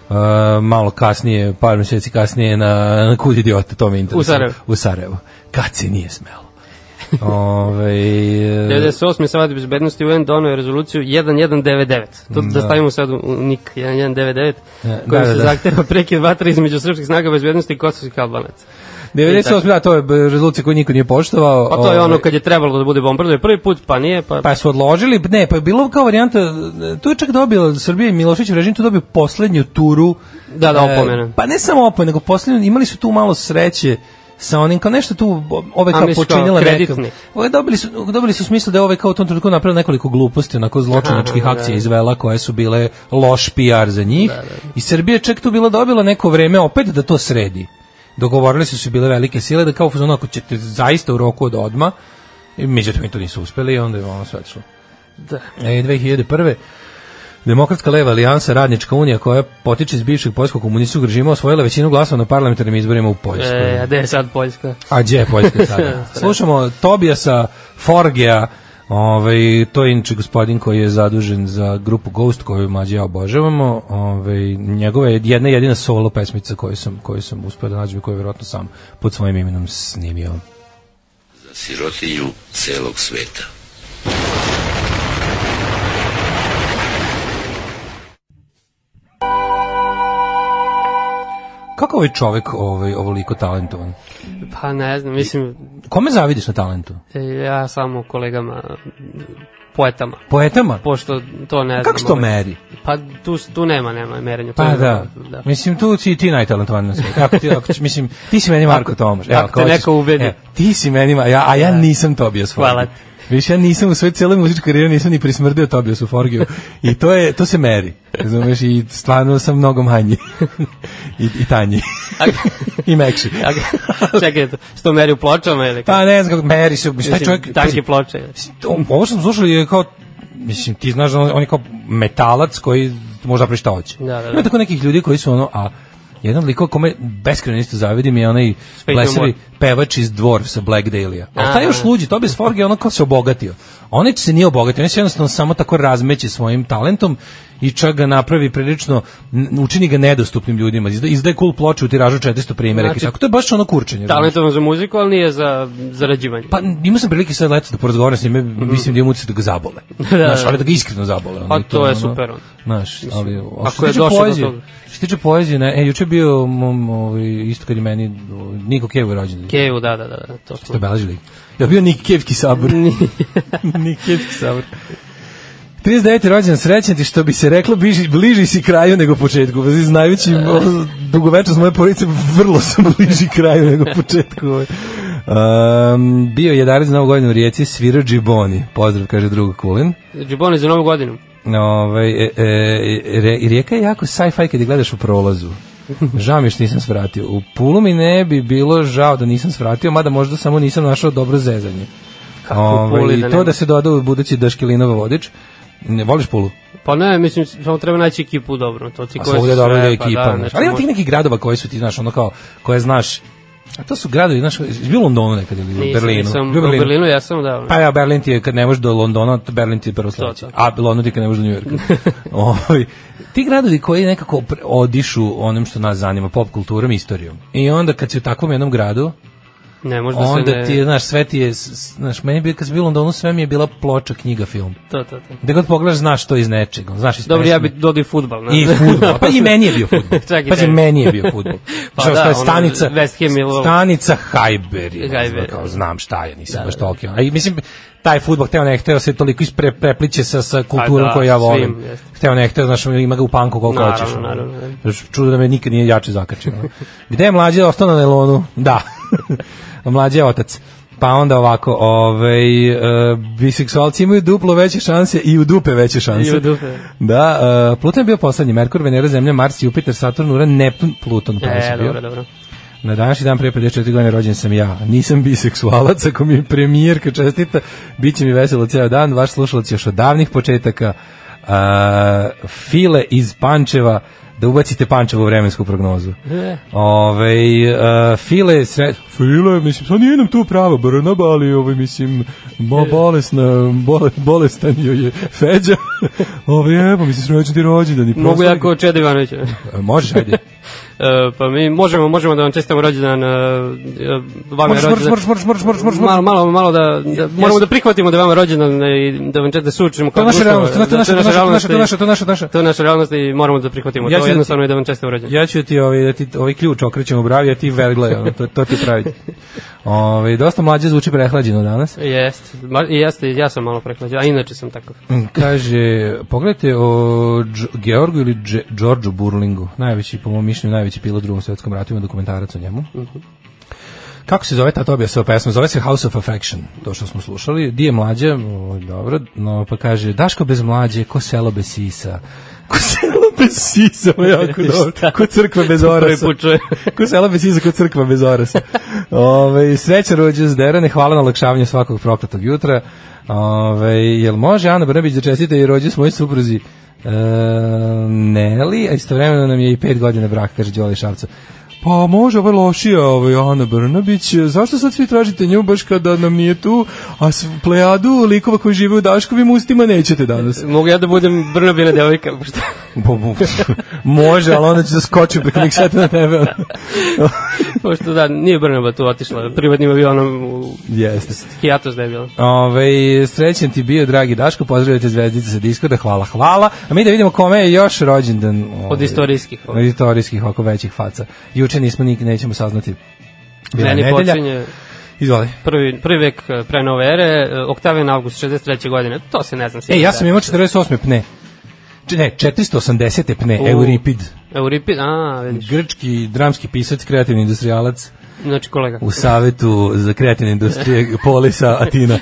S5: Uh, malo kasnije, par meseci kasnije na, na kud idiota, to me interesuje.
S6: Sarajevo.
S5: U Sarajevo. Kad se nije smelo.
S6: (laughs)
S5: Ove, e,
S6: 98. Savat bezbednosti UN donio je rezoluciju 1199. To da, stavimo sad u u nik 1199,
S5: Da,
S6: kojom
S5: da,
S6: se
S5: da.
S6: zahteva prekid vatra između srpskih snaga bezbednosti i kosovskih albanaca.
S5: 98, da, to je b- rezolucija koju niko nije poštovao.
S6: Pa to je
S5: Ove,
S6: ono kad je trebalo da bude bombardovanje prvi put, pa nije, pa...
S5: Ovaj. Pa su odložili, ne, pa je bilo kao varijanta, tu je čak dobila Srbija i Milošević režim, tu dobio poslednju turu.
S6: Da, da,
S5: e,
S6: opomene.
S5: pa ne samo opomene, nego poslednju, imali su tu malo sreće sa onim, kao nešto tu ove kao
S6: misliš kao
S5: počinjela neka.
S6: kreditni?
S5: Ove, dobili, su, dobili su u smislu da je ove kao u tom trenutku napravila nekoliko gluposti, onako zločinačkih
S6: Aha,
S5: akcija izvela koje su bile loš PR za njih.
S6: Da,
S5: I Srbija je čak tu bila dobila neko vreme opet da to sredi. Dogovorili su se bile velike sile da kao u fazonu, ako ćete zaista u roku od odma, i međutim oni to nisu uspeli i onda je ono sve otišlo.
S6: Da.
S5: E, 2001. Demokratska leva alijansa Radnička unija koja potiče iz bivšeg poljskog komunističkog režima osvojila većinu glasova na parlamentarnim izborima u Poljskoj.
S6: E, a gde je sad Poljska?
S5: A gdje je Poljska sada? Slušamo Tobijasa Forgea, ovaj, to je inče gospodin koji je zadužen za grupu Ghost koju mlađe ja obožavamo. Ovaj, njegova je jedna jedina solo pesmica koju sam, koju sam uspio da nađem i koju je vjerojatno sam pod svojim imenom snimio.
S9: sirotinju celog sveta.
S5: Kako ovaj čovek ovaj, ovoliko talentovan?
S6: Pa ne znam, mislim,
S5: Kome zavidiš na talentu?
S6: e, ja samo kolegama, poetama,
S5: Poetama?
S6: pošto to ne znam.
S5: Kako se to
S6: ovaj,
S5: meri?
S6: Pa tu, tu nema, nema merenja. to
S5: Pa
S6: je-
S5: da.
S6: da. (laughs)
S5: Mislim, tu si i ti najtalentovan na svijetu. Ako ti, ako, ćeš- mislim, ti si meni Marko Tomaš. Evo,
S6: ako
S5: ako
S6: te
S5: hoćeš.
S6: neko ubedi.
S5: Evo, ti si meni, Ma- ja, a ja nisam Tobias Forge.
S6: Hvala ti.
S5: Više, ja nisam u svojoj cijeloj muzičkoj karijeri nisam ni prismrdio Tobiasu Forgiju. I to, je, to se meri. Razumeš, i stvarno sam mnogo manji. (laughs) I, i tanji. (laughs) I mekši.
S6: A g- Čekaj, to- što meri u pločama ili kako?
S5: Pa ne znam kako, meri se. Mislim, taj
S6: Mislim,
S5: čovjek,
S6: tanke ploče.
S5: to, ovo što smo slušali je kao mislim ti znaš da on, on je kao metalac koji može napravi šta hoće.
S6: Da, da, da.
S5: Ima tako nekih ljudi koji su ono a Jedan liko kome beskreno isto zavidim je onaj
S6: Faith No More.
S5: plesavi pevač iz Dwarf sa Black Dahlia. A taj
S6: A. da,
S5: još luđi, to bez Forge ono kao se obogatio. Onaj se nije obogatio, on se jednostavno samo tako razmeće svojim talentom i čak ga napravi prilično, n- učini ga nedostupnim ljudima. Izda, izdaje cool ploče u tiražu 400 primjeraka
S6: Znači,
S5: i tako. To je baš ono kurčenje. razumeš?
S6: Talentovan za muziku, ali nije za zarađivanje.
S5: Pa imao sam prilike sad leto da porazgovaram s njime, mislim da imam utisak da ga zabole. da,
S6: Mhm. (laughs) da.
S5: znaš, ali da ga iskreno zabole. ono,
S6: A
S5: i
S6: to je
S5: ono,
S6: super, ono.
S5: Znaš, ali... a
S6: ako
S5: što
S6: je
S5: se tiče
S6: došao do
S5: poezije,
S6: toga.
S5: što se tiče poezije, ne, e, juče je bio, mom, ovaj, isto kad je meni, ovaj, Niko Kevo je rođen.
S6: Kevu, da, da, da, da, to smo.
S5: Ste obeležili? Ja bio Nik Kevki sabor.
S6: (laughs)
S5: Nik Kevki (laughs) sabor. 39. rođendan srećan ti što bi se reklo bliži, bliži si kraju nego početku. Znači, znajući ovo, dugovečnost moje porodice, vrlo sam (laughs) bliži kraju nego početku. Um, bio je 11 na ovu godinu u Rijeci, svirao Džiboni. Pozdrav, kaže drug Kulin.
S6: Džiboni za novu godinu.
S5: Ove, e, e, re, rijeka je jako sci-fi kad je gledaš u prolazu. Žao mi je što nisam svratio. U Pulu mi ne bi bilo žao da nisam svratio, mada možda samo nisam našao dobro zezanje.
S6: Kako u
S5: Ovaj,
S6: Puli
S5: i
S6: da
S5: to
S6: nema?
S5: da se doda u budući Daškilinova vodič. Ne, voliš Pulu?
S6: Pa ne, mislim, samo treba naći ekipu dobro. To ti
S5: A
S6: koja
S5: svugde
S6: se
S5: je dobra
S6: sve,
S5: ekipa.
S6: Pa, da,
S5: znaš.
S6: znači,
S5: ali ima
S6: može-
S5: tih nekih gradova koji su ti, znaš, ono kao, koje znaš, a to su gradovi, znaš, je bilo u Londonu nekad ili u
S6: nisam,
S5: Berlinu?
S6: Nisam, u
S5: Bio u
S6: Berlinu. ja sam, da. ono.
S5: Pa ja, Berlin ti je, kad ne možeš do Londona, to Berlin ti je prvo sledeće.
S6: To, to.
S5: A London ti je kad ne možeš do Njujorka.
S6: (laughs)
S5: Ovaj, ti gradovi koji nekako pre- odišu onim što nas zanima, pop kulturom i istorijom. I onda kad si u takvom jednom gradu,
S6: ne, možda
S5: onda
S6: Da se ne...
S5: ti je, znaš, sve ti je, s- s- znaš, meni bi, kad sam bio u Londonu, sve mi je bila ploča, knjiga, film.
S6: To, to, to.
S5: Gde god pogledaš, znaš to iz nečega. Znaš iz
S6: Dobro, ja
S5: pesme.
S6: bi dodao i futbal. Ne?
S5: I fudbal. Pa i meni je
S6: (laughs)
S5: bio fudbal.
S6: Čak i
S5: Pazi,
S6: tebi.
S5: meni je bio fudbal.
S6: (laughs) Pa
S5: Što
S6: da,
S5: je
S6: ono,
S5: stanica
S6: West Ham je ovo.
S5: stanica Hajber. je,
S6: Hajber.
S5: ono, Kao znam šta je,
S6: Da,
S5: nisam baš toliki. A i mislim taj fudbal hteo ne hteo se toliko ispre prepliće sa sa kulturom
S6: da,
S5: koju ja
S6: svim,
S5: volim.
S6: jeste.
S5: hteo ne hteo, znaš, ima ga u panku koliko
S6: Naravno,
S5: hoćeš. ono.
S6: naravno, naravno.
S5: Znaš, Čudo da me nikad nije jače zakačio. ono. Gde je mlađe ostao na nelonu? Da. (laughs) mlađe je otac. Pa onda ovako, ovaj, e, biseksualci imaju duplo veće šanse i u dupe veće šanse.
S6: I u dupe.
S5: Da, uh, Pluton je bio poslednji, Merkur, Venera, Zemlja, Mars, Jupiter, Saturn, Uran, Neptun, Pluton. pa
S6: E,
S5: nisi bio.
S6: dobro, dobro.
S5: Na današnji dan pre 54 godine rođen sam ja. Nisam biseksualac, ako mi premijerka čestita, bit će mi veselo ceo dan. Vaš slušalac još od davnih početaka. Uh, file iz Pančeva, da ubacite Pančevo u vremensku prognozu.
S6: E.
S5: Ove, uh, file, sre... File, mislim, sad nije nam tu prava brna, ali, ovaj, mislim, bo, bolesna, bole, bolestan joj je Feđa. (laughs) Ove, evo, mislim, srećan ti rođendan. i
S6: Mogu
S5: proslavni-
S6: ja kao Čeda Ivanovića.
S5: E, Možeš, ajde.
S6: E, pa mi možemo, možemo da vam čestitamo rođendan, e, e, vama je
S5: Moraš, moraš,
S6: rođendan.
S5: moraš, moraš, moraš, moraš, moraš.
S6: Malo, malo, malo da, da moramo
S5: Jesu.
S6: da prihvatimo da je vama rođendan e, i da vam čete da se učimo
S5: (laughs) To
S6: kao
S5: je naša
S6: društvo. Da,
S5: realnost, to je naša, to je naša, to je naša, to je naša, to je naša,
S6: i-
S5: to je naša.
S6: To je naša realnost i moramo da prihvatimo.
S5: Ja
S6: to
S5: ću da
S6: jednostavno
S5: ti-
S6: je da vam čestitamo rođendan.
S5: Ja ću ti ovaj, da ti ovaj ključ okrećem u bravi, a ti vergle, ono, to, to ti pravi. Ove, dosta mlađe zvuči prehlađeno danas.
S6: Jeste, ma- i jeste, ja sam malo prehlađen, a inače sam
S5: (laughs)
S6: takav.
S5: Mm, Kaže, pogledajte o Dž Georgu ili Dž Đorđu Burlingu, najveći, po mom mišljenju, najveći pilot u drugom svetskom ratu, ima dokumentarac o njemu. Kako se zove ta Tobija sa pesma? Zove se House of Affection, to što smo slušali. Di je mlađe, o, dobro, no, pa kaže, Daško bez mlađe, ko selo bez sisa. Ko selo bez sisa, ovo je jako dobro. Ko crkva bez
S6: Prvi
S5: orasa.
S6: put čujem.
S5: (laughs) Ko sela bez iza, ko crkva bez orasa. Ove, sreća rođe s Derane, hvala na lakšavanju svakog prokletog jutra. Ove, jel može Ana Brnabić da čestite i rođe s mojoj supruzi e, Neli, a istovremeno nam je i pet godina braka, kaže Đoli Šavca. Pa može, ovo je lošija, ovo je Ana Brnabić. Zašto sad svi tražite nju baš kada nam nije tu, a s plejadu likova koji žive u Daškovim ustima nećete danas?
S6: Mogu ja da budem Brnabina devojka, šta?
S5: Bo, bo, (laughs) može, ali onda ću da skočim preko mih seta na tebe.
S6: Pošto da, nije Brnaba tu otišla, privatnim avionom u
S5: (laughs) Jeste.
S6: Hiatos da je bila.
S5: Ove, Ovaj, srećan ti bio, dragi Daško, pozdravite zvezdice sa Discorda, hvala, hvala. A mi da vidimo kome je još rođendan.
S6: Od
S5: ovaj,
S6: istorijskih.
S5: Od istorijskih, oko većih faca. Juče nismo, nik, nećemo saznati. Bila je
S6: Meni
S5: nedelja.
S6: počinje
S5: Izvoli.
S6: prvi, prvi vek e, pre nove ere, e, Oktavijan August 63. godine, to se ne znam.
S5: E,
S6: sigurno
S5: ja
S6: da.
S5: sam imao 48. pne. Če- Ne, 480. pne,
S6: U.
S5: Euripid.
S6: Euripid, a, vidiš,
S5: Grčki dramski pisac, kreativni industrijalac
S6: znači kolega.
S5: u savetu za kreativne industrije Polisa
S6: (laughs)
S5: Atina.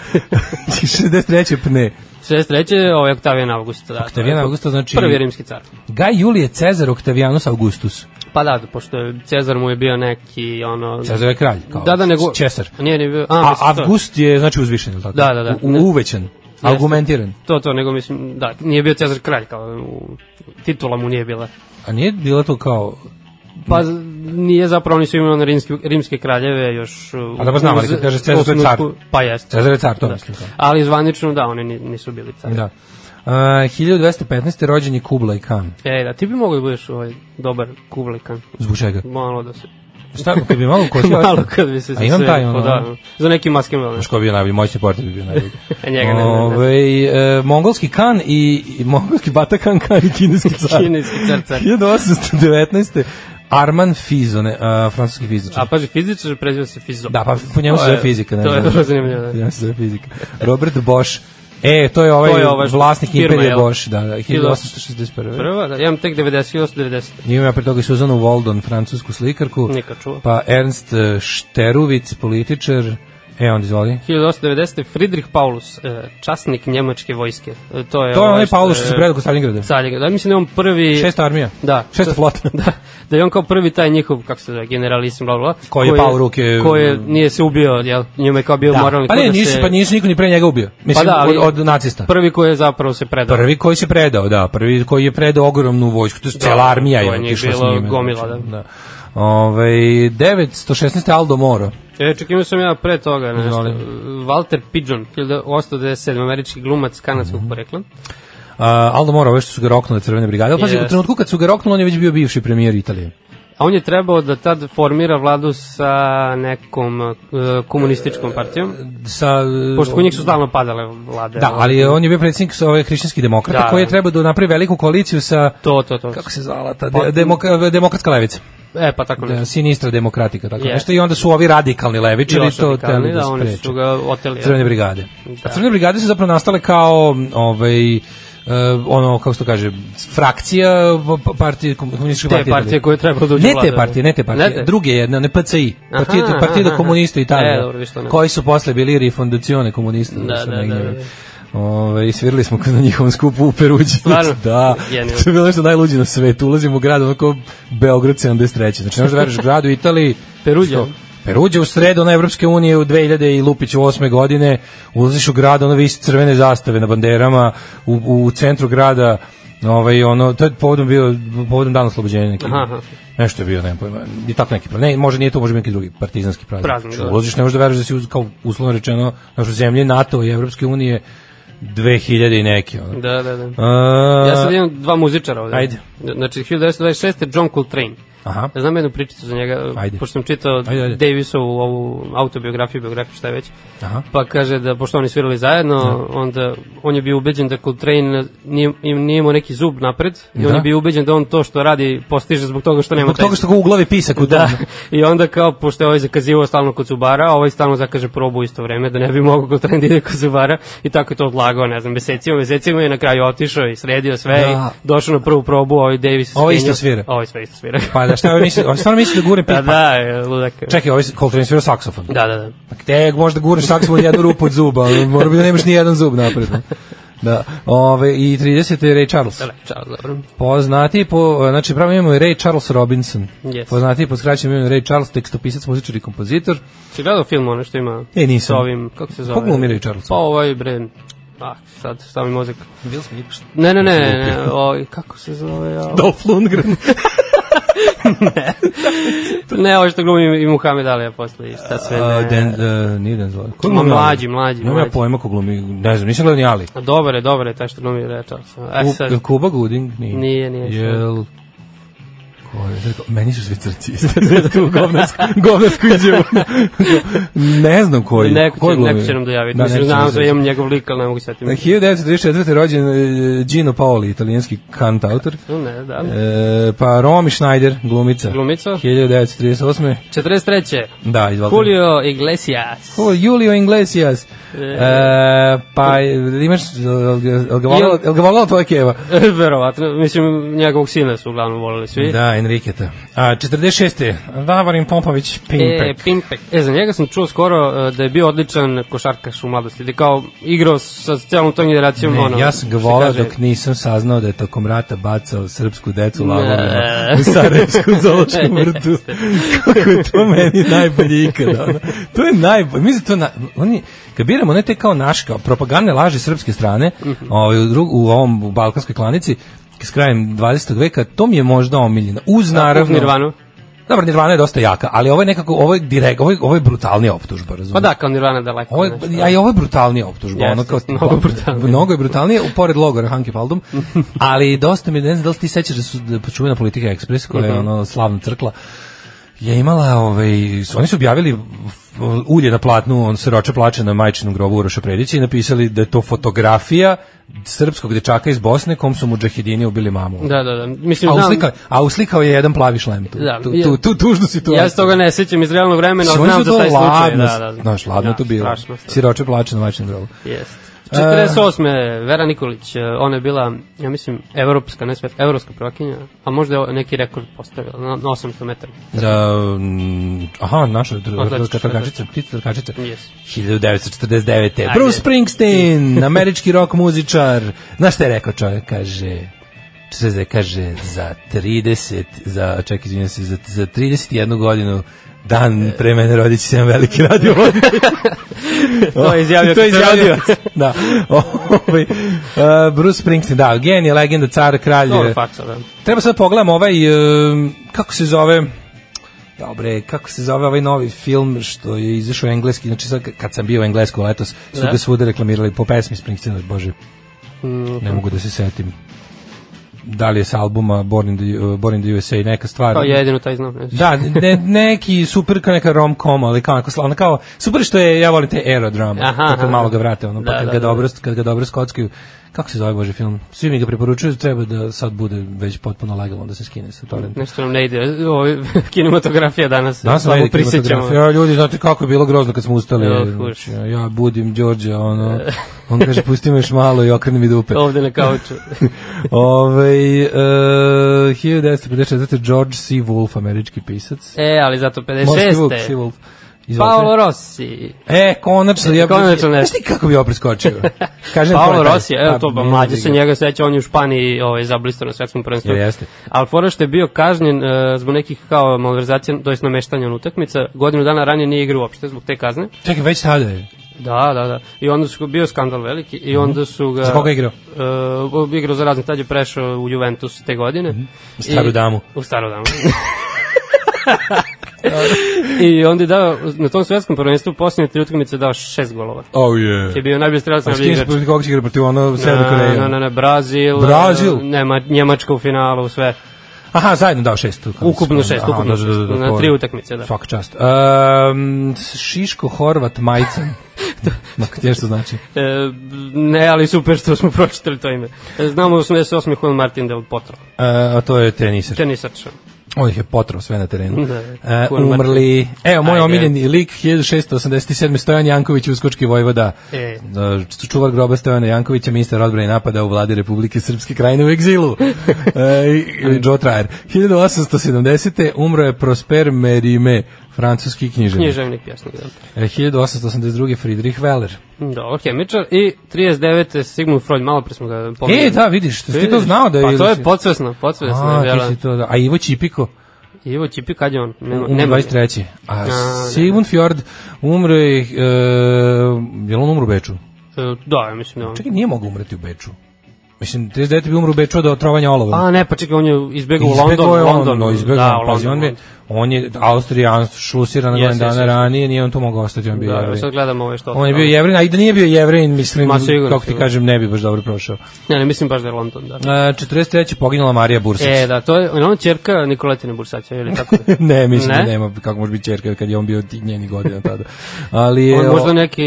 S5: 63. pne.
S6: 63. ovo je Oktavijan ovaj August. Da,
S5: Oktavijan
S6: to je
S5: Augusta znači-
S6: Prvi rimski car.
S5: Gaj Julije Cezar Octavianus Augustus.
S6: Pa da, pošto je Cezar mu je bio neki, ono...
S5: Cezar je kralj. Kao
S6: Da, da, nego...
S5: Cesar.
S6: Nije, nije bio...
S5: A,
S6: mislim, da to-
S5: avgust je znači uzvišen, je li tako?
S6: Da, da, da.
S5: U, u- uvećan, argumentiran.
S6: To, to, nego mislim, da, nije bio Cezar kralj, kao u, titula mu nije bila.
S5: A nije bilo to kao
S6: pa z- nije zapravo, oni su imenovani rimske, rimske kraljeve još... uh,
S5: A da pa znam, ali
S6: uz-
S5: kad kaže Cezar,
S6: u
S5: to je car.
S6: osnutku- Pa jeste.
S5: Cezar je car, to
S6: da.
S5: mislim, da.
S6: Ali zvanično, da, oni ni- nisu bili car.
S5: Da. Uh, 1215. rođen je Kublai Khan.
S6: E, da, ti bi mogao da budeš ovaj, dobar kuvlikan.
S5: Zbog čega?
S6: Malo da se...
S5: Šta, kad bi (laughs) malo
S6: (laughs)
S5: kosio?
S6: malo kad bi se...
S5: A imam taj,
S6: zasvekao,
S5: ono,
S6: da, za neki maskin velon.
S5: Znaš ko bi bio najbolji, moćni portir bi bio
S6: (laughs)
S5: najbolji.
S6: Njega ne znam, ne znam.
S5: Ovaj, e, mongolski kan i, i mongolski batakan kan i kineski car.
S6: Kineski car,
S5: (laughs)
S6: car.
S5: 1819. Arman Fizo, ne, a, francuski fizičar.
S6: A paži, fizičar preziva se Fizo.
S5: da, pa po njemu se
S6: To je-
S5: zove fizika. Ne
S6: to je
S5: znam.
S6: vrlo zanimljivo, da.
S5: (laughs) Po njemu se zove fizika. Robert Bosch. E, to je ovaj,
S6: To je ovaj što-
S5: vlasnik
S6: firma,
S5: Imperije
S6: jel?
S5: Bosch, da, da, 1861.
S6: Prva, da, ja imam tek 90, 80,
S5: Imam ja pre toga i Suzanu Waldon, francusku slikarku.
S6: Nikad čuo.
S5: Pa Ernst e, Šterovic, političar. E, onda izvoli.
S6: 1890. Friedrich Paulus, e, časnik njemačke vojske. E, To je,
S5: To je
S6: ovaj
S5: onaj Paulus
S6: je-
S5: što se predao kod Stalingrada.
S6: Stalingrad. Da, mislim da je on prvi...
S5: Šesta armija.
S6: Da.
S5: Šesta flota.
S6: (laughs) Da, da je on kao prvi taj njihov, kako se zove, generalisim, bla, bla.
S5: Koji je pao u ruke-
S6: Koji je, nije se ubio, jel? Njima je kao bio moralni...
S5: Pa
S6: kod
S5: ne,
S6: da
S5: nisu,
S6: se-
S5: pa nisu niko ni pre njega ubio. Mislim,
S6: da, ali-
S5: od, od nacista.
S6: Prvi koji je zapravo se predao.
S5: Prvi koji se predao, da, prvi koji je predao ogromnu vojsku, to je cela armija
S6: Da, to
S5: je
S6: je njih
S5: otišla s
S6: bilo
S5: njime.
S6: gomila,
S5: znači, da. Ove, 916. Ovaj, Aldo Moro.
S6: E, čak imao sam ja pre toga nešto.
S5: da. Izvoli.
S6: Walter Pigeon, 1897, američki glumac kanadskog
S5: Mhm.
S6: porekla.
S5: A, Aldo Moro, ove što su ga roknule crvene brigade. Ali pazi, u
S6: Jest.
S5: trenutku kad su ga roknuli, on je već bio bivši premijer Italije.
S6: A on je trebao da tad formira vladu sa nekom e, komunističkom partijom.
S5: Sa,
S6: Pošto kod njih su stalno padale vlade.
S5: Da, ali on je bio predsjednik sa ove hrišćanskih demokrata
S6: Da.
S5: koji je trebao da napravi veliku koaliciju sa
S6: To, to, to.
S5: kako se zvala ta de, demoka, demokratska levica.
S6: E, pa tako
S5: Da,
S6: nešto.
S5: sinistra demokratika, tako
S6: Je.
S5: nešto. I onda su ovi radikalni levičari
S6: Još
S5: to
S6: radikalni,
S5: teli da,
S6: da, oni
S5: spreče.
S6: su ga oteli. jel?
S5: Crvene brigade.
S6: Da.
S5: A crvene brigade su zapravo nastale kao ovaj e, ono kako se to kaže frakcija pa- partije komunističke
S6: Te partije koje treba da uđu
S5: ne
S6: u vladu,
S5: te
S6: da.
S5: partije, ne te partije,
S6: Ne te?
S5: druge jedne, ne PCI,
S6: Aha,
S5: partije,
S6: aha,
S5: partije do
S6: aha.
S5: komunista Italije,
S6: E, dobro, viš to ne.
S5: koji su posle bili refondacione komunista.
S6: Da,
S5: su
S6: da,
S5: negdje.
S6: da, da, da.
S5: Ove, i svirali smo na njihovom skupu u Peruđi. (laughs)
S6: Stvarno?
S5: da,
S6: Genijalno.
S5: to je bilo nešto najluđe na svetu. Ulazimo u grad, onako Beograd 73. Znači, ne možeš da veruješ grad u Italiji.
S6: Peruđa.
S5: Što? Peruđa u sredu na Evropske unije u 2000 i Lupić u 8. godine. Ulaziš u grad, ono visi crvene zastave na banderama u, u centru grada. Ovaj, ono, to je povodom bio, povodom dana oslobođenja neki.
S6: Aha, aha.
S5: Nešto je bio, ne pojma, i tako neki praznik. Ne, može nije to, može biti neki drugi partizanski praznik.
S6: Praznik, da.
S5: Ulaziš, ne možeš da veruješ da si uz, kao uslovno rečeno, naš u zemlji NATO i Evropske unije 2000 i neki. Ono. E,
S6: Da, da, da.
S5: A,
S6: Ja sad imam dva muzičara ovde.
S5: Ajde.
S6: Znači, 1926. John Coltrane.
S5: Aha.
S6: Ja znam jednu pričicu za njega,
S5: Ajde.
S6: pošto sam čitao
S5: Ajde, ajde.
S6: Davisovu ovu autobiografiju, biografiju, šta je već.
S5: Aha.
S6: Pa kaže da, pošto oni svirali zajedno,
S5: Da.
S6: onda on je bio ubeđen da Coltrane nije, im nije imao neki zub napred i on
S5: Da.
S6: je bio ubeđen da on to što radi postiže zbog toga što nema
S5: Zbog
S6: taj
S5: toga što ga u glavi pisak u
S6: Da,
S5: tomu.
S6: i onda kao, pošto je ovaj zakazivao stalno kod zubara, a ovaj stalno zakaže probu u isto vreme, da ne bi mogao kod da ide kod zubara, i tako je to odlagao, ne znam, mesecima, mesecima je na kraju otišao i sredio sve,
S5: Da.
S6: i došao na prvu probu, ovaj Davis je
S5: Ovo isto
S6: skenjao.
S5: svira.
S6: Ovo sve isto svira.
S5: (laughs) Pa da, šta ovaj misli, ovaj stvarno misli da gure pipa.
S6: da, da, je ludak.
S5: Čekaj, ovaj Coltrane svira saksofon.
S6: Da, da, da.
S5: Pa gde možda gurneš saksofon jednu rupu od zuba, ali mora bi da nemaš ni jedan zub napred. ne? Da. Ove, I 30. je Ray Charles.
S6: Dobre, čao, dobro.
S5: Poznati po, znači pravo imamo je Ray Charles Robinson.
S6: Yes.
S5: Poznati po skraćenom imenu Ray Charles, tekstopisac, muzičar i kompozitor.
S6: Si gledao film ono što ima
S5: E, nisam.
S6: sa ovim, kako se zove?
S5: Kako mu umire Ray Charles?
S6: Pa ovaj, bre, ah, sad, stavi mozak.
S5: Will Smith.
S6: Ne, ne, ne, ne,
S5: da
S6: ne, ovaj, kako se zove? Ja?
S5: Dolph (laughs) Lundgren.
S6: Ne, ovo što glumi i Muhammed Alija posle i šta sve ne.
S5: Uh, Den, uh, nije Denzel. Ko
S6: Ma,
S5: glumi Ali?
S6: mlađi, mlađi,
S5: Nemam ja
S6: mlađi.
S5: pojma ko glumi, ne znam, nisam gledao ni Ali.
S6: A dobar je, dobar je taj što glumi Ray Charles. E
S5: U-
S6: sad,
S5: Jel Kuba Gooding? Nije.
S6: Nije, nije.
S5: Jel... Ko je? Rekao, Meni su svi crci (laughs) iste. Rekao, govnarsku, govnarsku izjavu. (laughs) ne znam koji.
S6: neko,
S5: koji
S6: će,
S5: glumi.
S6: neko će nam dojaviti.
S5: Da,
S6: Da, Mislim,
S5: neko će nam
S6: znam sve,
S5: dojaviti.
S6: imam njegov lik, ali ne mogu sjetiti.
S5: Na 1934. rođen e, Gino Paoli, italijanski kantautor.
S6: Ne, da.
S5: E, pa Romy Schneider, glumica.
S6: Glumica.
S5: 1938.
S6: 43.
S5: Da, izvalite.
S6: Julio Iglesias. (laughs)
S5: O, Julio Iglesias. E, pa, imaš, jel ga volala- jel ga volala tvoja keva?
S6: Verovatno, mislim, njegovog sina su uglavnom volili svi.
S5: Da, Enriketa. A, 46. Davorin Popović,
S6: E,
S5: Pimpek.
S6: Pimpek. E, za njega sam čuo skoro e, da je bio odličan košarkaš u mladosti. Da je kao igrao sa celom tom generacijom. ono,
S5: Ne, ja sam ga
S6: što
S5: volao
S6: kaže-
S5: dok nisam saznao da je tokom rata bacao srpsku decu lagovima
S6: Ne.
S5: u Sarajevsku
S6: (laughs)
S5: zološku vrtu. Kako je to meni najbolje ikada. ono. To je najbolje. Mislim, da to na, oni, kad biramo one te kao naš, kao propagandne laži srpske strane,
S6: Mhm.
S5: ovaj, u, drug, u ovom u
S6: Da,
S5: balkanskoj klanici, s krajem 20. veka, to mi je možda omiljeno. Uz, naravno,
S6: Nirvanu.
S5: Dobro, Nirvana je dosta jaka, ali ovo je nekako, ovo je, direkt, ovo je, ovo je brutalnija optužba, razumiješ?
S6: Pa da, kao Nirvana daleko.
S5: Ovo je,
S6: nešto.
S5: a i ovo je brutalnija optužba,
S6: Jeste,
S5: ono kao
S6: (laughs)
S5: pa,
S6: mnogo brutalnije.
S5: Mnogo je brutalnije, u pored logora Hanke
S6: (laughs)
S5: Paldum, ali dosta mi je, ne znam da li ti sećaš da su da je počuvena politika Express, koja
S6: Mhm.
S5: je ono slavna crkla, je imala, ovaj, su- oni su objavili f- ulje na platnu, on se roče plače na majčinom grobu Uroša Predića i napisali da je to fotografija srpskog dečaka iz Bosne kom su mu džahidini ubili mamu.
S6: Da, da, da. Mislim,
S5: A
S6: znam,
S5: uslikao, a uslikao je jedan plavi šlem tu,
S6: Da,
S5: tu,
S6: je-
S5: tu, tu tužnu situaciju.
S6: ja se toga ne sjećam iz realnog vremena,
S5: Mislim,
S6: ali
S5: Znači, oni
S6: znam
S5: su
S6: za
S5: to
S6: taj slučaj.
S5: ladno,
S6: Da, da.
S5: Znaš, ladno
S6: Da,
S5: to bilo. E.
S6: Strašno.
S5: Siroče plače na majčinom grobu.
S6: Jest. 48. Vera Nikolić, eh, ona je bila, ja mislim, evropska, ne svet, evropska prvakinja, a možda je o- neki rekord postavila na, na 800 metara.
S5: Da, mm, aha, naša dr-
S6: Atletička
S5: vrhunska trkačica, ptica trkačica.
S6: Yes.
S5: 1949.
S6: Ajde.
S5: Bruce Springsteen, američki rock muzičar. Znaš šta je rekao čovjek? Kaže, šta se kaže, za 30, za, čekaj, izvinjam se, za, za 31 godinu dan pre mene rodit će se jedan veliki radio
S6: (laughs) To je izjavio
S5: to je
S6: kad se rodio.
S5: izjavio. da. Ovaj, uh, Bruce Springsteen, da, genije, legenda, car, kralj.
S6: Dobro faksa, da.
S5: Treba sad da pogledam ovaj, um, kako se zove, dobre, kako se zove ovaj novi film što je izašao engleski, znači sad kad sam bio u Englesku letos, su
S6: Da.
S5: ga svuda reklamirali po pesmi Springsteena, bože, ne mogu da se setim. Da li je sa albuma Born in the, uh, Born in the USA neka stvar?
S6: Kao ja jedino taj znam. ne znam.
S5: Da, ne, neki super kao neka rom-com, ali kao, onako sla- ono kao, super što je, ja volim te aerodrama,
S6: Aha,
S5: aha,
S6: aha.
S5: kad malo ga vrate, ono, pa
S6: Da,
S5: kad,
S6: da,
S5: ga
S6: da.
S5: dobro, kad ga dobro skockaju, kako se zove Bože film? Svi mi ga preporučuju, treba da sad bude već potpuno legalno da se skine sa torrenta.
S6: Nešto nam ne ide. Ovo, je (laughs) kinematografija danas.
S5: Danas sam
S6: slabo
S5: vidio
S6: prisjećamo.
S5: kinematografiju. Ja, ljudi, znate kako je bilo grozno kad smo ustali.
S6: Ja,
S5: Znači,
S6: kuš.
S5: ja budim Đorđa,
S6: (laughs)
S5: ono, on kaže, pusti me još malo i okreni mi dupe. (laughs)
S6: Ovde na kauču.
S5: Ove, e, 1954. George C. Wolfe, američki pisac.
S6: e, ali zato
S5: Morski vuk, C.
S6: 56.
S5: Wolfe. Izvolite.
S6: Paolo Rossi.
S5: E, konačno. Ja,
S6: Konačno nešto.
S5: Znaš ti kako bi ovo preskočio? Kažem
S6: Paolo
S5: komentar.
S6: Rossi, evo to, pa
S5: ne
S6: mlađe
S5: vidi
S6: se
S5: ga.
S6: njega seća, on je u Španiji ovaj, zablisto na svetskom prvenstvu.
S5: Jel jeste?
S6: Ali fora što je bio kažnjen e, zbog nekih kao malverzacija, to jest nameštanja na utakmica, godinu dana ranije nije igrao uopšte zbog te kazne.
S5: Čekaj, već tada je.
S6: Da, da, da. I onda su bio skandal veliki i onda su ga...
S5: Mhm. Za koga je igrao?
S6: E, igrao za razne, tad je prešao u Juventus te godine.
S5: U Staru
S6: I-
S5: Damu.
S6: U Staru Damu. I onda je dao, na tom svetskom prvenstvu, posljednje tri utakmice je dao šest golova.
S5: Oh, yeah.
S6: Je bio najbolji strelac na
S5: A s kim se
S6: igrač.
S5: protiv koga će igra protiv ono Severne
S6: Na,
S5: Koreje?
S6: na, na, na, Brazil, e,
S5: Brazil?
S6: Nema, Njemačka u finalu, sve.
S5: Aha, zajedno dao šest. kako se
S6: Ukupno
S5: zove.
S6: šest,
S5: Aha,
S6: ukupno
S5: da, da, da,
S6: šest.
S5: da,
S6: Na
S5: to-
S6: tri utakmice, da.
S5: Svaka čast. Um, Šiško, Horvat, Majcan.
S6: (laughs)
S5: Ma, gdje što znači?
S6: E, ne, ali super što smo (laughs) pročitali to ime. E, Znamo 88. Juan Martin del Potro,
S5: E, a to je teniser.
S6: tenisač.
S5: On ih je potrao sve na terenu.
S6: Da,
S5: E,
S6: Kurva.
S5: umrli. Evo, moj
S6: Ajde.
S5: omiljeni lik, 1687. Stojan Janković, uskočki vojvoda.
S6: E.
S5: E, Čuvar groba Stojana Jankovića, ministar odbrane i napada u vladi Republike Srpske krajine u egzilu. e, i- i Joe Trajer. 1870. umro je Prosper Merime, francuski književnik.
S6: Književnik, pjesnik. Da.
S5: E, 1882. Friedrich Weller.
S6: Dobro, hemičar. Da, I 39. Sigmund Freud, malo pre smo ga pomenuli.
S5: E, da, vidiš, ti to znao da je...
S6: Pa to je podsvesno, podsvesno.
S5: A,
S6: je
S5: ti
S6: vjela.
S5: si to, da. A Ivo Čipiko?
S6: Ivo Čipi, kad je Da, on? Nema,
S5: Umro
S6: nema.
S5: 23. A,
S6: A, ne.
S5: Sigmund Fjord umro je, e, je li on umro u Beču?
S6: E, Da, ja mislim da je on.
S5: Čekaj, nije mogao umreti u Beču. Mislim, 39. bi umro u Beču od otrovanja olova.
S6: A ne, pa čekaj, on je izbegao u London.
S5: Izbegao je on,
S6: London.
S5: no, izbegao
S6: da,
S5: je
S6: u
S5: on, pazi,
S6: London,
S5: on je, on je Austrijan, šlusiran na
S6: Jes,
S5: godinu
S6: jes,
S5: dana
S6: jes.
S5: ranije, nije on to mogao ostati, on bio
S6: Da, evo
S5: jevrej.
S6: sad gledamo ove što...
S5: On je bio jevrin, a i da nije bio jevrin, mislim,
S6: Ma, sigurno,
S5: kako ti
S6: sigurno.
S5: kažem, ne bi baš dobro prošao.
S6: Ne, ne, mislim baš da je London, da.
S5: E, 43. poginula Marija Bursić.
S6: E, da, to je, je ona čerka Nikoletine Bursaća, ili tako?
S5: (laughs) ne, mislim
S6: Ne?
S5: da nema, kako može biti čerka kad je on bio tih njenih godina tada. Ali je,
S6: On
S5: o,
S6: možda neki...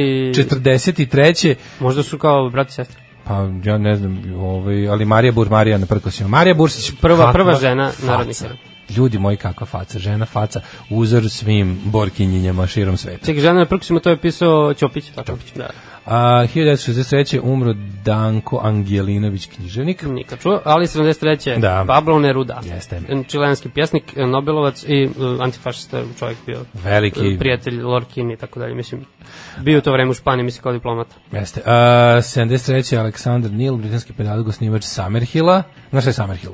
S5: 43.
S6: Možda su kao brati i sestre.
S5: Pa ja ne znam, ovaj, ali Marija Bur, Marija na prkosima. Marija Bursić,
S6: Prva-
S5: kakva
S6: prva žena narodnih
S5: faca. Ljudi moji, kakva faca, žena faca, uzor svim borkinjinjama širom sveta.
S6: Čekaj, žena na prkusima, to je pisao Ćopić. tako? Da,
S5: A, 1963. umro Danko Angelinović književnik.
S6: nikad čuo, ali 73.
S5: Da.
S6: Pablo Neruda.
S5: Jeste.
S6: Čilenski pjesnik, Nobelovac i e, antifašista čovjek bio.
S5: Veliki.
S6: E, Prijatelj Lorkin i tako dalje, mislim. Bio je u to vreme u Španiji, mislim, kao diplomata.
S5: Jeste. A, 73. Aleksandar Nil, britanski pedagog, snimač Summerhilla. Znaš šta je Summerhill?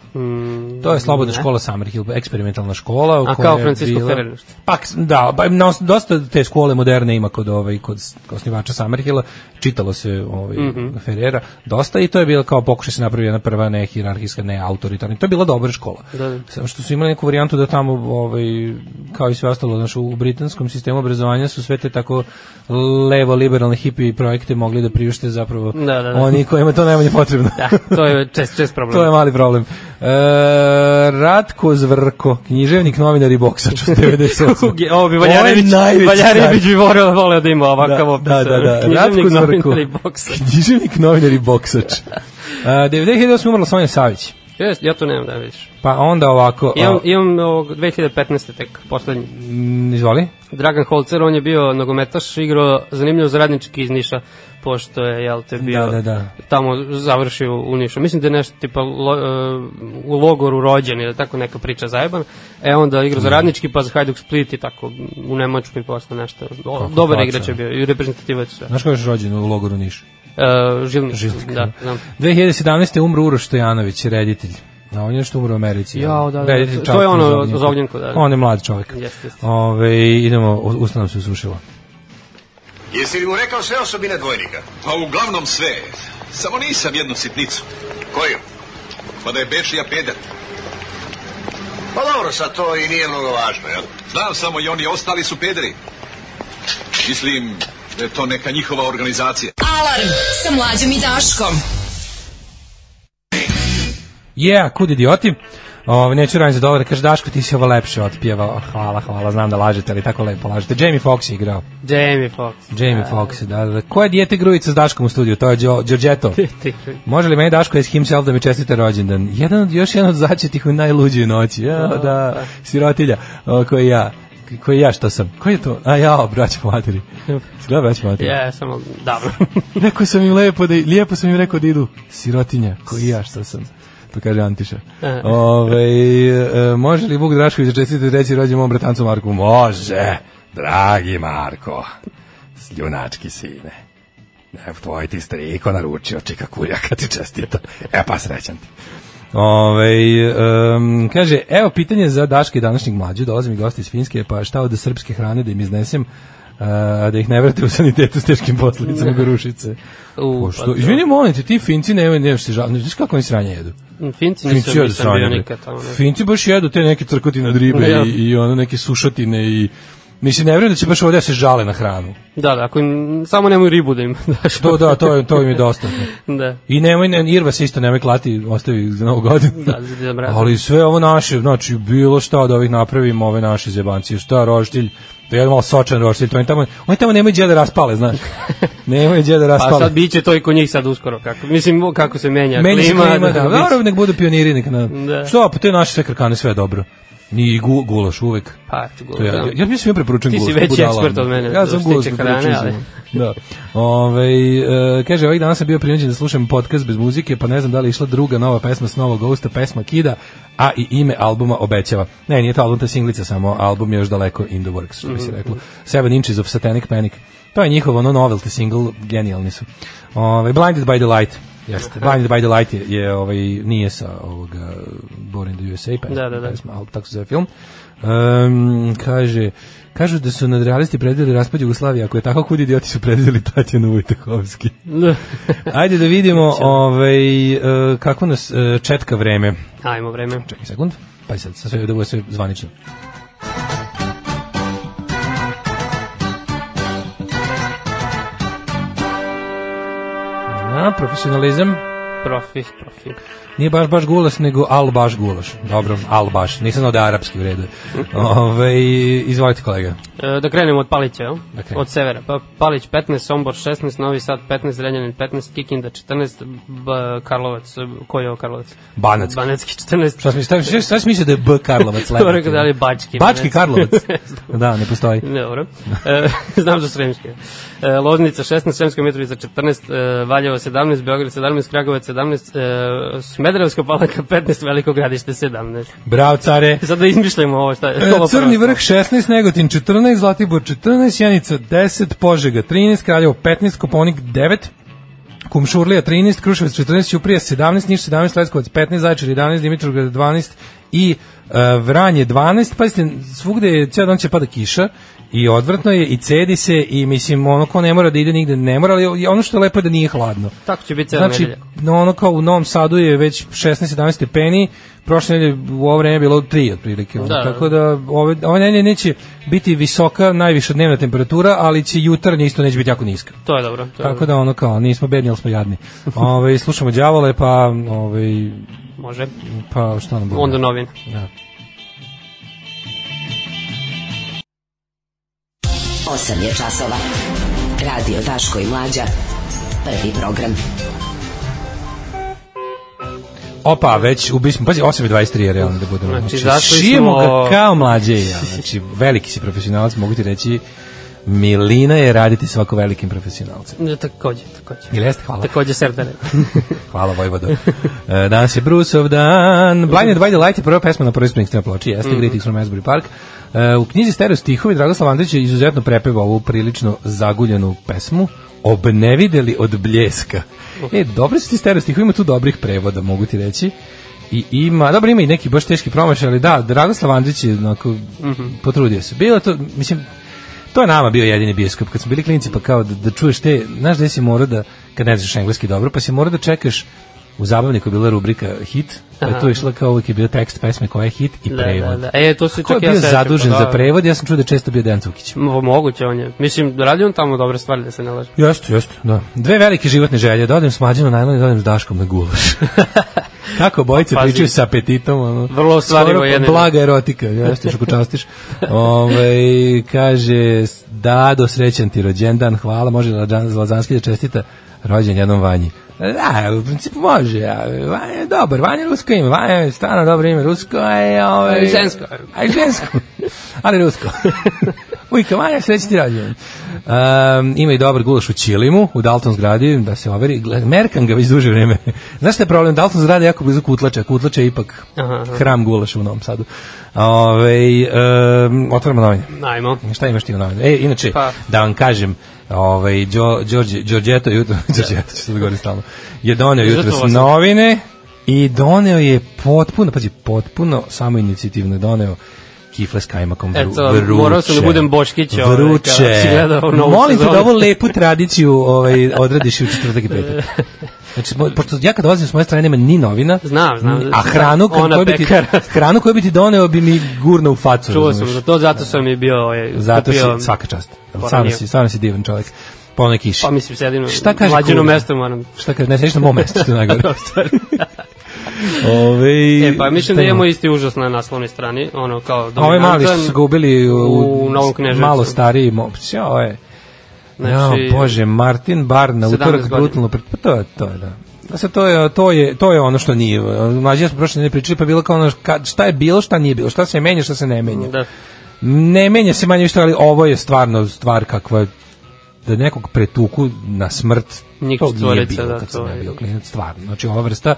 S5: to je slobodna škola Summerhill, eksperimentalna škola. u
S6: Mm, A
S5: kojoj
S6: kao
S5: je
S6: Francisco
S5: bila-
S6: Ferrer.
S5: Pa, k- da, ba- na os- dosta te škole moderne ima kod, ovaj, kod s- osnivača Summerhilla, čitalo se ovaj
S6: Mhm.
S5: Ferrera dosta i to je bilo kao pokušaj se napravi jedna prva ne hirarhijska ne autoritarna. To je bila dobra škola.
S6: Da, da.
S5: Samo što su imali neku varijantu da tamo ovaj kao i sve ostalo znači u britanskom sistemu obrazovanja su sve te tako levo liberalne hipi projekte mogli da priušte zapravo
S6: Da, da, da.
S5: oni kojima je to najmanje potrebno. (laughs)
S6: Da, to je čest, čest problem. (laughs)
S5: To je mali problem. E, Ratko Zvrko, književnik, novinar i boksač
S6: (laughs)
S5: od 98.
S6: Uge, Ovo bi
S5: Ovo je
S6: Valjarević,
S5: najveći
S6: Valjarević
S5: car.
S6: bi voleo, voleo da ima
S5: Da,
S6: ovakav opis.
S5: da, da, da. Ratko
S6: Književnik,
S5: Zvrko.
S6: novinar i
S5: (laughs)
S6: bokser.
S5: Književnik, novinar i
S6: (laughs)
S5: boksač. E, 98. umrla Sonja Savić.
S6: Jes, ja to nemam da vidiš.
S5: Pa onda ovako...
S6: Imam,
S5: a,
S6: imam ovog 2015. tek, poslednji.
S5: mm, izvoli.
S6: Dragan Holcer, on je bio nogometaš, igrao zanimljivo za radnički iz Niša, pošto je, jel te, bio
S5: Da, da, da.
S6: tamo završio u Nišu. Mislim da je nešto tipa lo, e, u logoru rođen ili tako neka priča zajebana. E onda igrao za
S5: Da.
S6: radnički, pa za Hajduk Split i tako u Nemačkoj posle nešto. O, dobar
S5: faca.
S6: igrač je bio i reprezentativac sve.
S5: Znaš ko je još rođen u logoru Niš?
S6: E, žilnik,
S5: Žilnik,
S6: da, znam.
S5: 2017. umro Uroš Stojanović, reditelj. A on je što umro u Americi.
S6: Jao, da, da.
S5: Reditelj
S6: To- to
S5: Čapka
S6: je ono
S5: uz Ognjenku.
S6: uz Ognjenku, da.
S5: On je mlad čovjek.
S6: Jeste, jeste.
S5: Ove, idemo, usta nam se usušila.
S7: Jesi li mu rekao sve osobine dvojnika?
S10: Pa uglavnom sve. Samo nisam jednu sitnicu.
S7: Koju?
S10: Pa da je Bečija pedat.
S7: Pa dobro, sad to i nije mnogo važno, jel?
S10: Znam samo i oni ostali su pederi. Mislim da je to neka njihova organizacija.
S4: Alarm sa mlađom i Daškom.
S5: Yeah, kud idioti. Ove, neću raditi za dolara, kaže Daško ti si ovo lepše otpjevao. Oh, Hvala, hvala, znam da lažete, ali tako lepo lažete. Jamie Foxx je igrao.
S6: Jamie Foxx. (laughs)
S5: Jamie Foxx, da, da, da. Ko je dijete grujica s Daškom u studiju? To je Đo- Đorđeto. Može li meni Daško iz himself da mi čestite rođendan? Jedan od, još jedan od začetih u najluđoj noći. Ja, da, sirotilja, o, koji ja. Koji ja što sam? Koji je to? A ja, braća materi. Gleda braća materi.
S6: Ja, samo
S5: (laughs)
S6: davno.
S5: Rekao sam im lepo da, lijepo sam im rekao da idu. Sirotinja, koji ja što sam. To kaže Antiša. Ove, e, može li Vuk Drašković da čestite reći rođe mom bratancu Marku? Može, dragi Marko. Sljunački sine. Evo, tvoj ti striko naručio čika kuljaka ti čestita. E pa srećan ti. Ove, um, kaže, evo pitanje za Daške današnjeg mlađu, dolaze mi gosti iz Finjske, pa šta od srpske hrane da im iznesem, uh, da ih ne vrate u sanitetu s teškim posledicama gorušice.
S6: U, pa
S5: Pošto, izvini, molim te, ti Finci ne, ne, se žal, ne znaš kako oni sranje jedu?
S6: Finci
S5: Finci
S6: nisam,
S5: jedu
S6: nisam
S5: sranje,
S6: bio
S5: bre.
S6: nikad tamo. ne.
S5: Finci baš jedu te neke trkotine od ribe
S6: Ja.
S5: i, i ono neke sušotine i Mislim, ne vjerujem da će baš ovdje da se žale na hranu.
S6: Da, da, ako im, samo nemoj ribu da im (laughs) daš.
S5: To, da, to, je- to im je dostatno.
S6: da.
S5: I nemoj, ne, Irva se isto nemoj klati, ostavi za novu godinu.
S6: Da, za Deda Mraza.
S5: Ali sve ovo naše, znači bilo šta od ovih napravimo, ove naše zebancije, šta roštilj, da jedan malo sočan roštilj, to oni tamo, oni tamo nemaju gdje da raspale,
S6: (laughs)
S5: znaš. nemaju gdje da
S6: Pa
S5: raspale.
S6: sad biće to i kod njih sad uskoro. Kako, mislim, o, kako se menja
S5: Meni se
S6: klima.
S5: klima, da,
S6: biće-
S5: dobro, nek budu pioniri, nek na,
S6: Da.
S5: što, pa te naše sve krkane, sve je dobro. Ni gu, gulaš uvek.
S6: Pa, ti
S5: To ja,
S6: ja,
S5: ja, ja mislim ja preporučujem
S6: Ti si
S5: gulaš.
S6: veći
S5: budala.
S6: ekspert od mene
S5: Ja
S6: što
S5: sam
S6: se
S5: gulaš
S6: tiče
S5: preporučio
S6: hrane,
S5: sam. Da. Ove, e, kaže, ovih dana sam bio prinuđen da slušam podcast bez muzike, pa ne znam da li je išla druga nova pesma s novog Ghosta, pesma Kida, a i ime albuma obećava. Ne, nije to album, to je singlica samo, album je još daleko in the works, što bi
S6: Mhm.
S5: se reklo. Seven Inches of Satanic Panic. To je njihov ono novelty single, genijalni su. Ove, Blinded by the Light. Jeste. Blinded by the Light je, je ovaj, nije sa ovoga Born in the USA pesma,
S6: Da, da, da.
S5: pa pesma, ali tako se zove film. Um, kaže, kažu da su nadrealisti predvideli raspad Jugoslavije, ako je tako kud idioti su predvideli Tatjana Vojtehovski. Ajde da vidimo ovaj, e, kako nas e, četka vreme.
S6: Ajmo vreme.
S5: Čekaj sekund, pa sad, sad sve da bude sve zvanično. Na, profesionalizam.
S6: Profi, profi.
S5: Nije baš baš gulaš, nego al baš gulaš. Dobro, al baš. Nisam znao da je arapski u redu. Ove, izvolite kolega.
S6: E, da krenemo od Palića, jel?
S5: Da krenemo.
S6: od severa. Pa, Palić 15, Sombor 16, Novi Sad 15, Renjanin 15, Kikinda 14, B, Karlovac, ko je ovo Karlovac?
S5: Banac.
S6: Banacki 14.
S5: Šta si šta, šta, šta si mislio da je B
S6: (laughs)
S5: Karlovac?
S6: To rekao da li je
S5: Bački
S6: Bački. Banacki. (laughs)
S5: Karlovac. da, ne postoji.
S6: Dobro. E, (laughs) znam za Sremske. E, Loznica 16, Sremska Mitrovica 14, e, Valjevo 17, Beograd 17, Kragovac 17, e, Smederevska Palanka 15, Veliko gradište 17.
S5: Bravo, care.
S6: (laughs) Sad da izmišljamo ovo šta je.
S5: E,
S6: ovo
S5: Crni
S6: prvo.
S5: vrh 16, Negotin 14, Zlatibor 14, Janica 10, Požega 13, Kraljevo 15, Koponik 9, Kumšurlija 13, Kruševac 14, Ćuprija 17, Niš 17, Leskovac 15, Zaječar 11, Dimitrovgrad 12 i e, Vranje 12, pazite, svugde je, cijel dan će pada kiša, i odvratno je, i cedi se, i mislim, ono ko ne mora da ide nigde, ne mora, ali ono što je lepo je da nije hladno.
S6: Tako će biti cijela
S5: Znači,
S6: nedelja.
S5: no, ono kao u Novom Sadu je već 16-17 stepeni, prošle nedelje u ovo vreme je bilo 3 otprilike. ono.
S6: Da.
S5: Tako da ove, ove nedelje neće biti visoka, najviša dnevna temperatura, ali će jutarnje isto neće biti jako niska.
S6: To je dobro. To je
S5: Tako
S6: dobro.
S5: da ono kao, nismo bedni, ali smo
S6: (laughs)
S5: jadni. Ove, slušamo đavole, pa, ove,
S6: Može.
S5: pa šta nam bude?
S6: Onda novine.
S5: Da.
S4: Osam je časova. Radio Daško i Mlađa. Prvi program.
S5: Opa, već ubili smo, pazi, 8.23 je realno da budemo.
S6: Znači,
S5: Znači,
S6: zašli
S5: šijemo
S6: smo-
S5: ga kao mlađe i ja. Znači, veliki si profesionalac, mogu ti reći, milina je raditi svako velikim profesionalcem.
S6: Ne, Takođe, takođe.
S5: Ili jeste? Hvala. (laughs)
S6: Takođe serdare.
S5: Hvala Vojvodo. (laughs) E, Danas je Brusov dan. Blinded by the Light je prva pesma na prvoj Springsteen ploči, jeste Greetings from Asbury Park. E, U knjizi Stereo stihovi Dragoslav Andrić je izuzetno prepeva ovu prilično zaguljenu pesmu Obnevideli od bljeska. E, dobri su ti stereo stihovi, ima tu dobrih prevoda, mogu ti reći. I ima, dobro ima i neki baš teški promašaj, ali da, Dragoslav Andrić je onako, potrudio se. Bilo je to, mislim, To je nama bio jedini bioskop kad smo bili klinici pa kao da, da čuješ te, znaš da si morao da kad ne znaš engleski dobro, pa si morao da čekaš u zabavniku je bila rubrika hit, pa je tu išla kao uvijek je bio tekst pesme koja je hit i
S6: Da,
S5: prevod.
S6: da, da. E, to se
S5: Ko je
S6: čak i ja
S5: bio
S6: sećam,
S5: zadužen
S6: pa da.
S5: za prevod? Ja sam čuo da je često bio Dejan Cukić.
S6: Mo- Moguće on je. Mislim, radi on tamo dobre stvari da se ne laže.
S5: Jeste, jeste, da. Dve velike životne želje, da odem s mlađim na najlon i da odem s Daškom na
S6: (laughs)
S5: gulaš. Kako bojice
S6: Pa, Pazi.
S5: pričaju sa apetitom, ono.
S6: Vrlo ostvarivo
S5: Skoro pa
S6: jedne.
S5: Blaga erotika, jeste, što
S6: (laughs)
S5: častiš. Ove, kaže, Dado, srećan ti rođendan, hvala, može Lađan- Lazanski da čestita rođen jednom vanji. Da, u principu može. Ja. Vanja je dobar, Vanja je rusko ime, Vanja je stvarno dobro ime, rusko je... ovaj, Ove,
S6: Ali žensko.
S5: A žensko, ali
S6: (laughs)
S5: rusko. Ujka Vanja, sreći ti rođen. Um, ima i dobar gulaš u Čilimu, u Dalton zgradi, da se overi. Gle- Merkam ga već duže vreme. (laughs) Znaš šta je problem? Dalton zgrada je jako blizu Kutlača. Kutlača je ipak
S6: Aha, aha.
S5: hram gulaša u Novom Sadu. Ove, um, otvorimo novine.
S6: Ajmo.
S5: Šta imaš ti u novinu? E, inače,
S6: Pa.
S5: da vam kažem, ovaj, Đo, Đorđe, Đorđeto jutro, Đorđeto, što da govorim stalno, je doneo jutro
S6: Žrtvovao sam.
S5: novine i doneo je potpuno, pazi, potpuno samoinicijativno je doneo kifle s kajmakom vru,
S6: Eto,
S5: vruće.
S6: morao sam da budem Boškić, ovaj, kada si
S5: Vruće.
S6: gledao novu
S5: Molim te
S6: sezonu.
S5: da ovu lepu tradiciju ovaj, odradiš i u četvrtak i petak. Znači, moj- pošto ja kad dolazim s moje strane nema ni novina,
S6: Znam, znam.
S5: a hranu,
S6: Ona
S5: koju bi ti,
S6: pekara.
S5: hranu koju bi ti doneo bi mi gurno u facu.
S6: Čuo sam
S5: razumeš?
S6: za to, zato sam i bio... Ovaj,
S5: Zato si,
S6: kupio-
S5: svaka čast.
S6: Pa
S5: Stvarno
S6: nije.
S5: si, stvarno si divan čovjek. Pa ono kiši.
S6: Pa mislim, sedim
S5: Šta
S6: na
S5: kaže
S6: mlađeno
S5: kurva?
S6: mesto moram.
S5: Šta kaže, ne sediš na mom mestu, što je
S6: (laughs)
S5: najgore. Ove,
S6: E, pa mislim da imamo isti užas na naslovnoj strani, ono kao
S5: A Ove mali što su ga ubili u,
S6: u Novom Kneževcu.
S5: Malo stariji mop. Sja, ove.
S6: Znači-
S5: Znači, ja, e. bože, Martin Bar na
S6: 17
S5: utorak
S6: godina.
S5: brutalno pred... Pa to je, to je, da. Da se to je to je to je ono što nije. Mlađi ja smo prošle nedelje pričali pa je bilo kao ono ka- šta je bilo, šta nije bilo, šta se menja, šta se ne menja.
S6: Da.
S5: ne menja se manje više, ali ovo je stvarno stvar kakva je da nekog pretuku na smrt
S6: Njih
S5: to nije
S6: četvorica,
S5: bilo
S6: da,
S5: kad
S6: to
S5: sam ja
S6: je.
S5: bio klinac, stvarno. Znači ova vrsta,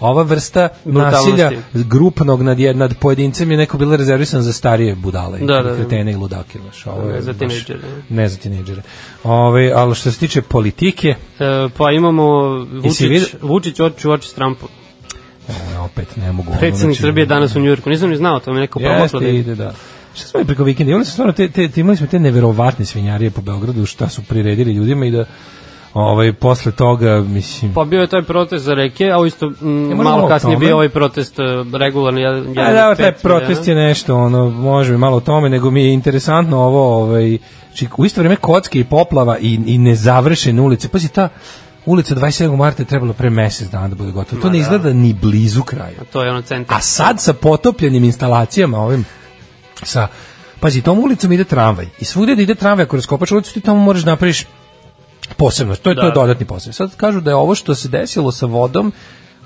S5: ova vrsta
S6: Brutalnosti.
S5: nasilja grupnog nad, jed, nad pojedincem je neko bilo rezervisan za starije budale,
S6: Da, da, da.
S5: kretene i ludake. Znaš, ovo je
S6: Ne za
S5: baš-
S6: tinejdžere.
S5: Ne za tinejdžere. Ove, ali što se tiče politike,
S6: E, pa imamo
S5: Jesi
S6: Vučić,
S5: vidio-
S6: Vučić oči u oči s Trumpom.
S5: ovo, e, opet ne mogu. ono,
S6: Predsednik
S5: znači-
S6: Srbije danas u Njujorku. Nisam ni znao, to mi je neko promotilo.
S5: Jeste,
S6: Da...
S5: ide, da. Šta smo i preko vikenda, imali smo stvarno te, te, te, imali smo te neverovatne svinjarije po Beogradu, šta su priredili ljudima i da ovaj, posle toga, mislim...
S6: Pa bio je taj protest za reke, a u isto m,
S5: možemo
S6: malo
S5: E, o
S6: kasnije
S5: tome.
S6: bio ovaj protest e, regularni. Ja, e,
S5: Ja, da, taj protest je nešto, ono, možemo i malo o tome, nego mi je interesantno ovo, ovaj, či, u isto vreme kocke i poplava i, i nezavršene ulice. Pazi, ta ulica 27. marta je trebalo pre mesec dana da bude gotova. To ne izgleda ni blizu kraja.
S6: To je ono centar.
S5: A sad sa potopljenim instalacijama ovim sa pazi tom ulicom ide tramvaj i svugde da ide tramvaj kroz Kopač ulicu ti tamo moraš da napraviš posebno. To je to je
S6: Da.
S5: dodatni posao. Sad kažu da je ovo što se desilo sa vodom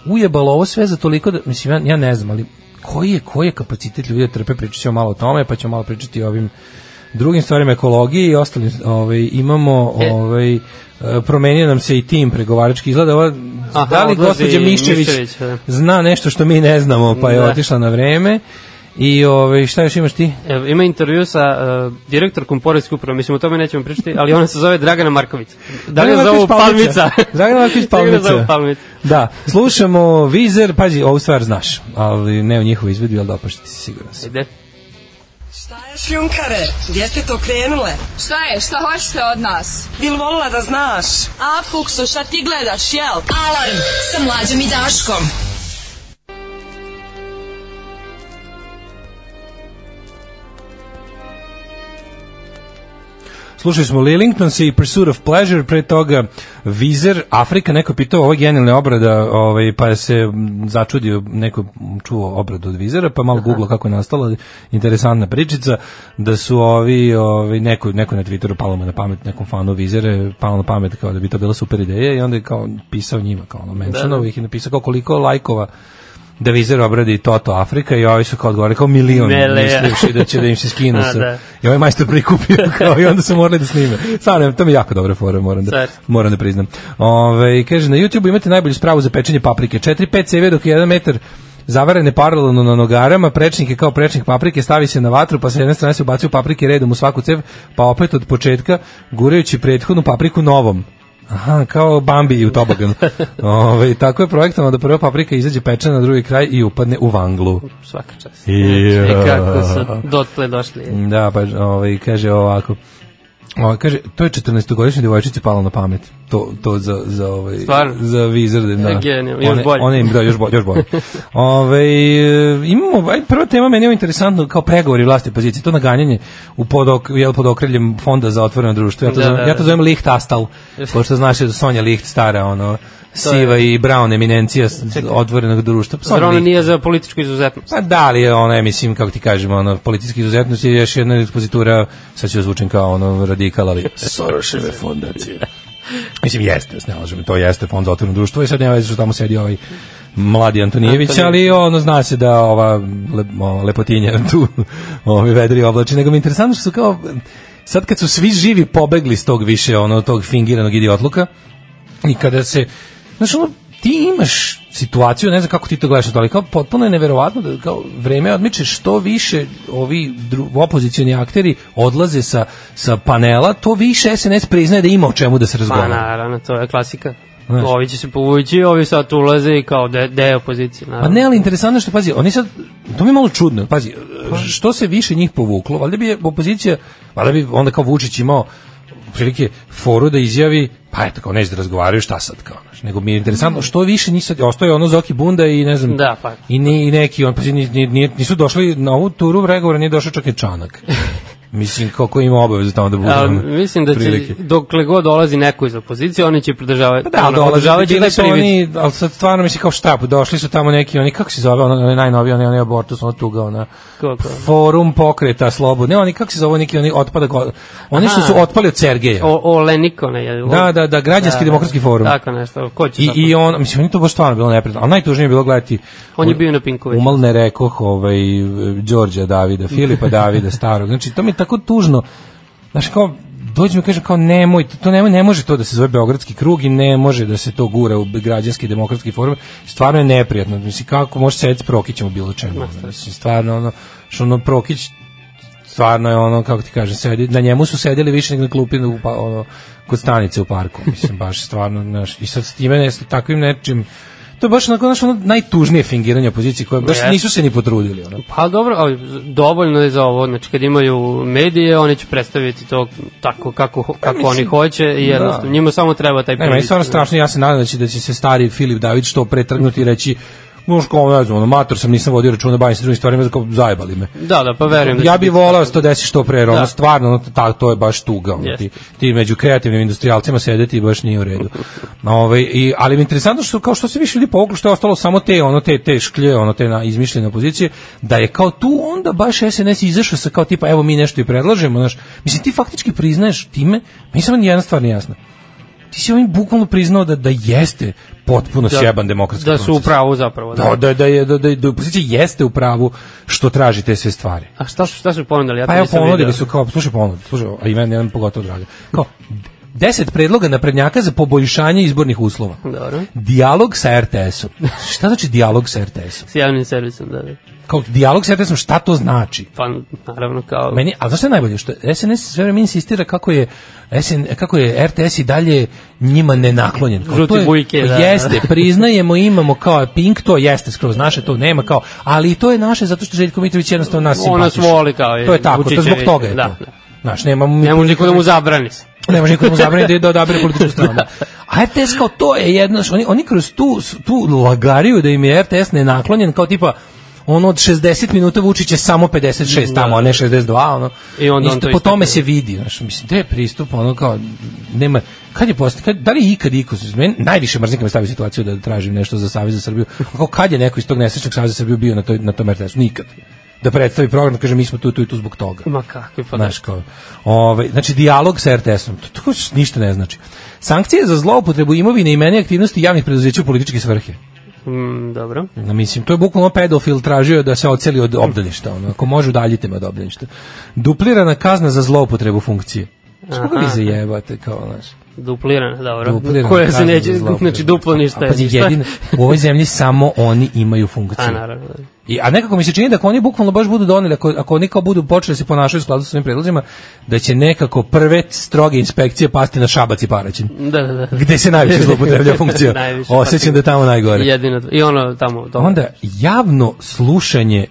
S5: ujebalo ovo sve za toliko da mislim ja, ja ne znam, ali koji je koji je kapacitet ljudi da trpe pričaćemo malo o tome, pa ćemo malo pričati o ovim drugim stvarima ekologije i ostalim ovaj imamo
S6: E.
S5: ovaj e, promenio nam se i tim pregovarački izgleda ova,
S6: Aha,
S5: da li
S6: odlazi
S5: gospođa Miščević
S6: Miščević, da.
S5: zna nešto što mi ne znamo, pa je
S6: Da.
S5: otišla na vreme I ove, šta još imaš ti?
S6: E, Ima intervju sa uh, direktorkom Poreske uprave, mislim o tome nećemo pričati, ali ona se zove Dragana Marković. Da li je
S5: Dragana
S6: zovu
S5: Marković
S6: Palmica?
S5: Dragana
S6: (laughs)
S5: Marković
S6: Da li je
S5: Palmica.
S6: zovu Palmica.
S5: Da, slušamo Vizer, pazi, ovu stvar znaš, ali ne u njihovu izvedbi, ali dopašti si siguran sam.
S6: Ide.
S11: Šta je šljunkare? Gdje ste to krenule? Šta je? Šta hoćete od nas? Bil volila da znaš? A, Fukso, šta ti gledaš, jel? Alarm sa mlađom i Daškom.
S5: Slušali smo Lillingtons i Pursuit of Pleasure, pre toga Vizer, Afrika, neko je pitao, ovo je genijalna obrada, ovaj, pa je se m, začudio, neko čuo obradu od Vizera, pa malo googlo kako je nastala, interesantna pričica, da su ovi, ovaj, neko, neko na Twitteru palo mu na pamet, nekom fanu Vizere, palo na pamet kao da bi to bila super ideja i onda je kao pisao njima, kao ono,
S6: Da,
S5: mentionovo ih i napisao kao koliko lajkova da Vizer obradi Toto Afrika i ovi su kao odgovorili kao milion,
S6: Mele, ja.
S5: mislivši da će da im se skinu
S6: (laughs) A,
S5: sa,
S6: da.
S5: i ovaj majstor prikupio kao i onda su morali da snime. Stvarno, to mi je jako dobra fora, moram da,
S6: Car.
S5: moram da priznam. Ove, kaže, na YouTube imate najbolju spravu za pečenje paprike. 4-5 CV dok je 1 metar zavarene paralelno na nogarama, prečnik je kao prečnik paprike, stavi se na vatru, pa sa jedne strane se ubacuju paprike redom u svaku cev, pa opet od početka, gurajući prethodnu papriku novom. Aha, kao Bambi u toboganu. Ove, tako je projektovano da prva paprika izađe pečena na drugi kraj i upadne u vanglu.
S6: Svaka čast.
S5: Ja.
S6: Znači, kako su dotle došli.
S5: Da, pa ovaj, kaže ovako. Ovaj, kaže, to je 14-godišnja djevojčica palo na pamet. To, to za, za, ovaj,
S6: Stvarno?
S5: za Wizard. Da.
S6: Genijalno, još
S5: One-
S6: bolje.
S5: One, da, još bolje. Još
S6: (laughs)
S5: bolje. Ove, imamo, aj, prva tema meni je ovo interesantno kao pregovori vlasti i opozicije, to naganjanje u pod, ok, jel, pod okriljem fonda za otvoreno društvo. Ja to,
S6: Da,
S5: zovem,
S6: da,
S5: ja to
S6: da.
S5: zovem Licht Astal, pošto znaš da Sonja Licht stara, ono, siva i brown eminencija s- otvorenog društva. Pa Sonja
S6: Zar ona
S5: Licht.
S6: nije za političku izuzetnost?
S5: Pa da li je ona, ja mislim, kako ti kažemo, ono, politički izuzetnost je još jedna ekspozitura, sad ću zvučen kao ono radikal, ali (laughs) Soroševe fondacije. (laughs) Mislim, jeste, da se ne lažemo, to jeste fond za otvoreno društvo i sad nema veze što tamo sedi ovaj mladi Antonijević, ali ono zna se da ova le, o, lepotinja tu (laughs) ovi vedri oblači, nego mi je interesantno što su kao, sad kad su svi živi pobegli s tog više, ono, tog fingiranog idiotluka, i kada se, znaš, ono, ti imaš situaciju, ne znam kako ti to gledaš, ali kao potpuno je neverovatno da kao vreme odmiče što više ovi dru, opozicioni akteri odlaze sa, sa panela, to više SNS priznaje da ima o čemu da se
S6: Pa
S5: razgovara.
S6: naravno, to je klasika.
S5: Znaš.
S6: Ovi će se povući, ovi sad tu ulaze i kao de, de opozicije.
S5: Pa
S6: naravno.
S5: ne, ali interesantno je što, pazi, oni sad, to mi je malo čudno, pazi,
S6: Pa.
S5: što se više njih povuklo, valjda bi je opozicija, valjda bi onda kao Vučić imao prilike foru da izjavi, pa eto, kao neće da razgovaraju, šta sad, kao, znaš, nego mi je interesantno, što više njih sad, ostaje ono Zoki Bunda i ne znam,
S6: Mm. Da, pa.
S5: i, ne, i neki, on, pazi, ni- ni- ni- nisu došli na ovu turu pregovora, nije došao čak i
S6: (laughs)
S5: Čanak. Mislim, kako ima obavezu tamo da bude.
S6: A,
S5: ono,
S6: mislim da će,
S5: prilike.
S6: dokle god dolazi neko iz opozicije, oni će pridržavati.
S5: Pa da,
S6: ono,
S5: dolaze,
S6: održavaće
S5: bili
S6: taj
S5: su
S6: privid.
S5: oni, ali sad stvarno mislim kao šta, došli su tamo neki, oni, kako se zove, oni, oni najnoviji, oni, oni abortus, ona tuga, ona,
S6: Ko, ko?
S5: forum pokreta slobodne, oni, kako se zove, neki, oni otpada, oni što
S6: Aha.
S5: su otpali od Sergeja.
S6: O, o Lenikone. Je,
S5: Da, da, da, građanski demokratski forum.
S6: Tako nešto, ko će
S5: I,
S6: tako?
S5: I on, mislim, on je to baš stvarno bilo nepredno, ali najtužnije je bilo gledati
S6: On je bio na Pinkovi.
S5: Umal ne rekoh ovaj, Đorđa Davida, Filipa Davida starog. Znači, to mi je tako tužno. Znaš, kao, dođu mi i kažem kao nemoj, to, to nemoj, ne može to da se zove Beogradski krug i ne može da se to gura u građanski i demokratski forum. Stvarno je neprijatno. Mislim, kako može sedeti s Prokićem u bilo čemu. ono. Mislim, stvarno, ono, što ono, Prokić stvarno je ono, kako ti kažem, sedi, na njemu su sedeli više nego na klupi u, pa- ono, kod stanice u parku, mislim, baš stvarno, znaš, i sad s time, ne, s takvim nečim, to je baš onako, znaš, ono najtužnije fingiranje opozicije, koje baš
S6: Jeste.
S5: nisu se ni potrudili, ono.
S6: Pa dobro, ali dovoljno je za ovo, znači kad imaju medije, oni će predstaviti to tako kako, kako oni hoće i jednostavno, njima samo treba taj
S5: da. Ne, meni je stvarno strašno, ja se nadam da će, da će se stari Filip David što pretrgnuti i reći, Možeš kao, ne znam, ono, mator sam, nisam vodio računa, bavim se drugim stvarima, kao, zajebali me.
S6: Da, da, pa verujem. da
S5: ja
S6: će
S5: bih
S6: biti
S5: volao
S6: tako.
S5: da se to desi što pre, jer ono
S6: Da.
S5: stvarno ono, ta, to je baš tuga, ono,
S6: Jeste.
S5: ti, ti među kreativnim industrijalcima sedeti baš nije u redu. Ovaj i ali mi je interesantno što kao što se više ljudi povuklo što je ostalo samo te ono te te šklje, ono te na, izmišljene pozicije, da je kao tu onda baš SNS izašao sa kao tipa evo mi nešto i predlažemo, znaš. Mislim ti faktički priznaješ time, mi samo jedna stvar nije jasna. Ti si ovim bukvalno priznao da da jeste potpuno
S6: Da.
S5: sjeban demokratski
S6: Da su u
S5: proces.
S6: pravu zapravo. Da.
S5: Da, da, da, je- da, da, da opozicija jeste u pravu što traži te sve stvari.
S6: A šta su, šta su ponudili? Ja to
S5: Pa evo
S6: nisam
S5: ponudili
S6: video.
S5: su kao, slušaj ponud, slušaj, a i meni jedan pogotovo draga. Kao, deset predloga naprednjaka za poboljšanje izbornih uslova.
S6: Dobro.
S5: Dijalog sa RTS-om. Šta znači dijalog sa RTS-om?
S6: S javnim servisom, da, da.
S5: kao dijalog setio sam šta to znači.
S6: Pa naravno kao
S5: Meni, a zašto je najbolje što SNS sve vreme insistira kako je SN, kako je RTS i dalje njima nenaklonjen. Kao,
S6: Žuti
S5: to je,
S6: bujke,
S5: kao,
S6: da, da.
S5: Jeste, priznajemo, imamo kao Pink, to jeste skroz naše, to nema kao, ali i to je naše zato što Željko Mitrović jednostavno nas
S6: On nas
S5: simpatiše.
S6: voli kao, je,
S5: To je tako, to je zbog
S6: Vučićević,
S5: toga je
S6: da,
S5: to.
S6: da.
S5: Znaš, nemamo mi
S6: ne može niko da mu zabrani se.
S5: ne može niko da mu zabrani
S6: (laughs)
S5: da ide da odabere političku stranu. A RTS kao to je jedno, što oni, oni kroz tu, tu lagariju da im je RTS nenaklonjen, kao tipa ono od 60 minuta Vučić je samo 56 tamo, a ne 62, ono.
S6: Da. I onda on
S5: Isto,
S6: to
S5: po tome
S6: istakne.
S5: se vidi, znaš, mislim, gde je pristup, ono kao, nema, kad je posto, kad, da li ikad iko, meni najviše mrznika me stavi u situaciju da tražim nešto za Savez za Srbiju, A kao kad je neko iz tog nesrećnog Saveza za Srbiju bio na, toj, na tom RTS-u, nikad. Da predstavi program, da kaže mi smo tu, tu i tu zbog toga.
S6: Ma kakvi pa
S5: Znaš kao, ovaj, znači dijalog sa RTS-om, to tako s- ništa ne znači. Sankcije za zloupotrebu imovine i meni aktivnosti javnih preduzeća u političke svrhe.
S6: Mm, dobro.
S5: Na, mislim, to je bukvalno pedofil tražio da se oceli od obdaništa. Ono, ako može, udaljite me od obdaništa. Duplirana kazna za zloupotrebu funkcije. Što ga vi
S6: Aha.
S5: zajebate, kao, znaš?
S6: Duplirana, dobro.
S5: Duplirana
S6: Koja se
S5: kazna
S6: neće,
S5: za zloupotrebu.
S6: znači duplo ništa
S5: A,
S6: je.
S5: pazi,
S6: ništa.
S5: jedino, u ovoj zemlji samo oni imaju funkciju.
S6: A, naravno. da.
S5: I, a nekako mi se čini da ako oni bukvalno baš budu doneli, ako, ako oni kao budu počeli da se ponašaju u skladu sa svojim predlozima, da će nekako prve stroge inspekcije pasti na Šabac i Paraćin.
S6: Da, da, da.
S5: Gde se najviše zloupotreblja funkcija?
S6: Najviše,
S5: Osećam da je tamo najgore.
S6: Jedino, i ono tamo, dobro.
S5: Onda javno slušanje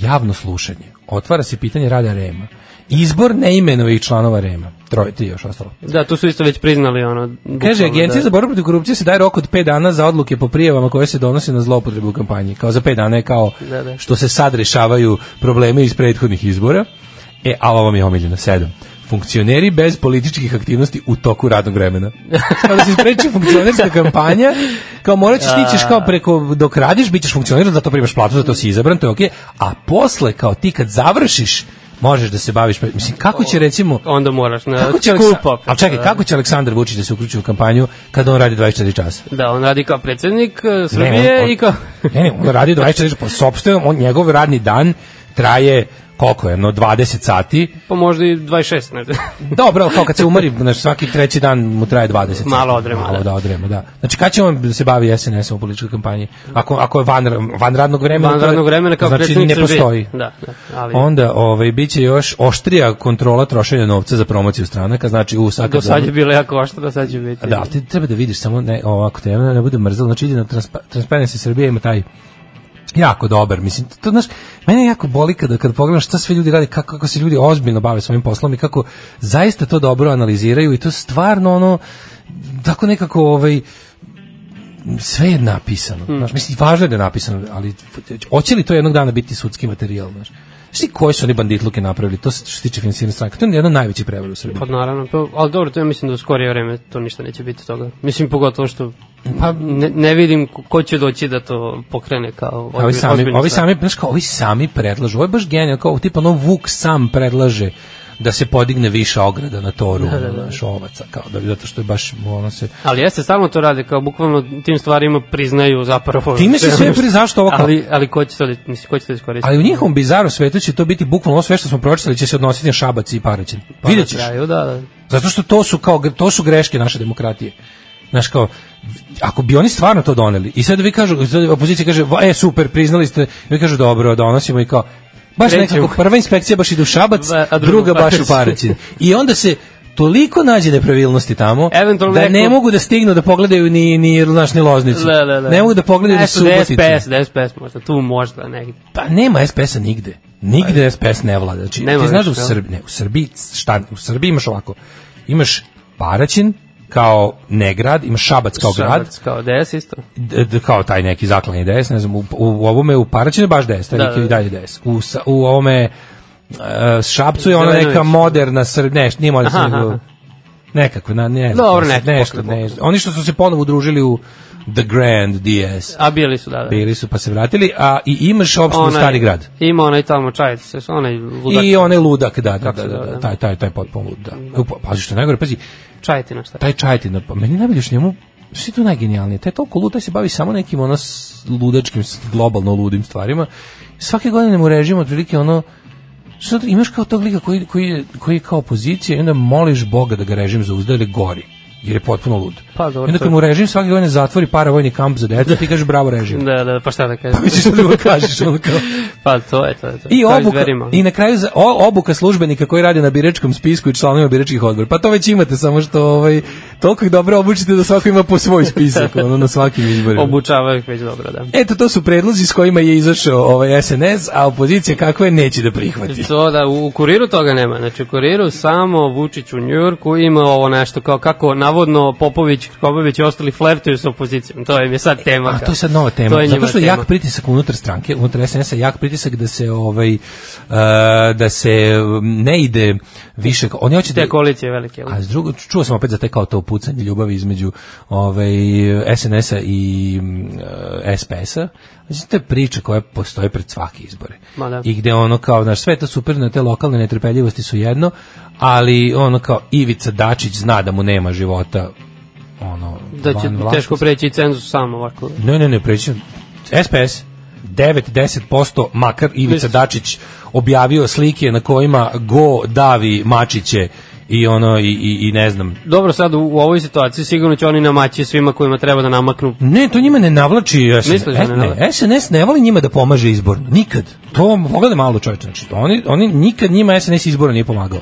S5: javno slušanje. Otvara se pitanje rada Rema. Izbor neimenovih članova Rema. Troje, ti još ostalo.
S6: Da, tu su isto već priznali ono.
S5: Kaže,
S6: bukvalno
S5: agencija
S6: da-
S5: za borbu protiv korupcije se daje rok od 5 dana za odluke po prijavama koje se donose na zloupotrebu u kampanji. Kao za 5 dana je kao
S6: Da, da.
S5: što se sad rešavaju probleme iz prethodnih izbora. E, a ovo vam je omiljeno, 7. Funkcioneri bez političkih aktivnosti u toku radnog
S6: (laughs)
S5: vremena. Kao da se spreči funkcionerska kampanja, kao morat ćeš, ti ćeš kao preko, dok radiš, bit ćeš funkcioner, zato primaš platu, zato si izabran, to je okej, a posle, kao ti kad završiš, možeš da se baviš, pre- mislim, kako će recimo,
S6: Onda moraš na
S5: kako će
S6: skup
S5: Aleksa...
S6: opet,
S5: A čekaj,
S6: da.
S5: kako će Aleksandar Vučić da se uključi u kampanju kad on radi 24 časa?
S6: Da, on radi kao predsednik eh,
S5: Ne,
S6: Srbije
S5: on- on-
S6: i kao... (laughs)
S5: Ne, ne, on radi 24 časa po sopstvenom, on njegov radni dan traje koliko je, no 20 sati.
S6: Pa možda i 26, ne znam.
S5: Dobro, ali kao kad se umori, (laughs) znaš, svaki treći dan mu traje 20 sati.
S6: Malo odrema,
S5: Malo
S6: da.
S5: da odrema, da. Znači, kad će on da se bavi SNS-om u političkoj kampanji? Ako, ako je van, ra- van radnog vremena,
S6: Van
S5: to je-
S6: radnog vremena kao
S5: znači,
S6: predsednik
S5: ne
S6: Srbije.
S5: postoji.
S6: Da, da, ali...
S5: Onda ovaj biće još oštrija kontrola trošenja novca za promociju stranaka, znači u sad
S6: Do
S5: kad
S6: sad je bilo jako oštro, da sad će biti...
S5: Da, ali ti treba da vidiš samo ne, ovako te ne bude mrzelo, znači ide na transpa, Transparency Srbije ima taj jako dobar, mislim, to, to znaš, mene jako boli kada, kada pogledam šta sve ljudi radi, kako, kako se ljudi ozbiljno bave svojim poslom i kako zaista to dobro analiziraju i to stvarno ono, tako nekako ovaj, sve je napisano. Mm. Znaš, mislim, važno je da je napisano, ali hoće li to jednog dana biti sudski materijal, znaš? Znaš ti koji su oni banditluke napravili, to se- što se tiče finansirane stranke, to je jedna od najvećih prevara u Srbiji.
S6: Pa naravno, pa, ali dobro, to ja mislim da u skorije vreme to ništa neće biti toga. Mislim, pogotovo što
S5: Pa,
S6: ne, ne vidim ko- ko će doći da to pokrene kao
S5: ovi
S6: ozbilj-
S5: sami,
S6: ozbiljnu
S5: ovi
S6: stvar.
S5: sami, znaš kao, ovi sami predlažu, ovo je baš genijal, kao tipa ono Vuk sam predlaže da se podigne više ograda na toru, da, da, da. ovaca, kao da, zato što je baš, ono se,
S6: Ali jeste, stalno to rade, kao bukvalno tim stvarima priznaju zapravo...
S5: Time se sve pri- zašto ovo kao-
S6: Ali, ali ko će to, da- mislim, ko će to iskoristiti?
S5: ali u njihovom bizaru svetu će to biti bukvalno ovo sve što smo pročitali će se odnositi na šabac i paraćin.
S6: Pa
S5: Vidjet
S6: na
S5: ćeš.
S6: Kraju, da, da.
S5: Zato što to su kao to su greške naše demokratije. Znaš kao ako bi oni stvarno to doneli i sad vi kažu sad opozicija kaže "Va, e super priznali ste vi kažu dobro donosimo i kao baš
S6: Krećemo.
S5: nekako prva inspekcija baš ide u Šabac
S6: Va, a
S5: a
S6: druga
S5: druga baš u
S6: Paraćin.
S5: Paraćin i onda se toliko nađe nepravilnosti tamo
S6: Eventualno
S5: da ne
S6: neko-
S5: mogu da stignu da pogledaju ni ni znaš ni Loznicu
S6: Da, da, da.
S5: ne mogu da pogledaju ni
S6: Eto,
S5: Suboticu
S6: DSPS, DSPS možda, tu možda negdje.
S5: Pa nema SPS-a nigde. Nigde SPS ne vlada. Znači,
S6: Nema
S5: ti znaš da u
S6: više, jel?
S5: Srbiji, ne, u Srbiji, šta, u Srbiji imaš ovako. Imaš Paraćin kao ne grad, imaš Šabac kao grad,
S6: Šabac, Kao DS isto.
S5: d, d, kao taj neki zaklanji DS, ne znam, u, u, u ovome u Paraćinu je baš DS, taj
S6: Da,
S5: da,
S6: da,
S5: i dalje DS. U, sa- u ovome uh, Šabcu je ona neka
S6: Zelenović.
S5: moderna Srb, ne, nije moderna
S6: Aha,
S5: Srbija, nego-
S6: aha.
S5: nekako, na, ne,
S6: Dobro,
S5: nešto,
S6: neko,
S5: nešto,
S6: pokret,
S5: nešto. Oni što su se ponovo udružili u The Grand DS,
S6: A bili su, da, da.
S5: bili su pa se vratili, a i imaš opštinu Stari grad.
S6: Ima onaj tamo čajac, onaj ludak.
S5: I onaj ludak, da, da,
S6: Kako
S5: da,
S6: se
S5: da,
S6: zove, da?
S5: da, taj, taj, taj potpuno lud, da. Upa, pazi što je najgore, pazi,
S6: Čajetina šta je.
S5: taj čajetina, pa meni najbolje što njemu, što je tu najgenijalnije, taj je toliko lud, taj se bavi samo nekim ono s- ludačkim, s- globalno ludim stvarima, svake godine mu režim otprilike ono, što da- imaš kao tog lika koji, koji, je, koji je kao opozicija i onda moliš Boga da ga režim zauzda ili gori, jer je potpuno lud.
S6: pa dobro.
S5: I onda kad mu režim svake godine zatvori paravojni kamp za decu, ti kažeš bravo režim.
S6: Da, da, pa šta da kažem?
S5: Misliš što drugo kažeš, ono kao...
S6: (laughs)
S5: (laughs)
S6: Pa to je, to je, to je.
S5: I
S6: Kao
S5: obuka,
S6: zverima.
S5: i na kraju za, o, obuka službenika koji radi na biračkom spisku i članovima biračkih odbora. Pa to već imate, samo što ovaj, toliko ih dobro obučite da svako ima po svoj spisak, ono, na svakim izborima.
S6: Obučavaju ih već dobro, da.
S5: Eto, to su predlozi s kojima je izašao ovaj SNS, a opozicija kako je neće da prihvati.
S6: To da, u u kuriru toga nema. Znači, u kuriru samo Vučić u Njujorku ima ovo nešto, kao kako navodno Popović, Popović i ostali flertuju s opozicijom. To im je sad tema.
S5: E, A
S6: kao.
S5: to je sad nova tema.
S6: To je
S5: Zato
S6: njima
S5: što je
S6: tema.
S5: jak pritisak unutar stranke, unutar SNS-a, jak pritisak da se ovaj uh, da se um, ne ide više, oni hoće da
S6: Te koalicije velike.
S5: A s drugo, čuo sam opet za te kao to pucanje ljubavi između ovaj, SNS-a i mm, e, SPS-a. Znači, to je priča koja postoji pred svake izbore.
S6: Ma da.
S5: I gde ono kao, znaš, sve je to super, na te lokalne netrpeljivosti su jedno, ali ono kao Ivica Dačić zna da mu nema života ono,
S6: Da će
S5: van vlasti.
S6: teško preći i cenzus samo ovako.
S5: Ne, ne, ne, preći. SPS 9-10% makar Ivica
S6: Mislim.
S5: Dačić objavio slike na kojima go davi mačiće i ono i, i, i ne znam.
S6: Dobro, sad u, u ovoj situaciji sigurno će oni namaći svima kojima treba da namaknu.
S5: Ne, to njima ne navlači SNS.
S6: Misliš da ne
S5: ne,
S6: navlači?
S5: SNS ne voli njima da pomaže izborno. Nikad. To pogledaj malo čovječe. Znači, oni, oni nikad njima SNS izborno nije pomagao.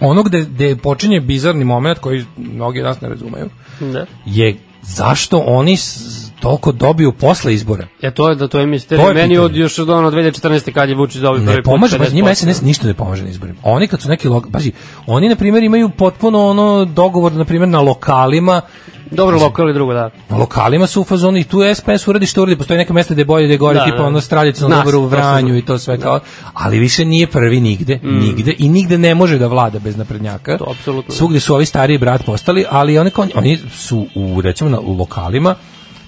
S5: Ono gde, gde počinje bizarni moment koji mnogi od nas ne razumeju
S6: Da.
S5: je zašto oni s- toliko dobiju posle izbora.
S6: E to je da to je
S5: To
S6: misterija.
S5: je
S6: Meni
S5: pitanje.
S6: od još od ono 2014. kad je Vučić dobio prvi
S5: ne
S6: put
S5: pomaže, baš njima
S6: 50%.
S5: SNS ništa ne pomaže na izborima. Oni kad su neki lok, baš oni na primjer imaju potpuno ono dogovor na primjer na lokalima,
S6: Dobro, lokal i drugo, da.
S5: na lokalima su u fazonu i tu SPS uradi što uradi, postoji neka mesta gde je bolje, gde je gore,
S6: Da,
S5: tipa
S6: da.
S5: ono Straljica na
S6: Nas,
S5: Doboru u
S6: to se
S5: Vranju
S6: zna. Da. Mm.
S5: i to sve kao, ali više nije prvi nigde, nigde i nigde ne može da vlada bez naprednjaka.
S6: To apsolutno.
S5: Svugde su ovi stariji brat postali, ali oni, kao, oni su u, recimo, na, u lokalima,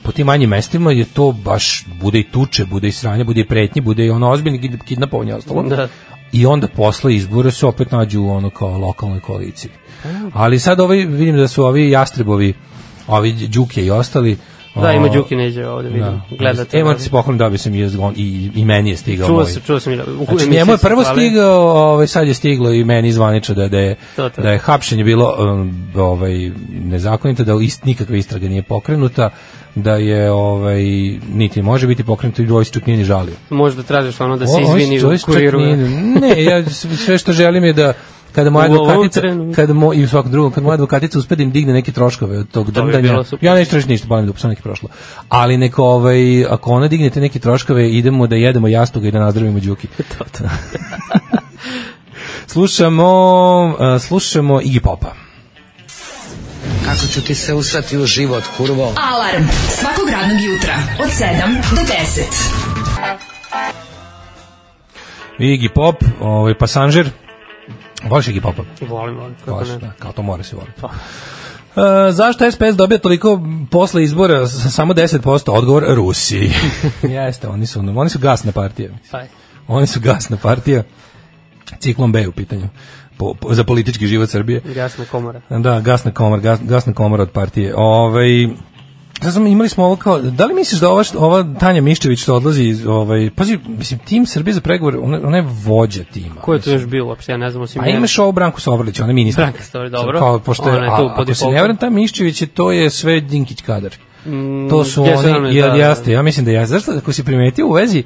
S5: po tim manjim mestima je to baš, bude i tuče, bude i sranje, bude i pretnje, bude i ono ozbiljni kid- kidnapovanje i ostalo.
S6: Da.
S5: I onda posle izbora se opet nađu u ono kao lokalnoj koaliciji.
S6: Mm.
S5: Ali sad ovi, vidim da su ovi jastrebovi, ovi Đuke i ostali,
S6: Da, ima
S5: o,
S6: Đuki neđe ovde, vidim. Gledate. da.
S5: E, moram ti se pohvalim, dobio sam i, zgon- i, i meni je stigao
S6: Čuo
S5: moj.
S6: sam, čuo sam. i da- u
S5: Znači,
S6: emisiji
S5: njemu je
S6: se
S5: prvo
S6: hvali.
S5: stigao, ovaj, sad je stiglo i meni zvanično da, da, je,
S6: To, to.
S5: da je hapšenje bilo um, ovaj, nezakonito, da ist, nikakva istraga nije pokrenuta, da je ovaj, niti može biti pokrenuta i Joyce čak nije ni žalio.
S6: Možda tražiš ono da
S5: O,
S6: se
S5: on
S6: izvini u
S5: Joyce čak
S6: kuriru.
S5: nije- ne, ja s- sve što želim je da kada moja
S6: U ovom
S5: advokatica
S6: trenu.
S5: kad mo i u svakom drugom kad moja advokatica uspe da im digne neke troškove od tog
S6: To bi
S5: drndanja
S6: bilo super.
S5: ja neću tražiti ništa balim da sam neki prošlo ali neko ovaj ako ona digne te neke troškove idemo da jedemo jastoga i da nazdravimo
S6: (laughs)
S5: đuki (laughs) slušamo a, slušamo Iggy Popa
S12: Kako ću ti se usrati u život, kurvo?
S4: Alarm svakog radnog jutra od 7 do 10.
S5: Iggy Pop ovaj pasanžer voliš Iggy Popa
S6: Volim, volim. Kako
S5: Baš,
S6: ne. Pa.
S5: da, kao to mora se voliti. E, zašto SPS dobija toliko posle izbora s- samo 10% odgovor
S6: (laughs)
S5: Rusi. Jeste, oni su oni su gasna partija.
S6: Pa, je.
S5: Oni su gasna partija. Ciklon B je u pitanju. Po, po, za politički život Srbije.
S6: jasna komora.
S5: Da, gasna komora, gas, gasna komora od partije. Ovaj Sad smo imali smo ovo kao, da li misliš da ova, što- ova Tanja Miščević što odlazi iz, ovaj, pazi, mislim, tim Srbije za pregovor, ona, ona je vođa tima.
S6: Ko je tu još bio uopšte, ja ne znam, osim
S5: A
S6: njega.
S5: Pa imaš ovo Branku Sovrlić, ona je ministar.
S6: Branka Sovrlić, dobro.
S5: Kao, pošto je,
S6: Ona je tu
S5: a,
S6: po
S5: ako se
S6: defaultu.
S5: ne varam, ta Miščević je, to je sve Dinkić kadar.
S6: Mm,
S5: to su
S6: jesu,
S5: oni,
S6: naravno,
S5: jel
S6: da, da.
S5: jeste, ja mislim da jeste. Zašto, ako si primetio u vezi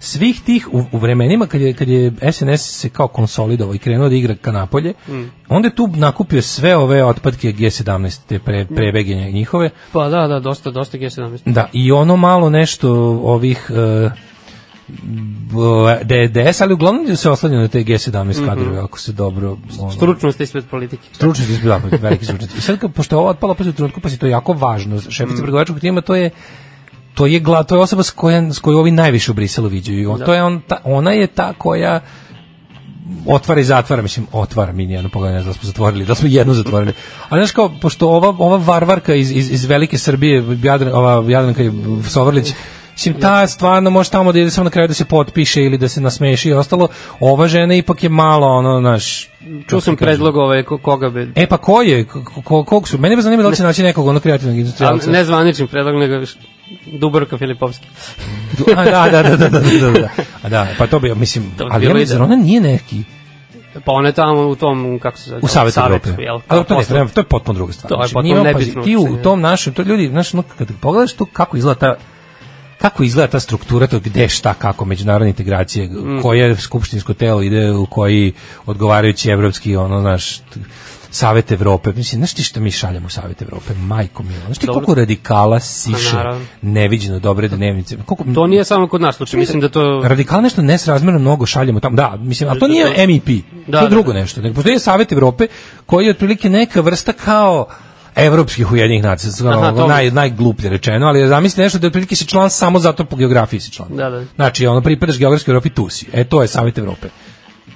S5: svih tih, u, u vremenima kad je, kad je SNS se kao konsolidovao i krenuo da igra ka napolje,
S6: Mm.
S5: onda je tu nakupio sve ove otpadke G17, te pre,
S6: Mm.
S5: prebege njihove,
S6: Pa da, da, dosta, dosta G17.
S5: Da, i ono malo nešto ovih e, b- DDS, ali uglavnom se oslanja na te G17
S6: Mhm.
S5: kadrove, ako se dobro... Ono,
S6: Stručnost ispred politike.
S5: stručnjaci iz Bilapa, veliki stručnjaci. I sad kad pošto je ovo otpalo pa u trenutku, pa si to jako važno. Šefica mm. pregovaračkog tima to je to je gla, to je osoba s kojom s kojom ovi najviše u Briselu viđaju. On,
S6: Da.
S5: to je on ta, ona je ta koja otvara i zatvara, mislim, otvara mi nijedno pogledaj, ne znam da smo zatvorili, da smo jednu zatvorili. Ali znaš kao, pošto ova, ova varvarka iz, iz, iz Velike Srbije, Jadran, ova Jadranka i Sovrlić, Mislim, ta stvarno može tamo da ide samo na kraju da se potpiše ili da se nasmeši i ostalo. Ova žena ipak je malo, ono, naš...
S6: Čuo sam predlog ovaj, ko- koga bi...
S5: E pa ko je? Ko, ko, kog su? Mene me zanima da li će naći nekog onog kreativnog
S6: Ali
S5: industrijalca.
S6: ne zvanični predlog, nego š- Dubrovka Filipovski.
S5: A, da, da, da, da, da, da, da. A da, pa to bi, mislim,
S6: To bi
S5: ali
S6: bilo
S5: ja mislim,
S6: idealno.
S5: ona nije neki
S6: Pa ona je tamo u tom, kako se zove?
S5: U Savetu Evrope.
S6: Jel?
S5: Ali to, ne, treba- to je potpuno druga stvar.
S6: To je
S5: Znači,
S6: potpuno
S5: njima, pazi,
S6: nebitno da.
S5: Ti u
S6: uopšte,
S5: tom našem, to ljudi, znaš, ono, kad pogledaš to kako izgleda ta kako izgleda ta struktura to gde šta kako međunarodne integracije
S6: Mm.
S5: koje skupštinsko telo ide u koji odgovarajući evropski ono znaš t- Savet Evrope mislim znaš ti šta mi šaljemo u Savet Evrope majko mila znaš ti
S6: Dobro. Pa
S5: koliko radikala siše
S6: naravno.
S5: neviđeno dobre dnevnice koliko
S6: To nije samo kod nas slučaj, mislim da to...
S5: radikal nešto nesrazmerno mnogo šaljemo tamo. Da, mislim, ali to nije
S6: Da, da.
S5: MEP.
S6: Da,
S5: to
S6: da,
S5: je drugo
S6: da.
S5: nešto. Nego postoji Savet Evrope koji je otprilike neka vrsta kao evropskih ujedinjenih nacija,
S6: Aha,
S5: ono,
S6: to-
S5: naj, najgluplje rečeno, ali zamisli nešto da je otprilike si član samo zato po geografiji si član.
S6: Da, da.
S5: Znači, ono, pripadaš geografskoj Evropi, tu si. E, to je Savet Evrope.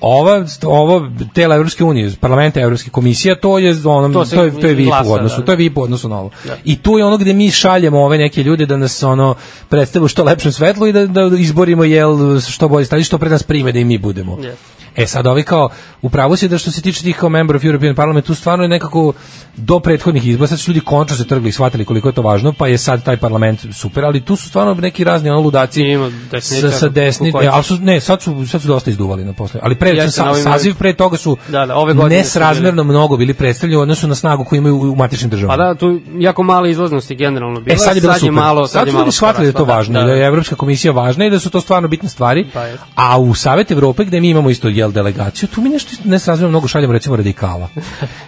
S5: Ova, ovo tela Evropske unije, parlamenta Evropske komisije, to je ono,
S6: To
S5: to,
S6: se
S5: je, to je VIP
S6: glasa,
S5: u odnosu,
S6: da.
S5: to je VIP u odnosu na ovo.
S6: Da.
S5: I tu je ono gde mi šaljemo ove neke ljude da nas ono predstave u što lepšem svetlu i da, da izborimo jel što bolje stanje, što pre nas prime da i mi budemo.
S6: Yes.
S5: E sad ovi kao, upravo si da što se tiče tih kao member of European Parliament, tu stvarno je nekako do prethodnih izbora, sad su ljudi končno se trgli i shvatili koliko je to važno, pa je sad taj parlament super, ali tu su stvarno neki razni ono ludaci
S6: Ima
S5: sa,
S6: desničara
S5: sa desni,
S6: u kojem-
S5: e, ali su, ne, sad su, sad su dosta izduvali na posle, ali pre,
S6: Jeste,
S5: sa-
S6: na ovim-
S5: saziv pre toga su
S6: Da, da, ove godine su
S5: nesrazmerno mnogo bili predstavljeni u odnosu na snagu koju imaju u u matičnim državama.
S6: Pa da, tu jako male izlaznosti generalno bilo.
S5: E sad je bilo super.
S6: malo, sad,
S5: sad
S6: je
S5: su
S6: malo
S5: ljudi shvatili da je to
S6: porasla,
S5: važno, i da je Evropska komisija važna i da su to stvarno bitne stvari.
S6: Pa jeste.
S5: a u Savet Evrope gde mi imamo isto jel delegaciju, tu mi nešto isto nesrazmerno mnogo šaljemo recimo radikala.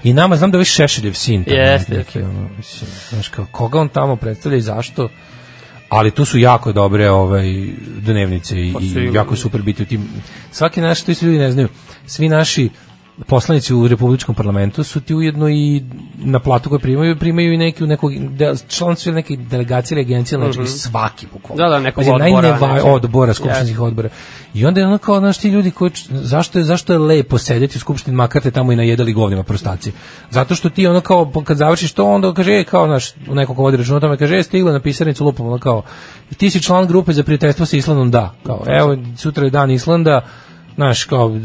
S5: I nama znam da je ovaj Šešeljev sin tamo,
S6: Jeste,
S5: neki, ono, mislim, znaš kao, koga on tamo predstavlja i zašto? Ali tu su jako dobre ovaj dnevnice i,
S6: Pa
S5: i
S6: sigurno.
S5: jako je super biti u tim. Svaki naš, to isto ljudi ne znaju, svi naši poslanici u republičkom parlamentu su ti ujedno i na platu koju primaju, primaju i neki u nekog de, član su neke delegacije ili agencije, znači svaki bukvalno.
S6: Mhm. Da, da, nekog
S5: Pazi,
S6: odbora,
S5: najneva-
S6: nečeg.
S5: odbora, skupštinskih odbora. I onda je ono kao, znaš, ti ljudi koji, č- zašto je, zašto je lepo sedeti u skupštini, makar te tamo i najedali govnima prostaci. Zato što ti ono kao, po- kad završiš to, onda kaže, e, kao, znaš, neko ko vodi računa o tome, kaže, e, stigla na pisarnicu, lupom, ono kao, ti si član grupe za prijateljstvo sa Islandom, da. Kao, evo, sutra je dan Islanda, znaš, kao,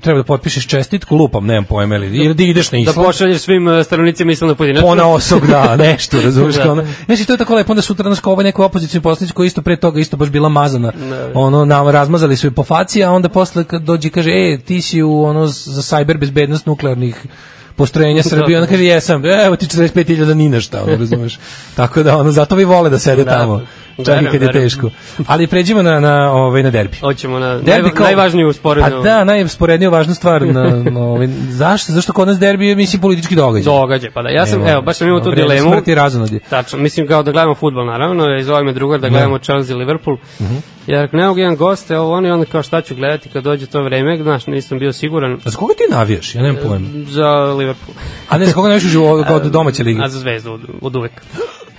S5: treba da potpišeš čestitku, lupam, nemam pojma, ili, ili da ideš na
S6: Da,
S5: Island
S6: da pošalješ svim eh, stanovnicima Islanda pojedinačno.
S5: pona osob,
S6: (laughs)
S5: da, nešto, razumiješ,
S6: Da.
S5: kao ono. Znači, to je tako lepo, onda sutra nas kao ovaj neko opozicijni poslanic koji isto pre toga isto baš bila mazana,
S6: Da.
S5: ono, nam razmazali su je po faci, a onda posle kad dođe i kaže, e, ti si u, ono, za sajber bezbednost nuklearnih postrojenja Srbije,
S6: Da.
S5: onda kaže, jesam, "E, evo ti 45.000 ni na
S6: (laughs)
S5: šta, ono, razumeš. Tako da, ono, zato vi vole da sede
S6: Da.
S5: tamo, čak i
S6: Verujem,
S5: kad je
S6: verujem.
S5: teško. Ali pređimo na, na, ovaj, na derbi.
S6: Hoćemo na
S5: Derbi
S6: najva,
S5: kao-
S6: najvažniju sporednu.
S5: A da, najsporednija važna stvar. Na, na ovaj, zašto? Zašto kod nas derbi je, mislim, politički događaj?
S6: Događaj, pa da. Ja sam,
S5: Evo,
S6: evo, baš sam imao tu
S5: vrednost
S6: dilemu.
S5: smrti i razonodi.
S6: Tačno, mislim kao da gledamo fudbal naravno, i zove me drugar da gledamo Chelsea i Liverpool.
S5: Mhm.
S6: Jer ako ne mogu jedan gost, evo oni onda kao šta ću gledati kad dođe to vreme, znaš, nisam bio siguran
S5: A Pa za koga ti navijaš? Ja nemam pojma.
S6: za Liverpool.
S5: A ne, za koga navijaš u životu kao od domaće lige?
S6: A za zvezdu od, od uvek. (laughs)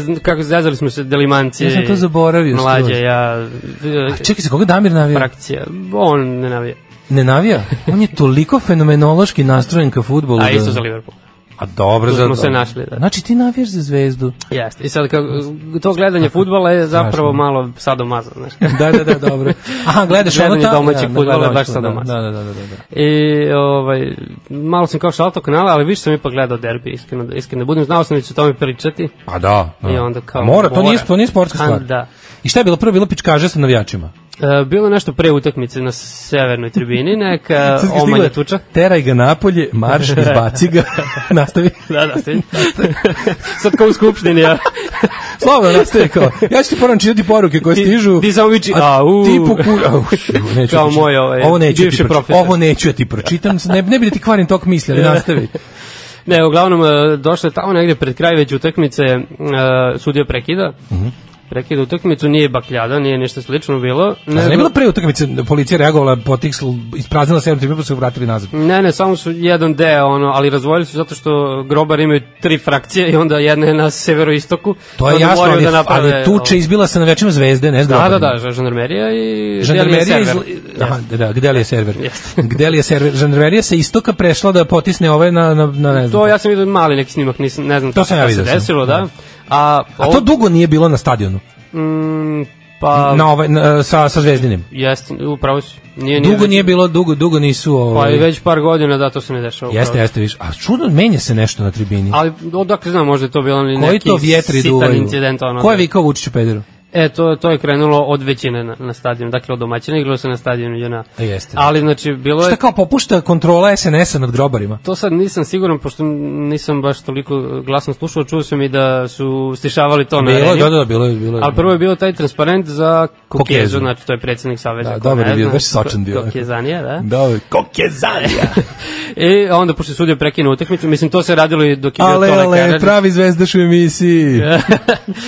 S6: Znam Kako zazvali smo se delimancije.
S5: Ja sam to zaboravio
S6: Mlađe,
S5: skroz.
S6: ja... e,
S5: A čekaj, za koga Damir navija?
S6: frakcija. On ne navija.
S5: Ne navija? On je toliko fenomenološki nastrojen ka futbolu.
S6: A isto za Liverpool.
S5: A dobro, Da.
S6: Tu
S5: za...
S6: smo se našli, da.
S5: Znači ti navijaš za zvezdu.
S6: Jeste. I sad kako, to gledanje fudbala je zapravo
S5: Strašno.
S6: malo sadomaza, znaš.
S5: da, da, da,
S6: (laughs)
S5: dobro. Aha, gledaš ono
S6: Gledanje
S5: tamo.
S6: domaćeg
S5: da,
S6: fudbala je
S5: gledalaštvo,
S6: baš sadomaso.
S5: Da, da, da, da, da. da.
S6: I ovaj, malo sam kao šalto kanala, ali više sam ipak gledao derbi, iskreno, da- iskreno da budem. Znao sam da ću o tome pričati.
S5: Pa da. da.
S6: I onda kao...
S5: Mora, to nije, to nije sportska
S6: A,
S5: stvar.
S6: Da.
S5: I šta je bilo? Prvo je bilo pičkaže sa navijačima.
S6: E, bilo je nešto pre utakmice na severnoj tribini,
S5: (laughs)
S6: neka
S5: Sad kad
S6: omanja
S5: stigle,
S6: tuča.
S5: Teraj ga napolje, marš, izbaci
S6: (laughs)
S5: ga, nastavi.
S6: Da, da, ste. (laughs) Sad kao u skupštini, ja.
S5: Slobodno nastavi kao. Ja ću ti poram čitati poruke koje
S6: Ti-
S5: stižu.
S6: ti samo viči, au.
S5: Ti poku...
S6: (laughs)
S5: Au, šu, neću
S6: Kao
S5: ti-
S6: moj, ovaj,
S5: ovo neću
S6: bivši
S5: ti proči-
S6: profesor.
S5: Ovo neću ja ti pročitam. Ne, ne bi da ti kvarim tok misli, ali nastavi.
S6: Ne, uglavnom, e, došlo je tamo negde pred kraj već utakmice, e, sudija prekida.
S5: Mhm.
S6: Prekida utakmicu, nije bakljada, nije ništa slično bilo.
S5: Ne, ne
S6: nego-
S5: bilo pre utakmice policija reagovala, potiksl, ispraznila sedam tribina, pa su je vratili nazad.
S6: Ne, ne, samo su jedan deo, ono, ali razvojili su zato što grobar imaju tri frakcije i onda jedna je na severoistoku.
S5: To je
S6: Onda
S5: jasno,
S6: moraju
S5: ali,
S6: da naprave,
S5: ali tuče izbila se na večima zvezde, ne
S6: Da,
S5: zgrada.
S6: da, da, ža- žandarmerija i
S5: Žandarmerija
S6: delije
S5: iz...
S6: sever.
S5: Aha,
S6: Jeste.
S5: da, da, gde li
S6: (laughs)
S5: je server?
S6: Jeste.
S5: Gde li je server? Žandarmerija se istoka prešla da potisne ove na, na, na ne znam.
S6: To ja sam vidio mali neki snimak, nisam, ne znam
S5: To sam ja
S6: šta se
S5: vidio sam.
S6: desilo, da. A,
S5: A to dugo nije bilo na stadionu.
S6: mm, pa,
S5: na ovaj na, sa sa Zvezdinim.
S6: jeste, upravo si. Nije,
S5: Dugo
S6: već-
S5: nije bilo, dugo dugo nisu
S6: da Pa
S5: ovaj.
S6: i već par godina, da, to se ne dešava.
S5: jeste,
S6: upravo.
S5: jeste, viš. A čudno menja se nešto na tribini.
S6: Ali odakle znam, možda je to bilo
S5: Koji
S6: neki
S5: to vjetri
S6: sitan
S5: duvaju?
S6: incident. Ono, da.
S5: Ko je vikao Vučiću pederu?
S6: E, to, to je krenulo od većine na, na stadionu, dakle od domaćina, igralo se na stadionu JNA.
S5: E, jeste.
S6: Ali, znači, bilo je...
S5: Šta kao popušta kontrola SNS-a nad grobarima?
S6: To sad nisam siguran, pošto nisam baš toliko glasno slušao, čuo sam i da su stišavali to na
S5: Bilo je,
S6: areni.
S5: da, da, da, bilo je- bilo je.
S6: Ali prvo je bio taj transparent za Kokjezu,
S5: Kokjezu.
S6: znači to je predsednik Saveza.
S5: Da,
S6: ko
S5: dobar
S6: ne
S5: je bio,
S6: zna.
S5: baš sočan bio.
S6: Kokjezanija, da.
S5: Da, kokezanija.
S6: (laughs) I onda, pošto je sudio prekinuo utakmicu, mislim, to se radilo i dok je bio
S5: Ale,
S6: Tole
S5: ale,
S6: Karadžić.
S5: pravi zvezdaš u emisiji.
S6: (laughs)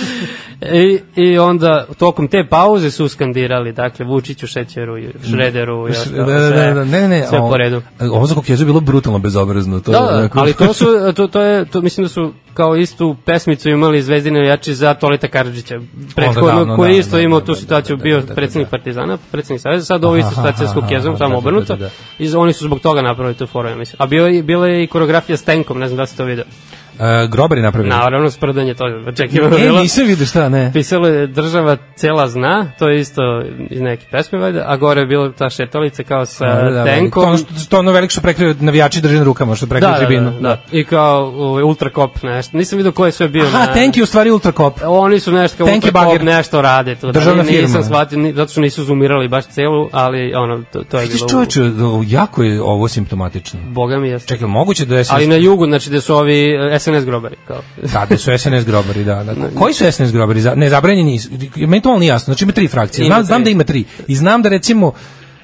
S6: I, I onda, tokom te pauze su skandirali, dakle, Vučiću, Šećeru, i Šrederu, i
S5: Da,
S6: ostalo,
S5: da, da, da, ne, ne,
S6: sve
S5: ovo-
S6: po redu.
S5: Ovo za kokezu je bilo brutalno bezobrazno. To
S6: da,
S5: je onako-
S6: ali to su, to, to je, to, mislim da su kao istu pesmicu imali Zvezdine jači za Toleta Karadžića, prethodno,
S5: davno,
S6: koji je
S5: da,
S6: isto
S5: da,
S6: imao
S5: da,
S6: tu
S5: da,
S6: situaciju, bio predsednik Partizana, predsednik Saveza, sad ovo
S5: Aha,
S6: isto situacija s
S5: aha,
S6: Kukezom,
S5: aha,
S6: samo
S5: da, da,
S6: obrnuto,
S5: da, da.
S6: i z- oni su zbog toga napravili tu foru, ja mislim. A bio, je- bila je i koreografija s tenkom, ne znam da ste to vidio.
S5: (laughs) E, grobar je napravio.
S6: Naravno, sprdanje to je očekivano. bilo.
S5: E, nisam vidio šta, ne.
S6: Pisalo je država cela zna, to je isto iz neke pesme valjda, a gore je bila ta šetalica kao sa
S5: Da, da, da,
S6: tenkom.
S5: To ono, što, to ono veliko što prekriju navijači drže na rukama, što prekriju tribinu.
S6: Da, da, da. I kao ovaj, ultrakop nešto. Nisam vidio ko je sve bio.
S5: Aha,
S6: na...
S5: Tenki je u stvari ultrakop.
S6: Oni su nešto kao
S5: Tenki
S6: ultrakop
S5: bagir.
S6: nešto rade. To,
S5: Državna
S6: da, ni- Nisam
S5: firma.
S6: shvatio, ni, zato što nisu zoomirali baš celu, ali ono, to, to je
S5: Vidiš
S6: bilo...
S5: čoveče, jako je ovo simptomatično.
S6: Boga mi jasno.
S5: Čekaj, moguće da je
S6: Ali na jugu, znači da su ovi e, SNS grobari. Kao.
S5: (laughs) Da, da su SNS grobari, da. da. Koji su SNS grobari? Za- Ne, zabranjeni nisu. Meni to malo nije jasno. Znači ima tri frakcije.
S6: Ima
S5: Znam, znam
S6: tri.
S5: da ima tri. I znam da recimo...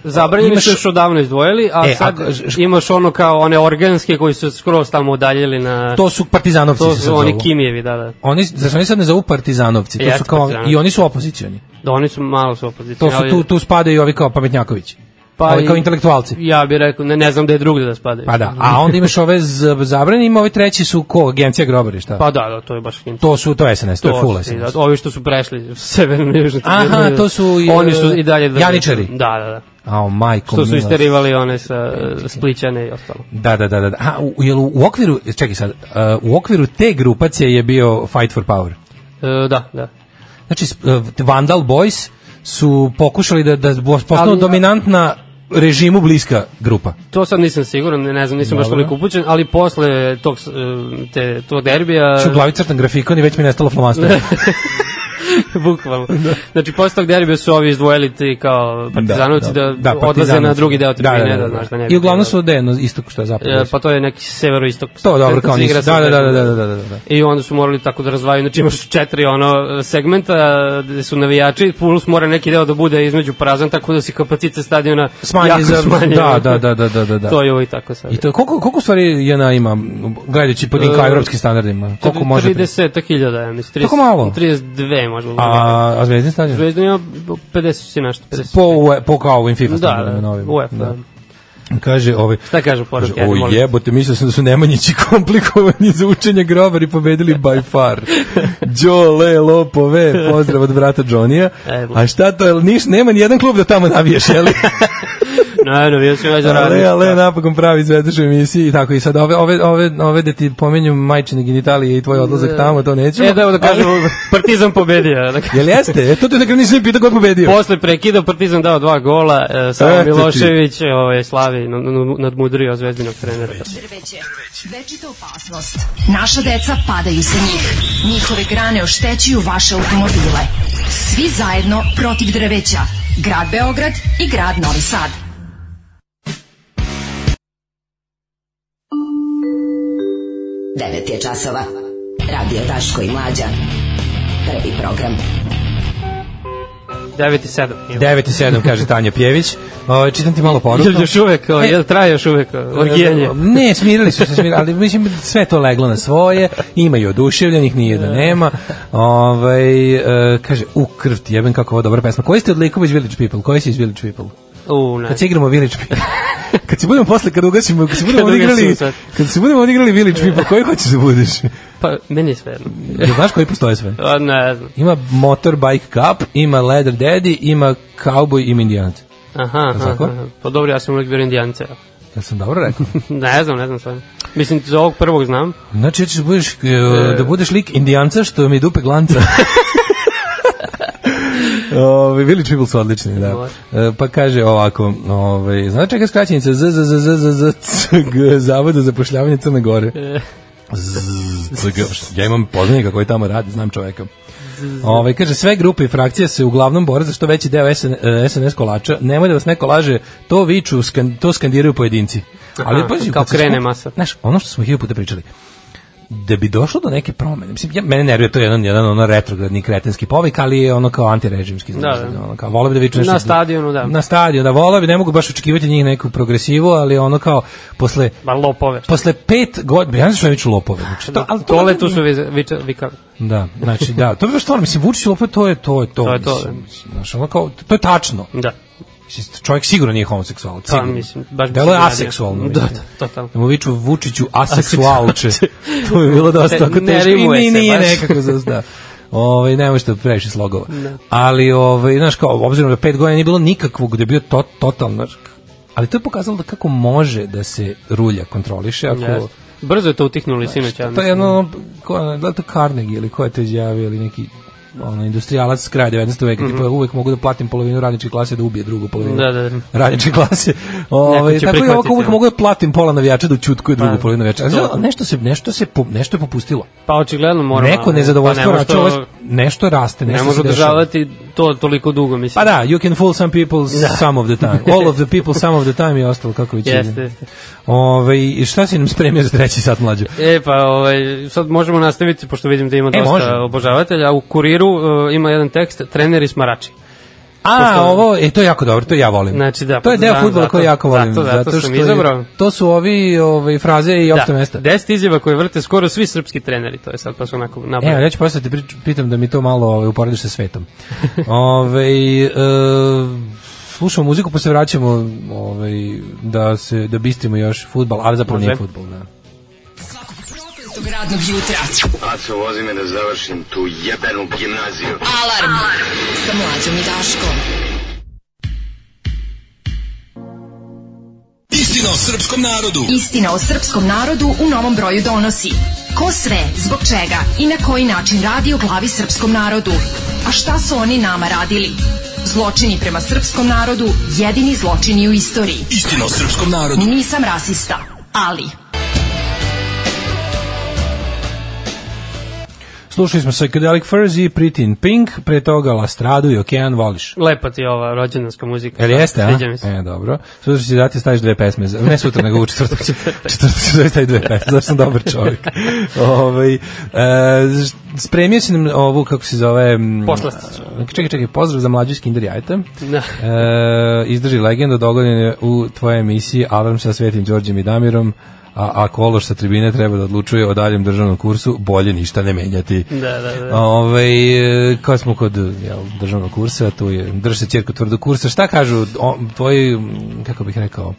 S6: Zabranjeni
S5: imaš-
S6: su još odavno izdvojili, a
S5: E,
S6: sad
S5: ako- ž-
S6: imaš ono kao one organske koji su skroz tamo udaljili na...
S5: To su partizanovci.
S6: To
S5: se
S6: su
S5: sad
S6: oni
S5: zovu.
S6: Kimjevi, da, da.
S5: Oni, znači oni sad ne zovu partizanovci. To
S6: Jeste
S5: su kao,
S6: partizanovi.
S5: I oni su opozicioni.
S6: Da, oni su malo su opozicije.
S5: To su, tu, tu spadaju i ovi kao pametnjakovići. Pa ovi kao intelektualci.
S6: Ja bih rekao, ne, ne znam da je drugde da spadaju.
S5: Pa da, a onda imaš ove z- zabranjeni, ima ove treći su ko, agencija grobari, šta?
S6: Pa da, da, to je baš hint.
S5: To su, to je SNS, to, je full
S6: su ti,
S5: SNS.
S6: Da, ovi što su prešli severno i južno.
S5: Aha,
S6: Tribine,
S5: to su i,
S6: Oni su i dalje... da-
S5: Janičari.
S6: Da, da, da.
S5: Ao, majko
S6: Što su
S5: milost.
S6: isterivali one sa e, Splićane i ostalo.
S5: Da, da, da, da. da. A, u, jel u okviru, čekaj sad, uh, u okviru te grupacije je bio Fight for Power.
S6: E, da, da.
S5: Znači, sp- uh, Vandal Boys su pokušali da, da bo- postanu
S6: Ali-
S5: dominantna režimu bliska grupa.
S6: To sad nisam siguran, ne, ne znam, nisam baš
S5: Dobro.
S6: toliko upućen, ali posle tog, s- e, te, tog derbija...
S5: Što u glavi crtan grafikon i već mi je nestalo flomastvo.
S6: (laughs) Da,
S5: (laughs)
S6: Bukvalno.
S5: Da.
S6: Znači, posle tog derbija su ovi izdvojili ti kao partizanovci da, odlaze
S5: partizanovci.
S6: na drugi deo tribine, da, da, znaš, da ne bi
S5: I uglavnom su dejeno istoku što je
S6: bilo.
S5: zapravo.
S6: E, pa to je neki severoistok.
S5: to dobro, kao
S6: Kad se igra
S5: nisu.
S6: sa
S5: Da, da, da, da,
S6: Beogradom.
S5: da, da, da, da. da.
S6: I onda su morali tako da razvaju, znači imaš četiri ono segmenta gde su navijači, plus mora neki deo da bude između prazan, tako da se kapacitet stadiona
S5: Smanji
S6: jako
S5: za-
S6: smanjuje.
S5: da, da, da, da, da, da, da.
S6: To je ovo i tako sad.
S5: I to, koliko, koliko u stvari JNA ima, gledajući po tim kao
S6: E,
S5: evropskim standardima? Koliko može?
S6: 30 hiljada, ja mislim. 30,
S5: Tako malo?
S6: 32 možda.
S5: A, a zvezdin stadion?
S6: Zvezdan ima 50 i nešto. 50.
S5: Po, UE po kao ovim FIFA
S6: Da,
S5: standardima
S6: da,
S5: novim.
S6: UEFA, da.
S5: Kaže, ovaj,
S6: Šta kažu poruke?
S5: Kaže, o jebote, mislio sam da su Nemanjići (laughs) komplikovani za učenje grobar i pobedili by (laughs) far. Đole, lopove, pozdrav od brata Johnija.
S6: Evo.
S5: A šta to, jel niš, nema ni jedan klub da tamo navijaš, (laughs) jel?
S6: Naravno, bio ovaj sam već
S5: ale,
S6: zaradnik.
S5: ale, napokon pravi izvedeš u emisiji i tako. I sad ove, ove, ove, ove da ti pomenju majčine genitalije i tvoj odlazak tamo, to nećemo.
S6: E, da, evo da kažem,
S5: Ali-
S6: Partizan
S5: (laughs)
S6: pobedio. Dakle,
S5: Jel jeste? E, to te na kraju nisam pitao kod pobedio.
S6: Posle prekida Partizan dao dva gola, e, Savo
S5: Eto ti.
S6: Milošević ovaj, slavi n- n- nadmudrio zvezdinog trenera.
S4: Drveće. Večita opasnost. Naša deca padaju sa njih. Njihove grane oštećuju vaše automobile. Svi zajedno protiv drveća. Grad Beograd i grad Novi Sad.
S13: Devet je časova. Radio Daško i Mlađa. Prvi program.
S6: 9 i 7.
S5: 9 i 7, kaže Tanja Pjević. O, čitam ti malo poruka.
S6: Jel još uvek, o,
S5: E,
S6: jel traje još uvek ovaj, o, orgijanje?
S5: Ne, smirili su se, smirili, ali mislim sve to leglo na svoje, ima i oduševljenih, nije da nema. Ovaj e, kaže, u krv ti jebem kako ovo dobra pesma. Koji ste od likova iz Village People? Koji si iz Village People?
S6: U, ne.
S5: Kad se igramo Village
S6: (laughs)
S5: People. Kad se budemo posle, kad ugasimo, kad se budemo
S6: Kad ugasimo
S5: odigrali,
S6: sad.
S5: kad se budemo odigrali Village People, koji hoćeš da budeš?
S6: Pa, meni je sve jedno.
S5: Jel znaš koji postoje sve?
S6: A, Ne znam.
S5: Ima Motorbike Cup, ima Leather Daddy, ima Cowboy, ima Indianac.
S6: Aha, aha,
S5: tako?
S6: aha. Pa dobro, ja sam uvek bio indijance.
S5: Jel sam dobro rekao?
S6: Ne znam, ne znam stvarno. Mislim, za ovog prvog znam.
S5: Znači, ja ćeš da budeš, e, da budeš lik indijanca što mi dupe glanca. (laughs) Ove, Village People su odlični, da. E, Pa kaže ovako, ove, znači čega je skraćenica Z, Z, Z, Z, Z, Z, C, G, Zavod za zapošljavanje Eh. Crne Gore. Z, C, G. Ja imam poznanika koji tamo radi, znam čoveka. Ovaj kaže sve grupe i frakcije se uglavnom bore za što veći deo SN, eh, SNS kolača. Nemoj da vas neko laže, to viču, skan, to skandiraju pojedinci. Ali
S6: Aha,
S5: pazi,
S6: kao
S5: kad se
S6: krene
S5: skupi-
S6: masa.
S5: Znaš, ono što smo hiljadu puta pričali. Da bi došlo do neke promene. Mislim ja mene nervira to jedan jedan ono retrogradni kretenski povik, ali je ono kao antirežimski, znaš,
S6: Da, da.
S5: ono kao voleo bi da viču nešto
S6: Na stadionu, da.
S5: Na stadion, da voleo bi, ne mogu baš očekivati od njih neku progresivu, ali ono kao posle
S6: Ba lopove.
S5: posle pet godina, ja ne znam što je već lopove, znači to, ali to,
S6: Pa, Da, Tole tu su vize- viča- vikali.
S5: Da, znači da, to je baš stvarno, mislim, Vučić lopove, to je to, je to,
S6: To da. je to,
S5: mislim, mislim, znaš, ono kao, to je tačno.
S6: Da.
S5: Mislim, čovjek sigurno nije homoseksualac,
S6: Pa,
S5: sigurno.
S6: mislim, baš bi
S5: Delo je
S6: se radio.
S5: aseksualno.
S6: Da,
S5: mislim.
S6: da, totalno.
S5: Da mu viču Vučiću
S6: (laughs)
S5: aseksualče, to bi bilo dosta
S6: Ne-
S5: ako
S6: ne
S5: teško, i
S6: rimuje
S5: ni-
S6: se
S5: nije
S6: baš.
S5: nekako, za- da. Ovaj ne možete previše slogova.
S6: Da.
S5: Ali ovaj znaš kao obzirom da pet godina nije bilo nikakvog da je bio to, totalno znaš, ali to je pokazalo da kako može da se rulja kontroliše ako
S6: Jeste. Brzo je to utihnuli sinoć, ja
S5: to je
S6: mislim.
S5: Pa jedno, ono, ko, je ono, da li to Carnegie ili ko je to izjavio ili neki ono, industrijalac s kraja 19. veka, mm
S6: Mhm.
S5: tipa uvek mogu da platim polovinu radničke klase da ubije drugu polovinu
S6: Da, da, da.
S5: radničke klase.
S6: Neko
S5: Ove,
S6: će
S5: tako i ovako
S6: prihvatiti,
S5: uvek
S6: ono.
S5: mogu da platim pola navijača da učutkuje drugu
S6: Pa,
S5: polovinu navijača.
S6: to.
S5: Znaš, nešto, se, nešto, se, po- nešto je popustilo.
S6: Pa očigledno moramo.
S5: Neko
S6: ali,
S5: nezadovoljstvo
S6: pa ne
S5: rače,
S6: može
S5: ovo- nešto raste,
S6: Ne da
S5: nešto
S6: može
S5: se dešava.
S6: održavati to toliko dugo, mislim.
S5: Pa da, you can fool some people
S6: Da.
S5: some of the time.
S6: (laughs)
S5: All of the people some of the time i ostalo kako već
S6: Jeste,
S5: ide.
S6: jeste.
S5: Ove, I šta si nam spremio za treći sat mlađo?
S6: E pa, ovaj, sad možemo nastaviti, pošto vidim da ima dosta
S5: da. E, može.
S6: obožavatelja. U kuriru e, ima jedan tekst, treneri smarači.
S5: A,
S6: Pošto-
S5: ovo, e, to je jako dobro, to ja volim.
S6: Znači, da,
S5: to je
S6: pa
S5: deo
S6: znam,
S5: fudbala
S6: zato-
S5: koji jako volim.
S6: zato- zato sam Da,
S5: je-
S6: izabrao.
S5: To su ovi ove, fraze i opšte mesta.
S6: deset izjava koje vrte skoro svi srpski treneri, to je sad pa su onako
S5: Evo,
S6: napravili.
S5: ja ću posle te prič- pitam da mi to malo ove, uporediš sa
S6: (laughs)
S5: svetom. ove, e, slušamo muziku pa se vraćamo ove, da se da bistrimo još fudbal, ali zapravo nije
S14: Može.
S5: fudbal, da.
S11: Tog radnog jutra.
S9: Aco, vozi me da završim tu jebenu gimnaziju.
S11: Alarm. Sa mlađom i Daškom.
S15: Istina o srpskom narodu.
S4: Istina o srpskom narodu u novom broju donosi. Ko sve, zbog čega i na koji način radi o glavi srpskom narodu? A šta su oni nama radili? Zločini prema srpskom narodu jedini zločini u istoriji.
S15: Istina o srpskom narodu.
S4: Nisam rasista, ali...
S5: Slušali smo Psychedelic Furs i Pretty in Pink, pre toga Lastradu i Okean Voliš.
S6: Lepa ti je ova rođendanska muzika.
S5: Jel jeste, a?
S6: Da, Sviđa mi se.
S5: E, dobro. Sutra ću dati staviš dve pesme. za- Ne sutra, nego u
S6: (laughs)
S5: četvrtak. četvrtak ću dati staviš dve pesme. Zašto sam dobar čovjek. Ovaj e, š- spremio si nam ovu, kako se zove... m,
S6: Poslasticu.
S5: e, Čekaj, čekaj, pozdrav za mlađu iz Kinder Jajeta.
S6: Da.
S5: E, izdrži legenda, dogodan je u tvojoj emisiji Alarm sa Svetim Đorđem i Damirom a ako Ološ sa tribine treba da odlučuje o daljem državnom kursu, bolje ništa ne menjati.
S6: Da, da, da.
S5: Ove, kad smo kod jel, državnog kursa, tu je, drži se cirku tvrdo kursa, šta kažu o, tvoji, m, kako bih rekao,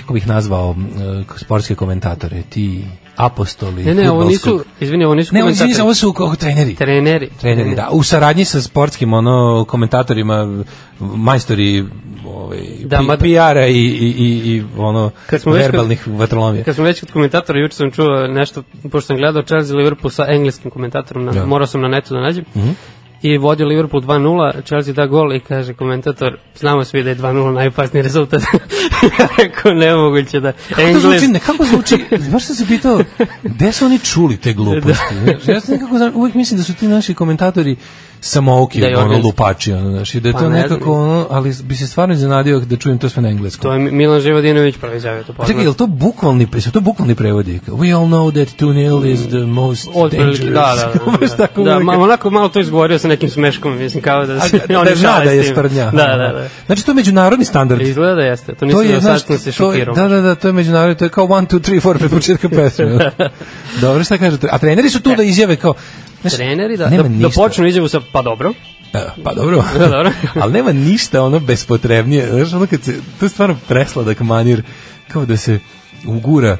S5: kako bih nazvao m, e, sportske komentatore, ti apostoli
S6: Ne, ne, ovo
S5: fudbalskog-
S6: nisu, izvini, ovo nisu
S5: Ne, ovo,
S6: komentatori.
S5: izvini, ovo su kao treneri.
S6: Treneri.
S5: Treneri, da. U saradnji sa sportskim ono komentatorima, majstori ovaj,
S6: Da,
S5: pi-
S6: mada-
S5: PR-a i, i, i, i ono
S6: Kad smo već kod-
S5: verbalnih vatrolomija.
S6: Kad smo već kod komentatora, juče sam čuo nešto, pošto sam gledao Chelsea Liverpool sa engleskim komentatorom, na,
S5: Da.
S6: morao sam na netu da nađem,
S5: Mhm.
S6: i vodio Liverpool 2-0, Chelsea da gol i kaže komentator, znamo svi da je 2-0 najopasniji rezultat. (laughs) Ja Rekao, nemoguće da
S5: Kako to
S6: Engles...
S5: zvuči, nekako zvuči, baš sam se pitao, gde su oni čuli te gluposti?
S6: Da.
S5: Znaš, Ja sam nekako, znam, uvijek mislim da su ti naši komentatori samouki,
S6: Da je
S5: ono,
S6: organski.
S5: lupači, ono, znaš, i da je
S6: Pa
S5: to
S6: ne znam.
S5: nekako, ono, ali bi se stvarno iznenadio da čujem to sve na engleskom.
S6: To je Mi- Milan Živodinović pravi izjavio to.
S5: Pa Čekaj, je li to bukvalni, su to bukvalni prevodi? We all know that 2-0 is the most dangerous.
S6: Otprilike,
S5: (laughs)
S6: da, da,
S5: Baš
S6: da.
S5: tako
S6: da,
S5: uvek.
S6: ma, onako malo to izgovorio sa nekim smeškom, mislim, kao da se
S5: A, da,
S6: oni
S5: zna
S6: šale
S5: da
S6: s
S5: je
S6: tim.
S5: sprdnja.
S6: Da, da, da.
S5: Znači, to je međunarodni standard.
S6: Izgleda da jeste, to nisam da sad
S5: znaš,
S6: sam se
S5: to je-
S6: šokirao.
S5: Da, da, da, to je međunarodni, to je kao 1, 2, 3, 4 pred početka pesme. Dobro, šta kažete? A treneri su tu da izjave kao... znaš,
S6: Treneri, da, da,
S5: nema
S6: da
S5: ništa.
S6: počnu izjavu sa, pa dobro,
S5: E, Pa dobro.
S6: (laughs) Da, dobro.
S5: (laughs) Ali nema ništa ono bespotrebnije. Znaš, ono kad se, to je stvarno presladak manir, kao da se ugura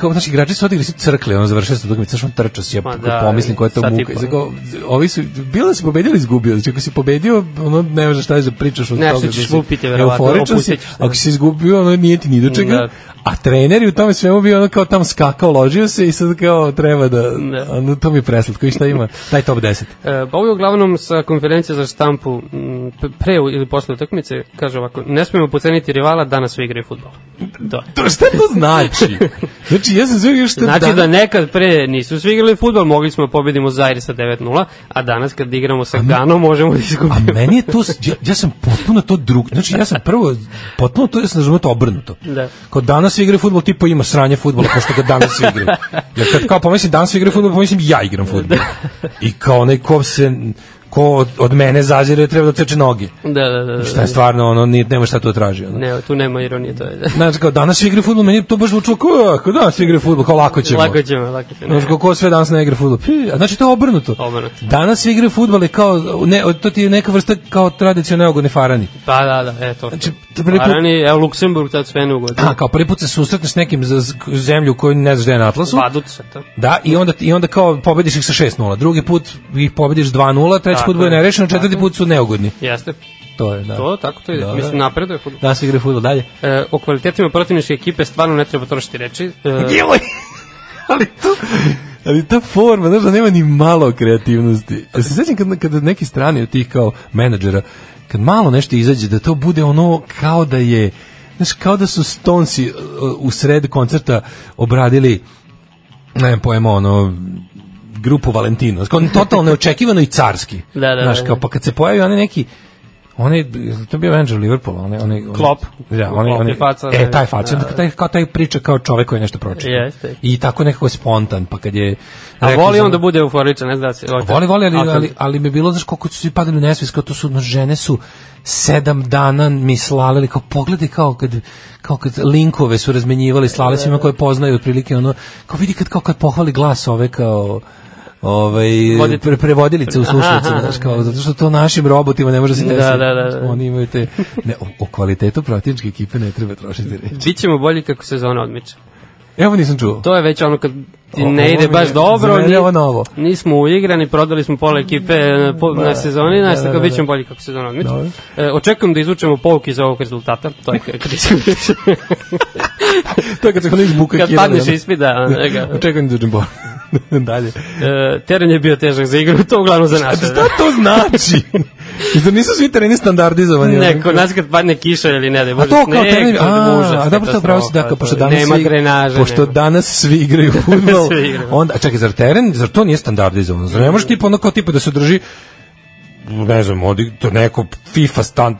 S5: kao, znači, igrači su odigli, su crkli, ono, završili su utakmicu, znaš, on trčao si, ja
S6: Ma da,
S5: pomislim koja je to
S6: sad ti
S5: muka.
S6: po-
S5: Znači, kao, ovi su, bilo da si pobedio ili izgubio, znači, ako si pobedio, ono, ne možeš šta je da pričaš od
S6: Nešto
S5: toga.
S6: ćeš
S5: da si
S6: lupiti, verovatno,
S5: euforičan si,
S6: opustićeš se.
S5: ako si izgubio, ono, nije ti ni do čega,
S6: Da.
S5: A trener je u tome svemu bio ono kao tamo skakao, ložio se i sad kao treba da... Ono, to mi je preslatko. I šta ima? Taj top 10.
S6: E, pa ovo je uglavnom sa konferencije za štampu m, p- pre ili posle utakmice, kaže ovako, ne smemo poceniti rivala, danas sve igraju futbol. Da.
S5: To šta to znači? Znači, ja sam zvijek još šta
S6: Znači da nekad pre nisu svi igrali futbol, mogli smo da pobedimo Zaire sa 9-0, a danas kad igramo sa Ganom možemo da izgubimo.
S5: A meni je to, s- ja, ja sam potpuno to drug, znači ja sam prvo, potpuno to, ja sam razumio to obrnuto.
S6: Da.
S5: Kao danas igra futbol, tipa ima sranje futbola, pošto ga danas igra. Ja kad kao pomislim danas igra futbol, pomislim ja igram futbol. I kao onaj ko se, ko od, od mene zazire, treba da teče noge.
S6: Da, da, da. da.
S5: Šta je stvarno, ono, nije, nema šta tu traži. Ono.
S6: Ne, tu nema ironije, to je da.
S5: Znači, kao danas igra futbol, meni je to baš zvučilo kao, "A, kao danas igra futbol, kao lako ćemo.
S6: Lako ćemo, lako ćemo.
S5: Znači, kako sve danas ne igra fudbal. Pi, a Znači, to je obrnuto.
S6: Obrnuto.
S5: Danas se igra fudbal je kao, ne, to ti je neka vrsta kao tradicionalnog gonefarani.
S6: Pa da, da, eto. Znači,
S5: prvi put-
S6: Arani, evo Luksemburg tad sve ne ugodi.
S5: A, kao prvi put se susretneš s nekim za z- zemlju koju ne znaš gde je na atlasu.
S6: Vadut se to.
S5: Da, i onda, i onda kao pobediš ih sa 6:0. Drugi put ih pobediš 2:0, treći
S6: Tako
S5: put bude
S6: je.
S5: nerešeno, četvrti put su neugodni.
S6: Jeste.
S5: To je, da.
S6: To, tako to ide.
S5: Da,
S6: Mislim,
S5: da.
S6: napreduje fudbal.
S5: Danas se igra fudbal dalje.
S6: E, o kvalitetima protivničke ekipe stvarno ne treba trošiti reči. E, (laughs)
S5: Joj! ali to... Ali ta forma, znaš da nema ni malo kreativnosti. Ja se sećam kad, kad neki strani od tih kao menadžera, kad malo nešto izađe, da to bude ono kao da je, znaš, kao da su Stonesi uh, u sred koncerta obradili, ne znam pojma, ono, grupu Valentino. Znaš, kao totalno neočekivano i carski.
S6: (laughs) Da, da, da,
S5: Znaš,
S6: da.
S5: kao, pa kad se pojavi onaj neki, onaj, to je bio menadžer Liverpoola, onaj, onaj, onaj-
S6: Klopp.
S5: Da, onaj,
S6: Klopp je
S5: onaj,
S6: faca,
S5: e,
S6: da.
S5: taj faca,
S6: Da,
S5: da, taj, kao taj priča kao čovek koji je nešto pročitao.
S6: Jeste.
S5: I tako nekako spontan, pa kad je...
S6: a
S5: rekao
S6: voli
S5: za-
S6: on da bude euforičan, ne znam da se...
S5: Voli, voli, ali,
S6: A kad-
S5: ali, ali mi je bilo, znaš, koliko su svi padali u nesvijest, kao to su, no, žene su sedam dana mi slalili, kao pogledi, kao kad, kao kad linkove su razmenjivali, slale svima
S6: Da.
S5: koje poznaju, otprilike, ono, kao vidi kad, kao kad pohvali glas ove, kao, ovaj
S6: Voditelj.
S5: pre, prevodilice u slušalicama
S6: Aha.
S5: znaš kao zato što to našim robotima ne može se
S6: Da,
S5: desiti
S6: da, da, da.
S5: oni imaju te ne o, o kvalitetu protivničke ekipe ne treba trošiti reči
S6: Bićemo bolji kako sezona odmiče.
S5: evo nisam čuo
S6: To je već ono kad ti
S5: O,
S6: ne
S5: ovo
S6: ide
S5: mi
S6: baš
S5: je-
S6: dobro,
S5: za mene je ovo novo.
S6: nismo uigrani, prodali smo pola ekipe e, po,
S5: Da,
S6: na sezoni,
S5: da,
S6: znaš,
S5: da,
S6: tako
S5: da,
S6: bit
S5: da.
S6: ćemo bolji kako sezona odmiče.
S5: Dobro.
S6: E, očekujem da izvučemo pouke iz ovog rezultata, to
S5: (laughs)
S6: je kad iskriš.
S5: to je kad se kod izbuka
S6: Kad padneš ispit,
S5: (laughs)
S6: da, neka.
S5: Čekam da uđem bol. Dalje.
S6: E, teren je bio težak za igru, to uglavnom za naše.
S5: Šta to znači?
S6: (laughs)
S5: Zar nisu svi tereni standardizovani?
S6: Ne, kod nas kad padne kiša ili ne, da je
S5: A
S6: bože,
S5: to kao
S6: sneg,
S5: teren,
S6: to je
S5: a,
S6: užas,
S5: a dobro to pravo si
S6: katastrofa,
S5: da, kao, pošto
S6: to je-
S5: danas
S6: nema
S5: svi-
S6: grenaže,
S5: pošto
S6: nema.
S5: danas svi
S6: (laughs)
S5: igraju (laughs) fudbal.
S6: Svi igraju.
S5: onda, a čekaj, zar teren, zar to nije standardizovano? Zar ne može tipa ono kao tipa da se drži ne znam, odi, to neko FIFA stand,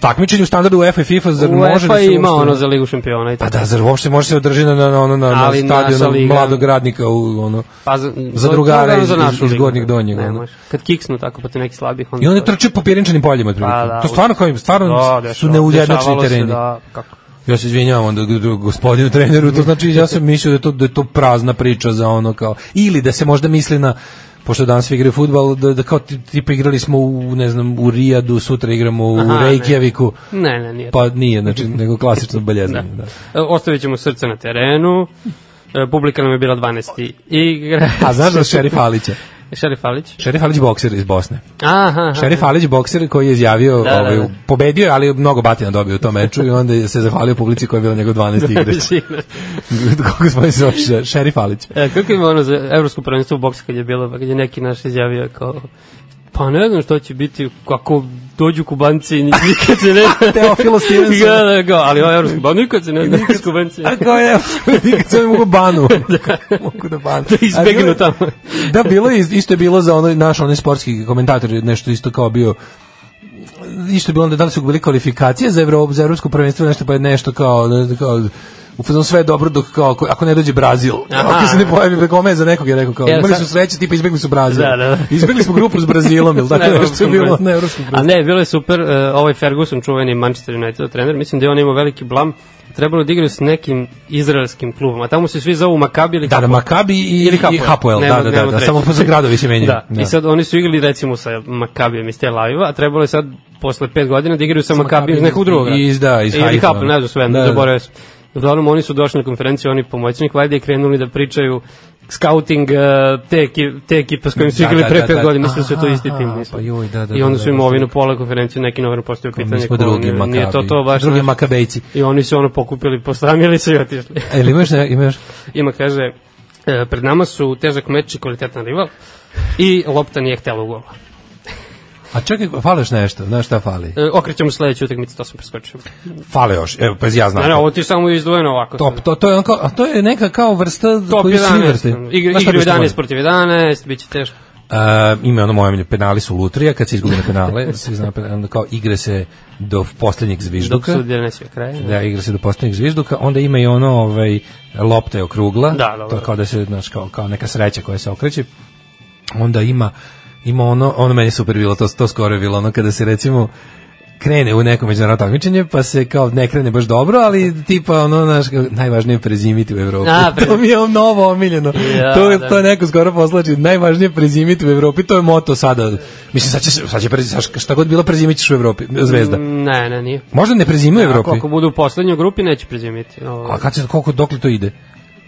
S5: takmičenje u standardu UEFA i FIFA, zar može da
S6: UEFA
S5: se...
S6: ima
S5: uopšte-
S6: ono za Ligu šampiona i
S5: Pa
S6: tako.
S5: da, zar uopšte može se održi na, na, na, na, na
S6: Ali naša
S5: stadionu
S6: liga-
S5: mladog radnika u ono...
S6: Pa za,
S5: Za
S6: to-
S5: drugare
S6: to je
S5: iz-
S6: za našu
S5: iz
S6: ligu. da.
S5: Gornjeg Donjeg,
S6: Ne
S5: ono.
S6: može. Kad kiksnu tako protiv nekih slabih, onda...
S5: I
S6: to
S5: oni
S6: je-
S5: trče po pirinčanim poljima otprilike.
S6: Pa da,
S5: to stvarno kao stvarno
S6: Da,
S5: su
S6: dešava-
S5: neujednačeni
S6: dešavalo se,
S5: tereni.
S6: Da, kako?
S5: Ja se izvinjavam onda g- g- gospodinu treneru, to znači ja sam mislio da je to da je to prazna priča za ono kao ili da se možda misli na pošto danas igraju fudbal da, da kao ti- tipa igrali smo u ne znam u Rijadu, sutra igramo u
S6: Aha, ne.
S5: Reykjaviku.
S6: Ne, ne, nije.
S5: Pa nije, znači nego
S6: (laughs)
S5: klasično baljezanje, da.
S6: E, Ostavit ćemo srce na terenu, e, publika nam je bila 12. Igra...
S5: A znaš za Šerif Alića?
S6: Šerif Alić?
S5: Šerif Alić bokser iz Bosne.
S6: Aha, aha.
S5: Šerif Alić bokser koji je izjavio,
S6: Da, da,
S5: ovaj,
S6: da.
S5: pobedio je, ali je mnogo batina dobio u tom meču i onda je se zahvalio publici koja je bila njegov 12 igrač.
S6: (laughs)
S5: Kako smo se zove? Še- Šerif Alić.
S6: E, kako ima ono za evropsko prvenstvo u boksu kad je bilo, pa kad je neki naš izjavio kao pa ne znam što će biti ako dođu kubanci
S5: (laughs)
S6: ni- nikad se ne
S5: Teofilo Stevenson.
S6: da, da, kao, ali ovo je evropsko, ba nikad se ne zna s kubancima
S5: A kao je, (laughs) nikad se ne mogu banu. mogu (laughs) da banu.
S6: Da izbegnu
S5: A bilo je-
S6: tamo.
S5: da, bilo je, isto je bilo za onaj naš onaj sportski komentator, je nešto isto kao bio isto je bilo onda da li su bili kvalifikacije za Evropu, za evropsko prvenstvo, nešto pa je nešto kao, ne, kao u fazonu sve je dobro dok kao ako, ako ne dođe Brazil.
S6: Aha.
S5: Ako se ne pojavi preko me za nekog je rekao kao
S6: Jel,
S5: imali
S6: sad-
S5: su sreće tipa izbegli su Brazil.
S6: Da, da, da.
S5: Izbegli smo grupu s Brazilom, (laughs) jel tako
S6: Na
S5: dakle, nešto je
S6: evropskom
S5: bilo
S6: prvenstvu.
S5: na evropskom prvenstvu.
S6: A ne, bilo je super, e, ovaj Ferguson, čuveni Manchester United trener, mislim da je on imao veliki blam, trebalo je da igraju s nekim izraelskim klubom, a tamo se svi zovu Makabi ili
S5: Da, da, Makabi i,
S6: Ili
S5: ili
S6: Hapoel.
S5: Hapoel,
S6: Nema-
S5: da, da, da,
S6: nema
S5: da,
S6: treće.
S5: samo za gradovi se menjaju.
S6: Da. I sad oni su igrali recimo sa Makabijem iz Tel Aviva, a trebalo je sad posle 5 godina da igraju sa Makabijem iz nekog drugog. grada.
S5: Iz- da, iz
S6: Ili
S5: Haifa.
S6: Hapoel, ne znam sve,
S5: Da, da.
S6: zaboravio sam. Uglavnom oni su došli na konferenciju, oni pomoćnik, valjda i krenuli da pričaju scouting uh, te, ekipe, te ekipe s kojim su
S5: Da,
S6: igrali
S5: da,
S6: pre
S5: da,
S6: 5
S5: da.
S6: godina, mislim da su to isti
S5: Aha,
S6: tim. mislim.
S5: pa joj, da, da,
S6: I onda
S5: da,
S6: su im
S5: da,
S6: ovi na pola konferencije neki novinar postavio
S5: mi
S6: pitanje.
S5: smo
S6: ko
S5: Pa drugi
S6: oni- Nije to
S5: Makabi.
S6: to baš.
S5: Drugi
S6: znaš.
S5: Makabejci.
S6: I oni su ono pokupili, posramili se i otišli. (laughs)
S5: E, ili imaš, ne, imaš?
S6: Ima, kaže, e, pred nama su težak meč i kvalitetan rival i lopta nije htela u gol.
S5: A čekaj, fališ nešto, znaš šta fali?
S6: E, okrećemo sledeću utakmicu, to sam preskočio.
S5: Fale još, evo, pa ja znam.
S6: Ne, ne, ovo ti je samo izdvojeno ovako.
S5: Top, to, to, je onko, a to je neka kao vrsta
S6: Top
S5: koju svi vrste.
S6: 11. Igri,
S5: Znaš šta
S6: igri
S5: bi što
S6: 11
S5: volio?
S6: protiv 11, bit će teško.
S5: Uh, ima ono moje omilje, penali su lutrija, kad se izgubi na penale, svi znaju penale, onda kao igre se do poslednjeg zvižduka.
S6: Dok sudija ne sve kraje.
S5: Da, igra se do poslednjeg zvižduka, onda ima i ono, ovaj, lopta je okrugla,
S6: Da, dobro.
S5: to je kao da se, znaš, kao, kao neka sreća koja se okreće. Onda ima, ima ono, ono meni je super bilo, to, to skoro je bilo, ono kada se recimo, krene u neko međunarodno takmičenje, pa se kao ne krene baš dobro, ali tipa ono, znaš, kao, najvažnije je prezimiti u Evropi. (laughs)
S6: A, pre-
S5: to mi je novo omiljeno.
S6: Ja,
S5: to,
S6: da.
S5: to je neko skoro poslači. Najvažnije je prezimiti u Evropi, to je moto sada. Mislim, sad će, se- sad će prezi, sad šta god bilo prezimit ćeš u Evropi, zvezda.
S6: Ne, ne, nije.
S5: Možda ne prezime u
S6: Ako-
S5: Evropi.
S6: Ako budu u poslednjoj grupi, neće prezimiti. Ovo-
S5: A kad se, koliko, dokle to ide?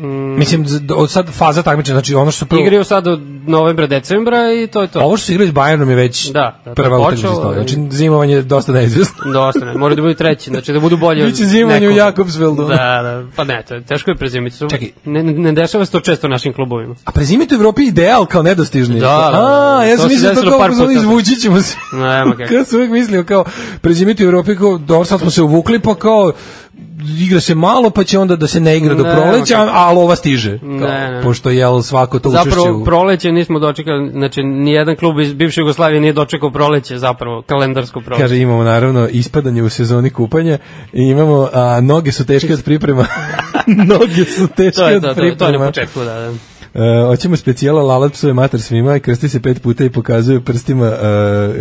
S6: Mm.
S5: Mislim, z- od sad faza takmičenja, znači ono što su prvo...
S6: Igraju sad od novembra, decembra i to je to.
S5: Ovo što su igrali s Bayernom je već
S6: Da, da, to
S5: prva
S6: je
S5: utakmica
S6: počelo,
S5: istorije.
S6: i-
S5: Znači, zimovanje je dosta neizvestno.
S6: Dosta ne, mora da bude treći, znači da budu
S5: (laughs)
S6: bolji od
S5: Biće zimanje u
S6: nekoga.
S5: Jakobsveldu.
S6: Da, da, pa ne, to je, teško je prezimiti. Čekaj. Ne, ne- ne dešava se to često našim klubovima.
S5: A prezimiti u Evropi je ideal kao nedostižni.
S6: Da, da, da.
S5: A, ja
S6: To
S5: sam
S6: se
S5: mislio to
S6: desilo
S5: kao
S6: par
S5: ako zvali
S6: puta.
S5: izvući ćemo se.
S6: Nema kako.
S5: (laughs) Kad sam uvijek mislio kao prezimiti u Evropi, kao, dobro, sad smo se uvukli, pa kao igra se malo, pa će onda da se ne igra do
S6: Ne,
S5: proleća,
S6: ma-
S5: ali ova stiže. Kao,
S6: Ne, ne.
S5: Pošto jel svako to učešće
S6: Zapravo
S5: u...
S6: proleće nismo dočekali, znači nijedan klub iz bivše Jugoslavije nije dočekao proleće zapravo, kalendarsko proleće.
S5: Kaže imamo naravno ispadanje u sezoni kupanja i imamo a, noge su teške od priprema. (laughs) noge
S6: (laughs)
S5: su teške
S6: to je
S5: od
S6: to, to, je-
S5: priprema.
S6: to je na početku, da, da.
S5: E, hoćemo specijala lalat psuje mater svima i krsti se pet puta i pokazuje prstima e,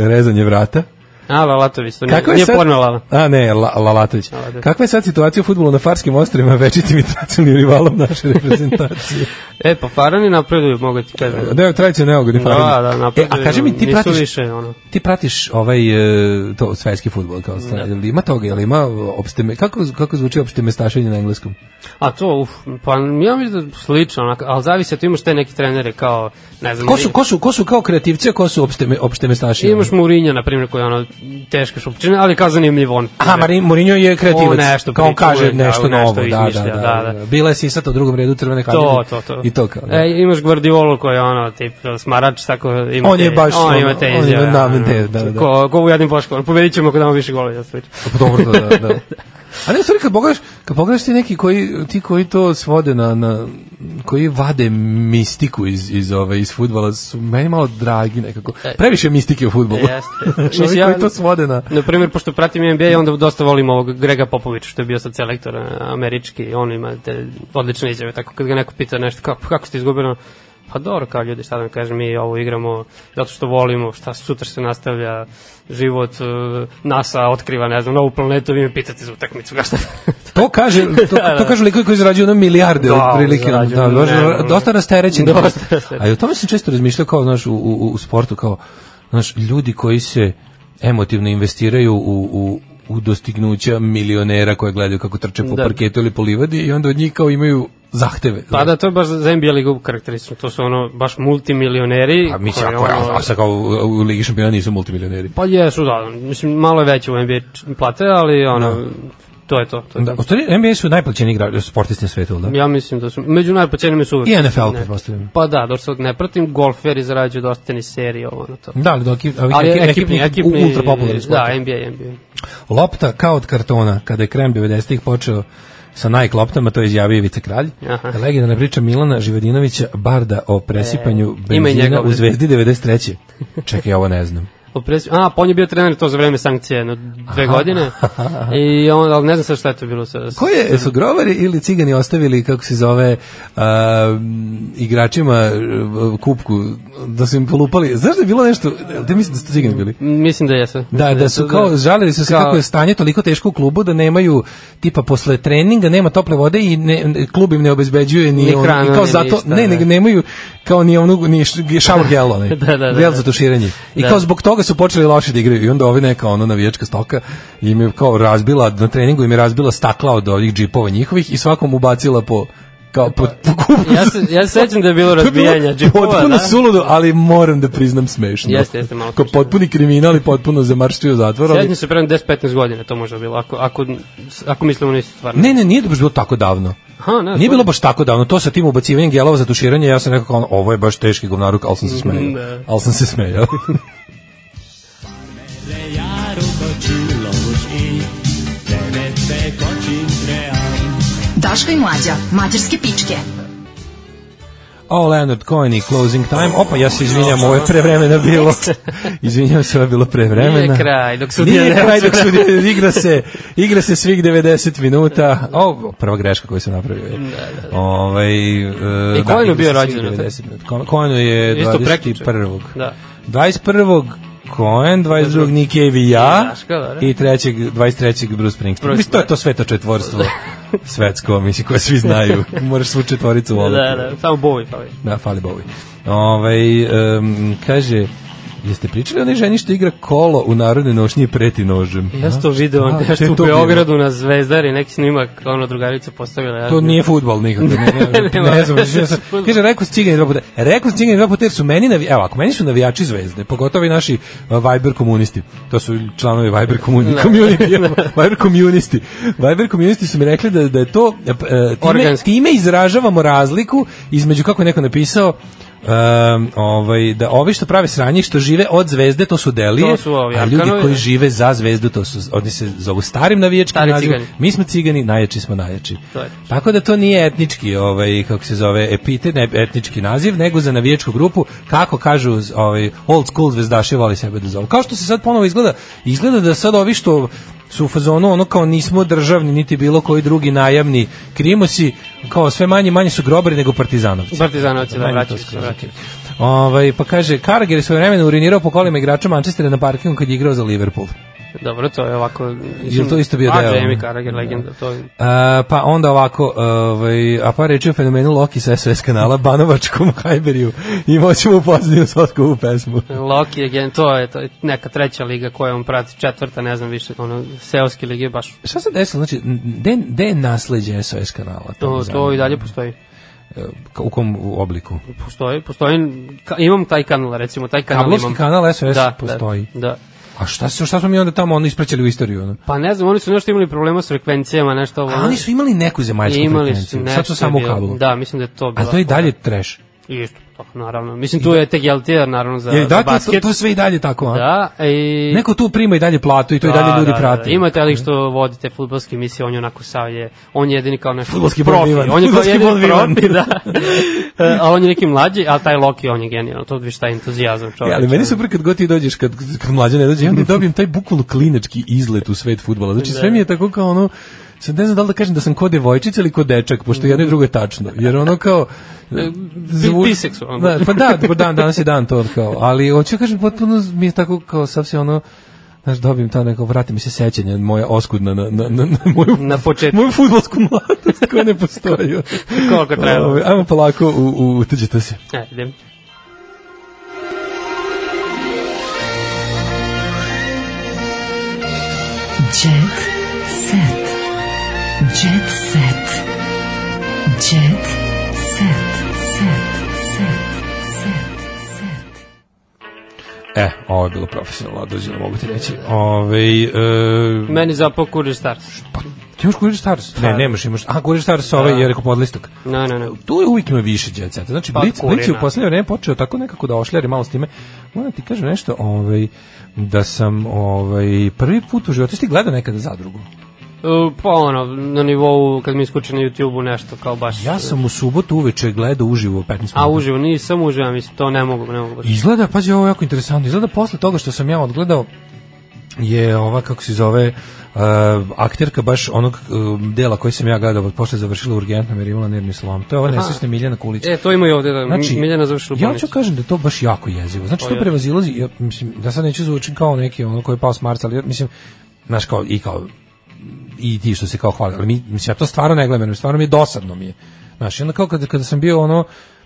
S5: rezanje vrata.
S6: A, Lalatović, to nije, nije porno Lala.
S5: A ne, La, Lalatović.
S6: Lalatović.
S5: Kakva je sad situacija u futbolu na Farskim (laughs) ostrovima večitim i tradicionalnim rivalom naše
S6: (laughs)
S5: reprezentacije?
S6: E, pa Farani napreduju, mogu ti kažem.
S5: da, evo, tradicija neugodni
S6: Da,
S5: Farani.
S6: da,
S5: e,
S6: napreduju.
S5: a kaži mi, ti
S6: nisu
S5: pratiš,
S6: više, ono.
S5: ti pratiš ovaj e, to svetski fudbal kao
S6: Da.
S5: stvar. Jel ima toga, jel ima opšte kako kako zvuči opšte mestašenje na engleskom?
S6: A to, uf, pa ja mislim da slično, onak, ali zavisi, tu imaš te neki trenere kao, ne znam...
S5: Ko su ko su ko su kao kreativci, a ko su opšte opšte mestaši?
S6: Imaš Mourinho, na primjer, koji je ono teška šupčina, ali kao zanimljiv on.
S5: Aha, Marin, Mourinho je kreativac.
S6: On nešto
S5: kao
S6: priča,
S5: kaže
S6: uvek, da,
S5: nešto,
S6: on nešto
S5: novo, da, da,
S6: izmišlja,
S5: da,
S6: da,
S5: da.
S6: da.
S5: Bila je sisata u drugom redu crvene kartice.
S6: To, to, to.
S5: Pa I to kao. Da.
S6: E, imaš Guardiolu koji je ono, tip, smarač, tako ima
S5: On
S6: te-
S5: je baš
S6: on,
S5: ono,
S6: ima te
S5: on ima
S6: izjave,
S5: namen
S6: ono,
S5: te, da, da.
S6: Ko, ko u jednim poškom, pobedit ćemo ako damo više golova,
S5: (laughs)
S6: ja slično.
S5: Pa dobro to, da, da. A ne, u stvari, kad pogledaš, kad pogledaš ti neki koji, ti koji to svode na, na koji vade mistiku iz, iz, ove, iz futbala, su meni malo dragi nekako.
S6: E.
S5: Previše mistike u futbolu.
S6: Jeste.
S5: Čovjek
S6: Mislim, ja-
S5: koji to svode na...
S6: Na primjer, pošto pratim NBA, onda dosta volim ovog Grega Popovića, što je bio sad selektor e, američki, on ima te odlične izjave, tako kad ga neko pita nešto, kao, "Pa kako ste izgubili, pa dobro, kao ljudi, šta da vam kažem, mi ovo igramo zato što volimo, šta sutra se nastavlja život, e, NASA otkriva, ne znam, novu planetu, vi me pitate za utakmicu, (laughs) kao šta?
S5: To kaže, to,
S6: (laughs)
S5: to kažu likovi koji zarađuju ono milijarde
S6: Da,
S5: od prilike. Da,
S6: zarađuju,
S5: baš
S6: ne, ne, ne.
S5: dosta rasterećen.
S6: (laughs) Dosta rasterećen.
S5: A i o tome sam često razmišljao kao, znaš, u, u, u sportu, kao, znaš, ljudi koji se emotivno investiraju u, u, u dostignuća milionera koje gledaju kako trče po
S6: Da.
S5: parketu ili po livadi i onda od njih kao imaju zahteve.
S6: Pa da, to je baš za NBA ligu karakteristično, to su ono, baš multimilioneri.
S5: A mi se
S6: koji,
S5: ako,
S6: ono-
S5: a, a sad kao u, u Ligi šampiona nisu multimilioneri.
S6: Pa jesu, da, mislim, malo je veće u NBA č- plate, ali ono, to je to. to je
S5: Da,
S6: to.
S5: u stvari, NBA su najplaćeni igrači sportisti na svetu, jel da?
S6: Pa Ja mislim da su, među najpoćenijima su uvek.
S5: I NFL,
S6: Ne.
S5: pretpostavljam.
S6: Pa da, dok se ne pratim, golferi zarađuju dosta teniseri, ovo na to.
S5: Da, ali dok je- ovih
S6: Ali
S5: neki- ekipni- ultra popularni sport.
S6: Da, NBA, NBA.
S5: Lopta kao od kartona, kada je krem 90-ih počeo sa Nike loptama, to je izjavio Ivica Kralj.
S6: Aha.
S5: Legendarna priča Milana Živodinovića Barda o presipanju
S6: E, ima i
S5: benzina
S6: njega
S5: u
S6: ovde.
S5: Zvezdi 93. Čekaj, ovo ne znam.
S6: O presi- A, pa on je bio trener to za vreme sankcije, jedno dve
S5: Aha.
S6: godine. I on, ali ne znam sad šta je to bilo. Sa,
S5: Ko
S6: (laughs)
S5: je, su grovari ili cigani ostavili, kako se zove, a, igračima uh, kupku, da su im polupali? Znaš da je bilo nešto, da mislim da su to cigani bili?
S6: Mislim da jesu.
S5: Da, da su kao, žalili su se
S6: Kao-
S5: kako je stanje toliko teško u klubu da nemaju, tipa posle treninga nema tople vode i ne, ne- klub im ne obezbeđuje ni,
S6: Ni
S5: ono,
S6: hranu,
S5: i kao
S6: ni
S5: zato,
S6: ništa,
S5: ne,
S6: da.
S5: nego nemaju kao ni onu, ni š- shower gel, onaj,
S6: (laughs) Da, da, da,
S5: gel
S6: da.
S5: za tuširanje. I
S6: Da.
S5: kao zbog toga su počeli loše da igraju i onda ovi neka ono navijačka stoka im je kao razbila, na treningu im je razbila stakla od ovih džipova njihovih i svakom ubacila po Kao, po, po kupu-
S6: Ja se- ja se sećam da je bilo
S5: To
S6: razbijanja džipova,
S5: Potpuno
S6: da.
S5: suludo, ali moram da priznam smešno.
S6: Jeste, jeste, malo
S5: Kao potpuni kriminal i potpuno zamrštio zatvor. ali-
S6: Sjetno se prema 10-15 godina, to može bilo, ako, ako, ako mislimo nisu stvarno.
S5: Ne, ne, nije baš bilo tako davno.
S6: Aha, ne,
S5: Nije bilo baš tako davno, to sa tim ubacivanjem gelova za tuširanje, ja sam nekako ono, ovo je baš teški govnaruk, ali
S6: Mm,
S5: sam se smejao.
S6: Ne.
S5: Ali sam se smejao. (laughs)
S4: Daško i mlađa, mađarske pičke.
S5: O, Leonard Cohen i Closing Time. Opa, ja se izvinjam, ovo je prevremena
S6: (laughs)
S5: bilo. Izvinjam se, ovo je bilo prevremena.
S6: (laughs) Nije kraj, dok sudija
S5: Nije
S6: ne
S5: kraj dok
S6: odsvira.
S5: sudija- igra se, igra se svih 90
S6: Da.
S5: minuta. O, prva greška koju sam napravio. je. Ovaj, e,
S6: I
S5: da,
S6: Cohen je
S5: igra se
S6: bio
S5: svih
S6: rođen,
S5: 90 minuta. Cohen- Cohen je
S6: Isto prekjuče.
S5: 21.
S6: Da.
S5: 21. Cohen, 22. Nick Cave i ja,
S6: Daško, dobro.
S5: i 3. 23. Bruce Springsteen.
S6: da, Bruce
S5: Mislim, to je to sveto četvorstvo svetsko, mislim, koje svi
S6: (laughs)
S5: znaju. Moraš svu četvoricu
S6: Da,
S5: voliti.
S6: da, samo bovi fali.
S5: Da, fali Bovi. Ovaj em, kaže, jeste pričali o onoj ženi što igra kolo u narodnoj nošnji i preti nožem?
S6: Ja sam to video,
S5: A,
S6: ja
S5: to je
S6: što u
S5: to bilo.
S6: Beogradu na Zvezdari, neki snimak, ono drugarica postavila. Ja,
S5: To nije fudbal
S6: (laughs)
S5: nikako, ne, ne, ne,
S6: Nema
S5: znam.
S6: veze
S5: ja sam-
S6: s fudbalom.
S5: Kaže, rekao si cigani dva puta. Rekao si cigani dva puta jer su meni, navi, evo, ako meni su navijači zvezde, pogotovo i naši uh, Viber komunisti, to su članovi Viber komuni,
S6: Da.
S5: community, Viber komunisti, Viber komunisti su mi rekli da, da je to, e, p- e, time,
S6: Organski.
S5: time izražavamo razliku između, kako je neko napisao, Um, ovaj, da ovi što prave sranje i što žive od zvezde to su delije,
S6: To su ovi
S5: a ljudi
S6: Arkanovi,
S5: koji
S6: da.
S5: žive za zvezdu to su, oni se zovu starim navijačkim
S6: Stari
S5: nazivom,
S6: cigani.
S5: mi smo cigani, najjači smo najjači
S6: To je.
S5: tako da to nije etnički, ovaj kako se zove, epitet, ne etnički naziv, nego za navijačku grupu, kako kažu z- ovaj old school zvezdaši voli sebe da zovu. Kao što se sad ponovo izgleda, izgleda da sad ovi što su u fazonu ono kao nismo državni niti bilo koji drugi najamni krimosi, kao sve manje i manje su grobari nego partizanovci.
S6: Partizanovci, da,
S5: Meni to
S6: vraćaju
S5: skroz
S6: se, vraćaju
S5: ok. Ovaj, pa kaže, Carragher je svoje vremena urinirao po kolima igrača Manchestera na parkingu kad je igrao za Liverpool.
S6: Dobro, to je ovako...
S5: Jel to isto bio
S6: A,
S5: deo? Da.
S6: Jamie Carragher, legenda, to je...
S5: A, pa onda ovako, ovaj, a pa reći o fenomenu Loki sa SOS kanala, Banovačkom Hajberiju, imao ćemo u pozadnju Soskovu pesmu.
S6: Loki again, to je, to je neka treća liga koja on prati, četvrta, ne znam više, ono, seoski lige je baš,
S5: Šta se desilo, znači, gde, gde je nasledđe SOS kanala? me
S6: to, to
S5: zanima.
S6: i dalje postoji.
S5: Ka- U kom u obliku?
S6: Postoji, postoji, ka, imam taj kanal, recimo, taj kanal
S5: Kablovski
S6: imam.
S5: kanal SOS
S6: da,
S5: postoji.
S6: Da, da.
S5: A šta, su- šta smo mi onda tamo ono ispraćali u istoriju? Ono?
S6: Pa ne znam, oni su nešto imali problema s frekvencijama, nešto ovo.
S5: A oni su imali neku zemaljsku
S6: imali su
S5: frekvenciju,
S6: nešto.
S5: sad su samo u
S6: je bilo.
S5: kablu.
S6: Da, mislim da je to
S5: A
S6: bilo.
S5: to je i dalje trash.
S6: Isto, tako, naravno. Mislim, tu je TGLTR, naravno, za,
S5: Je,
S6: za
S5: da, to,
S6: basket.
S5: to sve i dalje tako, a?
S6: Da, i...
S5: Neko tu prima i dalje platu i to i
S6: Da,
S5: dalje ljudi
S6: da, da,
S5: prate.
S6: Da, ima taj lik što vodi te fudbalske emisije, on je onako sav je, on je jedini kao nešto
S5: Fudbalski Bon
S6: profi,
S5: Ivan.
S6: on je kao
S5: Fudbalski Bon
S6: jedini
S5: Ivan.
S6: profi, da. (laughs) E, a on je neki mlađi, a taj Loki on je genijalno, to vidiš taj entuzijazam čovjek.
S5: Ja, E, ali meni super kad god ti dođeš, kad, kad mlađe ne dođe, ja onda dobijem taj bukvalno klinački izlet u svet futbala. Znači sve mi je tako kao ono, sad ne znam da li da kažem da sam ko devojčica ili ko dečak, pošto jedno i drugo je tačno. Jer ono kao... zvu-
S6: biseksualno.
S5: Da, pa da, pa dan, danas je dan to kao. Ali hoću da kažem, potpuno mi je tako kao sav se ono, znaš, dobijem ta neko, vrati mi se sećanje moje oskudna na, na, na, na moju,
S6: Na početku.
S5: moju futbolsku mladost koja ne postoji.
S6: Koliko treba.
S5: Ovaj, Ajmo polako, u, u, utiđite se.
S6: E, idem.
S4: Jet set. Jet set. Jet set. Set. Set. Set. Set.
S5: E, ovo je bilo profesionalno određeno, mogu ti reći. Ove, e,
S6: Meni zapao Kurir Stars. E,
S5: ti imaš Kurir Stars? Ne, nemaš, imaš. A, Kurir Stars,
S6: Da.
S5: ovaj je rekao podlistak.
S6: Ne, ne, ne.
S5: Tu je uvijek ima više jet seta. Znači,
S6: Pa,
S5: Blitz, Blitz je u
S6: Kurina.
S5: poslednje vreme počeo tako nekako da ošljari malo s time. Moram ti kažem nešto, ovaj, da sam ovaj, prvi put u životu, jesi ti gledao nekada zadrugu?
S6: E, Pa ono, na nivou kad mi iskuče na YouTube-u nešto kao baš...
S5: Ja sam u subotu uveče gledao uživo 15 minuta.
S6: A uživo, nisam uživo, mislim, to ne mogu, ne mogu baš.
S5: Izgleda, pazi, ovo je jako interesantno. Izgleda posle toga što sam ja odgledao je ova, kako se zove, uh, akterka baš onog uh, dela koji sam ja gledao, posle završila urgentno jer je imala nervni slom. To je ova
S6: Aha.
S5: nesrećna Miljana Kulić.
S6: E, to ima i ovde, da, Mi- Miljana završila u
S5: Znači, ja
S6: bolnici.
S5: ću kažem da je to baš jako jezivo. Znači,
S6: Pa
S5: to
S6: je.
S5: prevazilazi, ja, mislim, da sad neću zvučim kao neki ono koji je pao s Marsa, ali ja, mislim, znaš, kao, i kao, i ti što se kao hvali, ali mi, mislim, ja to stvarno ne gledam, jer stvarno mi je dosadno mi je. Znaš, i onda kao kada, kada sam bio ono,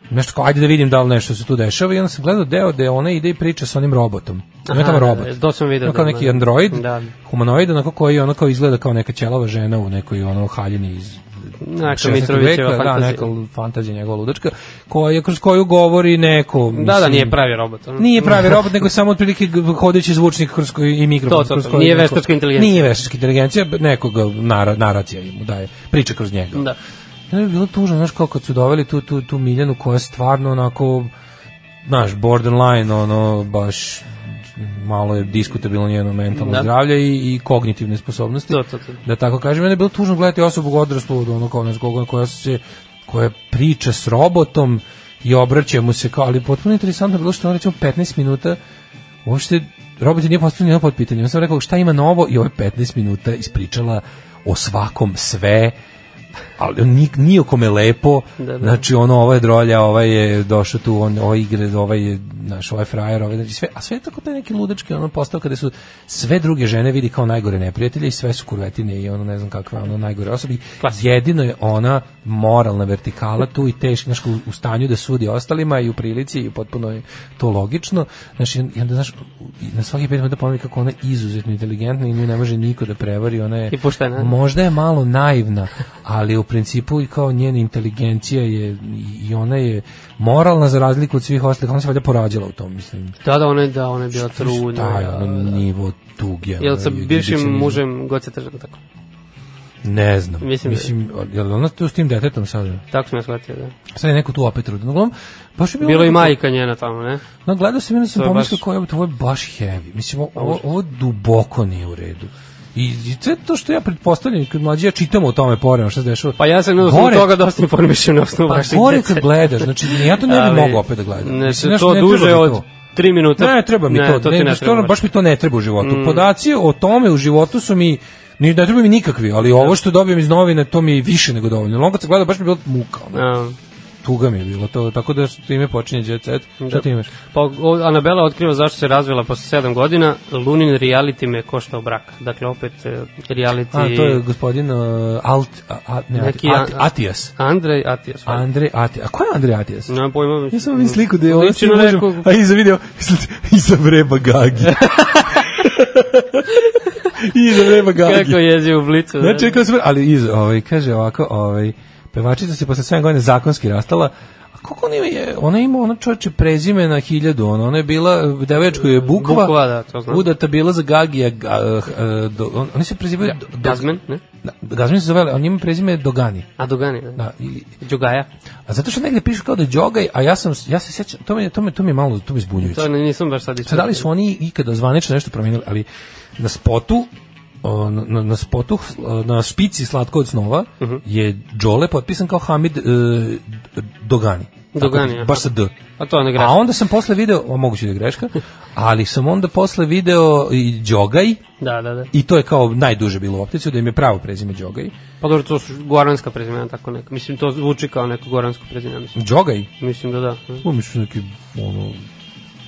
S5: nešto kao, ajde da vidim da li nešto se tu dešava, i onda sam gledao deo gde ona ide i priča sa onim robotom. Ima
S6: Aha,
S5: tamo
S6: da,
S5: robot.
S6: da, to sam video,
S5: Ima kao
S6: da,
S5: neki
S6: da.
S5: android,
S6: Da.
S5: humanoid, onako koji ono kao izgleda kao neka ćelava žena u nekoj ono haljini iz
S6: Neka
S5: 16.
S6: Mitrovićeva
S5: veka, da,
S6: fantazija.
S5: neka fantazija njegova ludačka, koja, kroz koju govori neko.
S6: Da, da, nije pravi robot. ono.
S5: Nije pravi robot, nego je samo otprilike g- hodeći zvučnik kroz koji, i mikrofon.
S6: To, to,
S5: kroz
S6: to.
S5: koji
S6: Nije
S5: neko-
S6: veštačka inteligencija.
S5: Nije veštačka inteligencija, nekoga nara, naracija mu daje, priča kroz njega.
S6: Da.
S5: Ja je bilo tužno, znaš, kao kad su doveli tu, tu, tu Miljanu koja je stvarno onako, znaš, borderline, ono, baš malo je diskutabilno njeno mentalno
S6: Da.
S5: zdravlje i, i kognitivne sposobnosti.
S6: To, to, to.
S5: Da tako kažem, meni je bilo tužno gledati osobu odraslu od ono kao nas Gogona koja se koja priča s robotom i obraća mu se kao, ali potpuno interesantno je bilo što on recimo 15 minuta uopšte robot je nije postavio nijedno pod pitanje. On sam rekao šta ima novo i ovo je 15 minuta ispričala o svakom sve ali on ni, ni o kome lepo,
S6: Da, da.
S5: znači ono, ovo je drolja, ovaj je došao tu, on, ovaj igre, ovaj je, naš, ovaj je frajer, ovaj, znači sve, a sve je tako te neke ludačke ono postavka gde su sve druge žene vidi kao najgore neprijatelje i sve su kurvetine i ono ne znam kakve, ono najgore osobi. Jedino je ona moralna vertikala tu i teška, znaš, u, u stanju da sudi ostalima i u prilici i potpuno je to logično, znači, i onda, znaš, i na svaki pet minuta ponovi kako ona je izuzetno inteligentna i nju ne može niko da prevari, ona je
S6: I poštena.
S5: možda je malo naivna, ali u principu i kao njena inteligencija je i ona je moralna za razliku od svih ostalih, ona se valjda porađala u tom, mislim.
S6: Da, da, ona je, da, ona je bila trudna.
S5: Taj
S6: da,
S5: ono nivo tuge.
S6: Jel
S5: ono,
S6: sa
S5: i
S6: bivšim
S5: egzibicionizma.
S6: mužem god se tržan tako?
S5: Ne znam.
S6: Mislim
S5: Mislim,
S6: da-
S5: mislim jel ona tu s tim detetom sad?
S6: Tako sam ja shvatio, da.
S5: Sad je neko tu opet trudno. Uglavnom, baš je bilo...
S6: Bilo i
S5: nekako-
S6: majka njena tamo, ne?
S5: No, gledao sam i onda sam
S6: To je
S5: pomislio
S6: baš-
S5: kao, evo, ovo je baš heavy. Mislim, ovo- ovo, ovo duboko nije u redu. I, i sve to što ja pretpostavljam, kad mlađi ja čitam o tome poreno, šta se dešava.
S6: Pa ja sam na osnovu toga dosta informišem na osnovu
S5: pa
S6: vaših
S5: gore
S6: dece.
S5: kad gledaš, znači ja to ne bih
S6: Ali,
S5: mogao opet da gledam.
S6: Ne,
S5: Mislim,
S6: se
S5: znaš,
S6: to
S5: ne
S6: duže
S5: treba mi
S6: od
S5: to.
S6: 3 minuta.
S5: Ne, treba mi to.
S6: to ti
S5: ne,
S6: ne
S5: što,
S6: treba.
S5: baš mi to ne treba u životu.
S6: Mm.
S5: Podaci o tome u životu su mi ni ne treba mi nikakvi,
S6: Da.
S5: ali ovo što dobijem iz novina to mi je više nego dovoljno. Longa se gleda baš mi je bilo muka. ono. Tuga mi je bilo to, tako da time počinje Jet Set. Šta
S6: Da.
S5: ti imaš?
S6: Pa o, Anabela otkriva zašto se razvela posle 7 godina. Lunin reality me koštao brak. Dakle, opet e, reality...
S5: A, to je gospodin uh, Alt, a, a, ne, Ati,
S6: Neki
S5: Ati,
S6: An-
S5: Atijas.
S6: Andrej Atijas. valjda.
S5: Andrej Atijas. A ko je Andrej Atijas?
S6: Nemam pojma.
S5: Ja sam vidim sliku da je ono
S6: Liči na
S5: snimljeno,
S6: nekog-
S5: a iza video, iza vreba gagi. iza vreba gagi.
S6: (laughs) Kako jezi u blicu. da.
S5: Znači, kao super, ali iz, ovaj, kaže ovako, ovaj, pevačica se posle 7 godina zakonski rastala, a koliko ona ima, je, ona ima ono čoveče prezime na hiljadu, ona, ona je bila, devoječko je Bukva,
S6: Bukva, da, to znam.
S5: udata bila za Gagija, ga, eh, do, on, oni se prezivaju... Do, do-
S6: Gazmen, ne?
S5: Da, Gazmen se zove, on njima prezime je Dogani.
S6: A Dogani, da.
S5: Da, ili,
S6: Đogaja.
S5: a zato što negde piše kao da je Đogaj, a ja sam, ja se sećam, to me, to me, to me malo, to me zbunjujuće.
S6: To ne, nisam baš sad
S5: Sad, da li su oni ikada zvanično nešto promenili, ali na spotu o, na- na, na spotu, o, na špici Slatko od snova
S6: Mhm.
S5: je Đole potpisan kao Hamid e, Dogani. Tako, da,
S6: Dogani, Da aha.
S5: baš sa D.
S6: A Pa to ne greš.
S5: A onda sam posle video, o, moguće da je greška, ali sam onda posle video i Đogaj,
S6: Da, da, da.
S5: i to je kao najduže bilo u opticu, da im je pravo prezime Đogaj.
S6: Pa dobro, to su goranska prezimena, tako neka. Mislim, to zvuči kao neko goransko prezime, mislim.
S5: Đogaj?
S6: Mislim da da.
S5: Pa mislim neki, ono,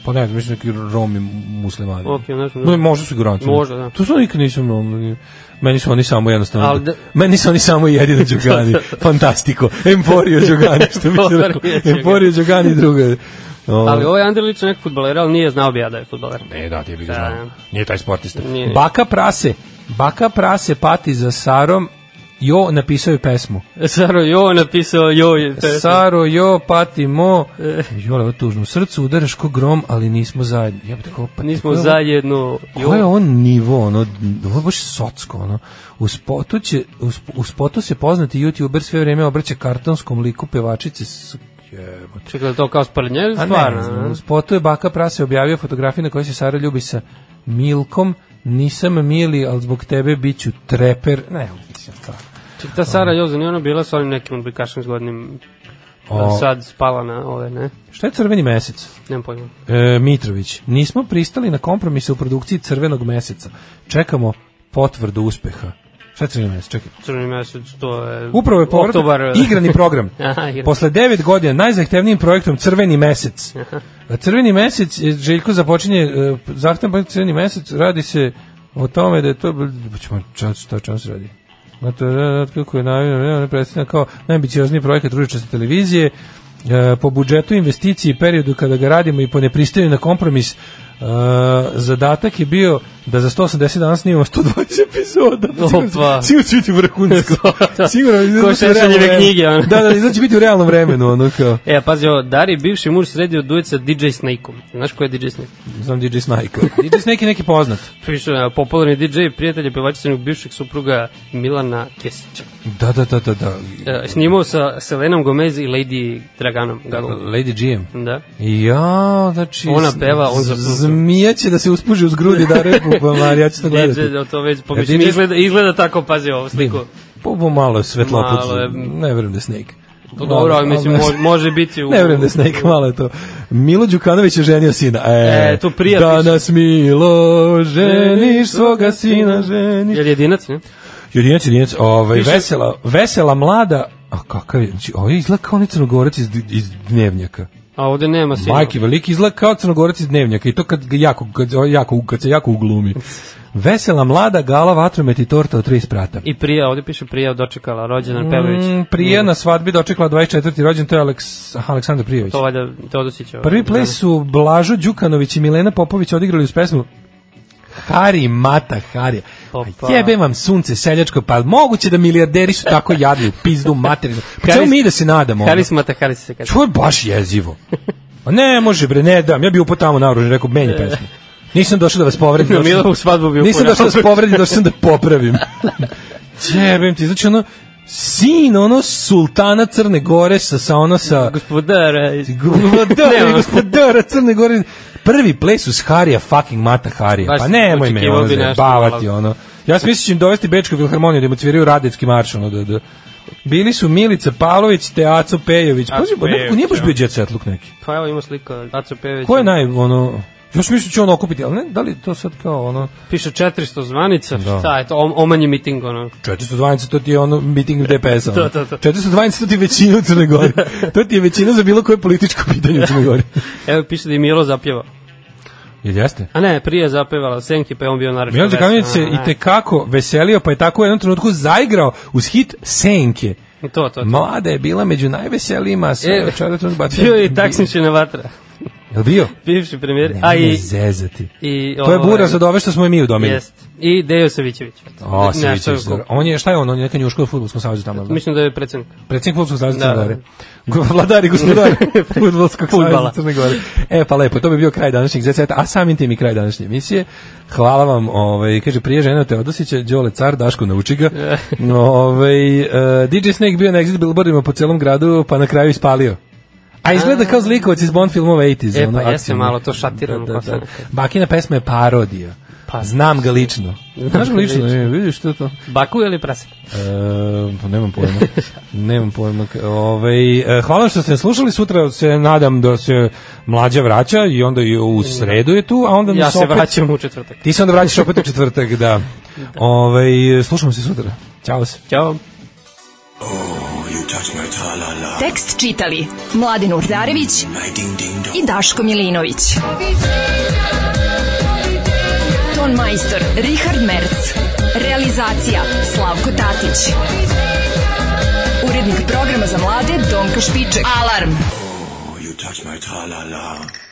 S5: pa ne znam, mislim neki Romi muslimani.
S6: Ok, ne znam, da.
S5: No, možda su igranci.
S6: Možda, da.
S5: To su nikad nisam, ono, meni su oni samo jednostavno,
S6: Ali da-
S5: meni su oni samo
S6: (laughs)
S5: jedino Đogani, fantastiko, Emporio Đogani, što bi se rekao,
S6: Emporio Đogani.
S5: Emporio Đogani i druga. O,
S6: Ali ovaj Andrej liči neki futbaler, ali nije znao bi ja da je futbaler.
S5: Ne, da, ti bi ga
S6: Da.
S5: znao. Nije taj sportista.
S6: Nije, nije.
S5: Baka prase, baka prase pati za sarom, jo, napisao je pesmu.
S6: Saro Jo je napisao Jo je...
S5: Saro, jo, patimo. Jo, ovo je tužno. U srcu udaraš ko grom, ali nismo zajedno. Ja bih tako, pa
S6: Nismo
S5: ko je ovo-
S6: zajedno...
S5: Ko je on nivo, ono, ovo je baš socko, ono. U spotu, će, u, sp- u spotu se poznati youtuber sve vreme obraća kartonskom liku pevačice s... Jebote.
S6: Čekaj, je to kao spored nje ili
S5: A
S6: stvarno?
S5: ne, ne znam,
S6: a?
S5: u spotu je baka prase objavio fotografiju na kojoj se Sara ljubi sa Milkom. Nisam mili, ali zbog tebe bit ću treper. Ne, mislim, stvarno.
S6: Čekaj, ta Sara Jo, nije ona bila sa onim nekim odbojkašem zgodnim...
S5: O.
S6: Sad spala na ove, ne?
S5: Šta je crveni mesec?
S6: Nemam pojma.
S5: E, Mitrović, nismo pristali na kompromise u produkciji Crvenog meseca. Čekamo potvrdu uspeha. Šta je Crveni mesec? Čekaj.
S6: Crveni mesec, to je...
S5: Upravo je povratak
S6: Oktobar, e.
S5: igrani program.
S6: (laughs) Aha, igrani.
S5: Posle devet godina najzahtevnijim projektom Crveni mesec.
S6: Aha.
S5: Crveni mesec, e, Željko započinje e, zahtevan projekt Crveni mesec, radi se o tome da je to... Pa ćemo, čas- Šta čas se radi? Na to je otkako je najavljeno, ne predstavlja kao najambiciozniji projekat ružičaste televizije, e, po budžetu investiciji i periodu kada ga radimo i po nepristajanju na kompromis, e, zadatak je bio da za 180 dana snimamo 120 epizoda.
S6: Opa.
S5: Sigurno će biti vrhunsko. (laughs) Sigurno.
S6: Ko
S5: izlazi u
S6: šešeljeve
S5: realnom vremenu.
S6: knjige, ono.
S5: Da, da, izlazi biti u realnom vremenu, ono kao.
S6: E, pazi ovo, Dari, bivši muž sredio duet sa DJ Snake-om. Znaš ko je DJ Snake?
S5: Znam DJ (laughs) Snake. DJ Snake je neki poznat.
S6: Piše, a, popularni DJ, prijatelj je pevačicenog bivšeg supruga Milana Kesića.
S5: Da, da, da, da, da.
S6: E, snimao sa Selenom Gomez i Lady Draganom. Gagovom.
S5: Lady GM.
S6: Da.
S5: Ja, znači...
S6: Ona peva, on
S5: z-
S6: zapuca.
S5: Zmija će da se uspuži uz grudi da repu, pa mar, ja ću to gledati.
S6: DJ, da, to već,
S5: Ja,
S6: pomišljam,
S5: DJ
S6: izgleda, izgleda tako, pazi ovo sliku.
S5: Bim. Po, po malo je svetloput.
S6: Malo je-
S5: Ne verujem da je Snake.
S6: Pa dobro, ali mislim,
S5: Malo je-
S6: mo- može biti u-
S5: Ne verujem da je Snake, malo je to. Milo Đukanović je ženio sina. E,
S6: E, to prija
S5: Danas Milo ženiš svoga sina, ženiš.
S6: Jel jedinac, ne?
S5: Jedinac, jedinac, ovaj,
S6: Piše-
S5: vesela, vesela mlada, a kakav je, znači, ovo je izgleda kao onaj crnogorac iz, iz dnevnjaka.
S6: A ovde nema sina.
S5: Majke veliki izgleda kao crnogorac iz dnevnjaka i to kad ga jako kad, ovaj, jako kad se jako uglumi. Vesela mlada gala vatromet i torta od tri sprata.
S6: I prija, ovde piše prija dočekala, rođendan pevajući.
S5: Mm, prija na svadbi dočekala 24. rođen, to je Aleks, aha, Aleksandar Prijović.
S6: To valjda Teodosića.
S5: Prvi ples su Blažo Đukanović i Milena Popović odigrali uz pesmu Hari Mata Hari.
S6: Opa.
S5: Jebe vam sunce seljačko, pa moguće da milijarderi su tako jadni u pizdu materinu. Pa
S6: Haris-
S5: Čemu mi da se nadamo? ono?
S6: Haris Mata, Haris se kaže.
S5: To je baš jezivo. A ne može bre, ne dam. Ja bih upao tamo naoružan, rekao menji pesmu. Nisam došao da vas povredim.
S6: Na
S5: došao sam-
S6: Milovu E. svadbu bi upao
S5: Nisam došao da vas
S6: naoružan. (laughs)
S5: povredim, došao sam da popravim. Jebem ti, znači ono sin ono sultana Crne Gore sa, sa ono sa
S6: Gospodara.
S5: gospodara,
S6: e, (laughs) Nema.
S5: gospodara Crne Gore prvi ples uz Harija fucking Mata Harija
S6: Baš
S5: pa nemoj me
S6: očekivao
S5: ono
S6: bi nešto
S5: zajebavati
S6: malo.
S5: ono ja sam mislio da će im dovesti Bečku filharmoniju da im otviraju Radetski marš ono da, da. bili su Milica Pavlović te Aco Pejović
S6: Aco
S5: pa
S6: Pejović,
S5: nije baš
S6: ja.
S5: bio jet setluk neki
S6: Pa evo ima slika, Aco Pević.
S5: ko je naj ono ja sam mislio će ono okupiti ali ne da li to sad kao ono
S6: Piše 400 zvanica,
S5: Da.
S6: šta je to, om- omanji miting, ono.
S5: 412 to ti je ono meeting DPS-a. ono.
S6: (laughs) To, to, to.
S5: 412 to ti je većina u Crnoj
S6: (laughs)
S5: Gori. to ti je većina za bilo koje političko pitanje u Crnoj Gori.
S6: Evo piše da je Milo zapjevao.
S5: Jel jeste?
S6: A ne, prije je zapevala Senki, pa je on bio naravno.
S5: Milo Đukanović se
S6: da.
S5: i tekako veselio, pa je tako u jednom trenutku zaigrao uz hit Senke.
S6: To, to, to.
S5: Mlada je bila među najveselijima, sve
S6: E,
S5: je očara tu bacio.
S6: Bio je i taksinčina vatra,
S5: Jel bio?
S6: bivši premijer. A
S5: Nemoj me
S6: i,
S5: zezati.
S6: i
S5: To je
S6: ovaj-
S5: buraz od ove što smo i mi udomili.
S6: Jest. I Dejo Savićević.
S5: O,
S6: Nešto je
S5: Savićević,
S6: oko-
S5: dobro. On je, šta je on? On je neka njuška u futbolskom savjezu tamo. jel da?
S6: Mislim da je predsednik.
S5: Predsjednik Futbolskog savjeza
S6: Da,
S5: Crne
S6: da.
S5: Gore. Vladar i
S6: (laughs)
S5: gospodar Futbolskog savjeza
S6: Fudbala.
S5: Crne Gore. E, pa lepo, to bi bio kraj današnjeg ZZ, a samim tim i kraj današnje emisije. Hvala vam, ovaj, kaže, prije žena Teodosića, Đole Car, Daško nauči
S6: (laughs)
S5: ga. ovaj, e, DJ Snake bio na exit billboardima po celom gradu, pa na kraju ispalio. A izgleda kao zlikovac iz Bond filmova 80s.
S6: E, pa
S5: ono,
S6: jeste
S5: akcijno.
S6: malo to šatirano,
S5: Da, da,
S6: ko
S5: da.
S6: se-
S5: Bakina pesma je parodija.
S6: Pa-
S5: Znam ga
S6: (laughs)
S5: lično. Znaš ga lično?
S6: Lično.
S5: E, vidiš to to.
S6: Baku ili prase?
S5: E, pa nemam pojma. nemam pojma. K- Ovaj e, hvala što ste slušali. Sutra se nadam da se mlađa vraća i onda i u sredu je tu, a onda
S6: Ja
S5: nas
S6: se
S5: opet...
S6: vraćam u četvrtak.
S5: Ti se onda vraćaš opet u četvrtak, da. Ovaj slušamo se sutra. Ćao se.
S6: Ćao.
S4: Tekst čitali Mladin Urdarević i Daško Milinović. Ton majstor Richard Merc. Realizacija Slavko Tatić. Urednik programa za mlade Donka Špiček. Alarm!
S15: You touch my tra-la-la.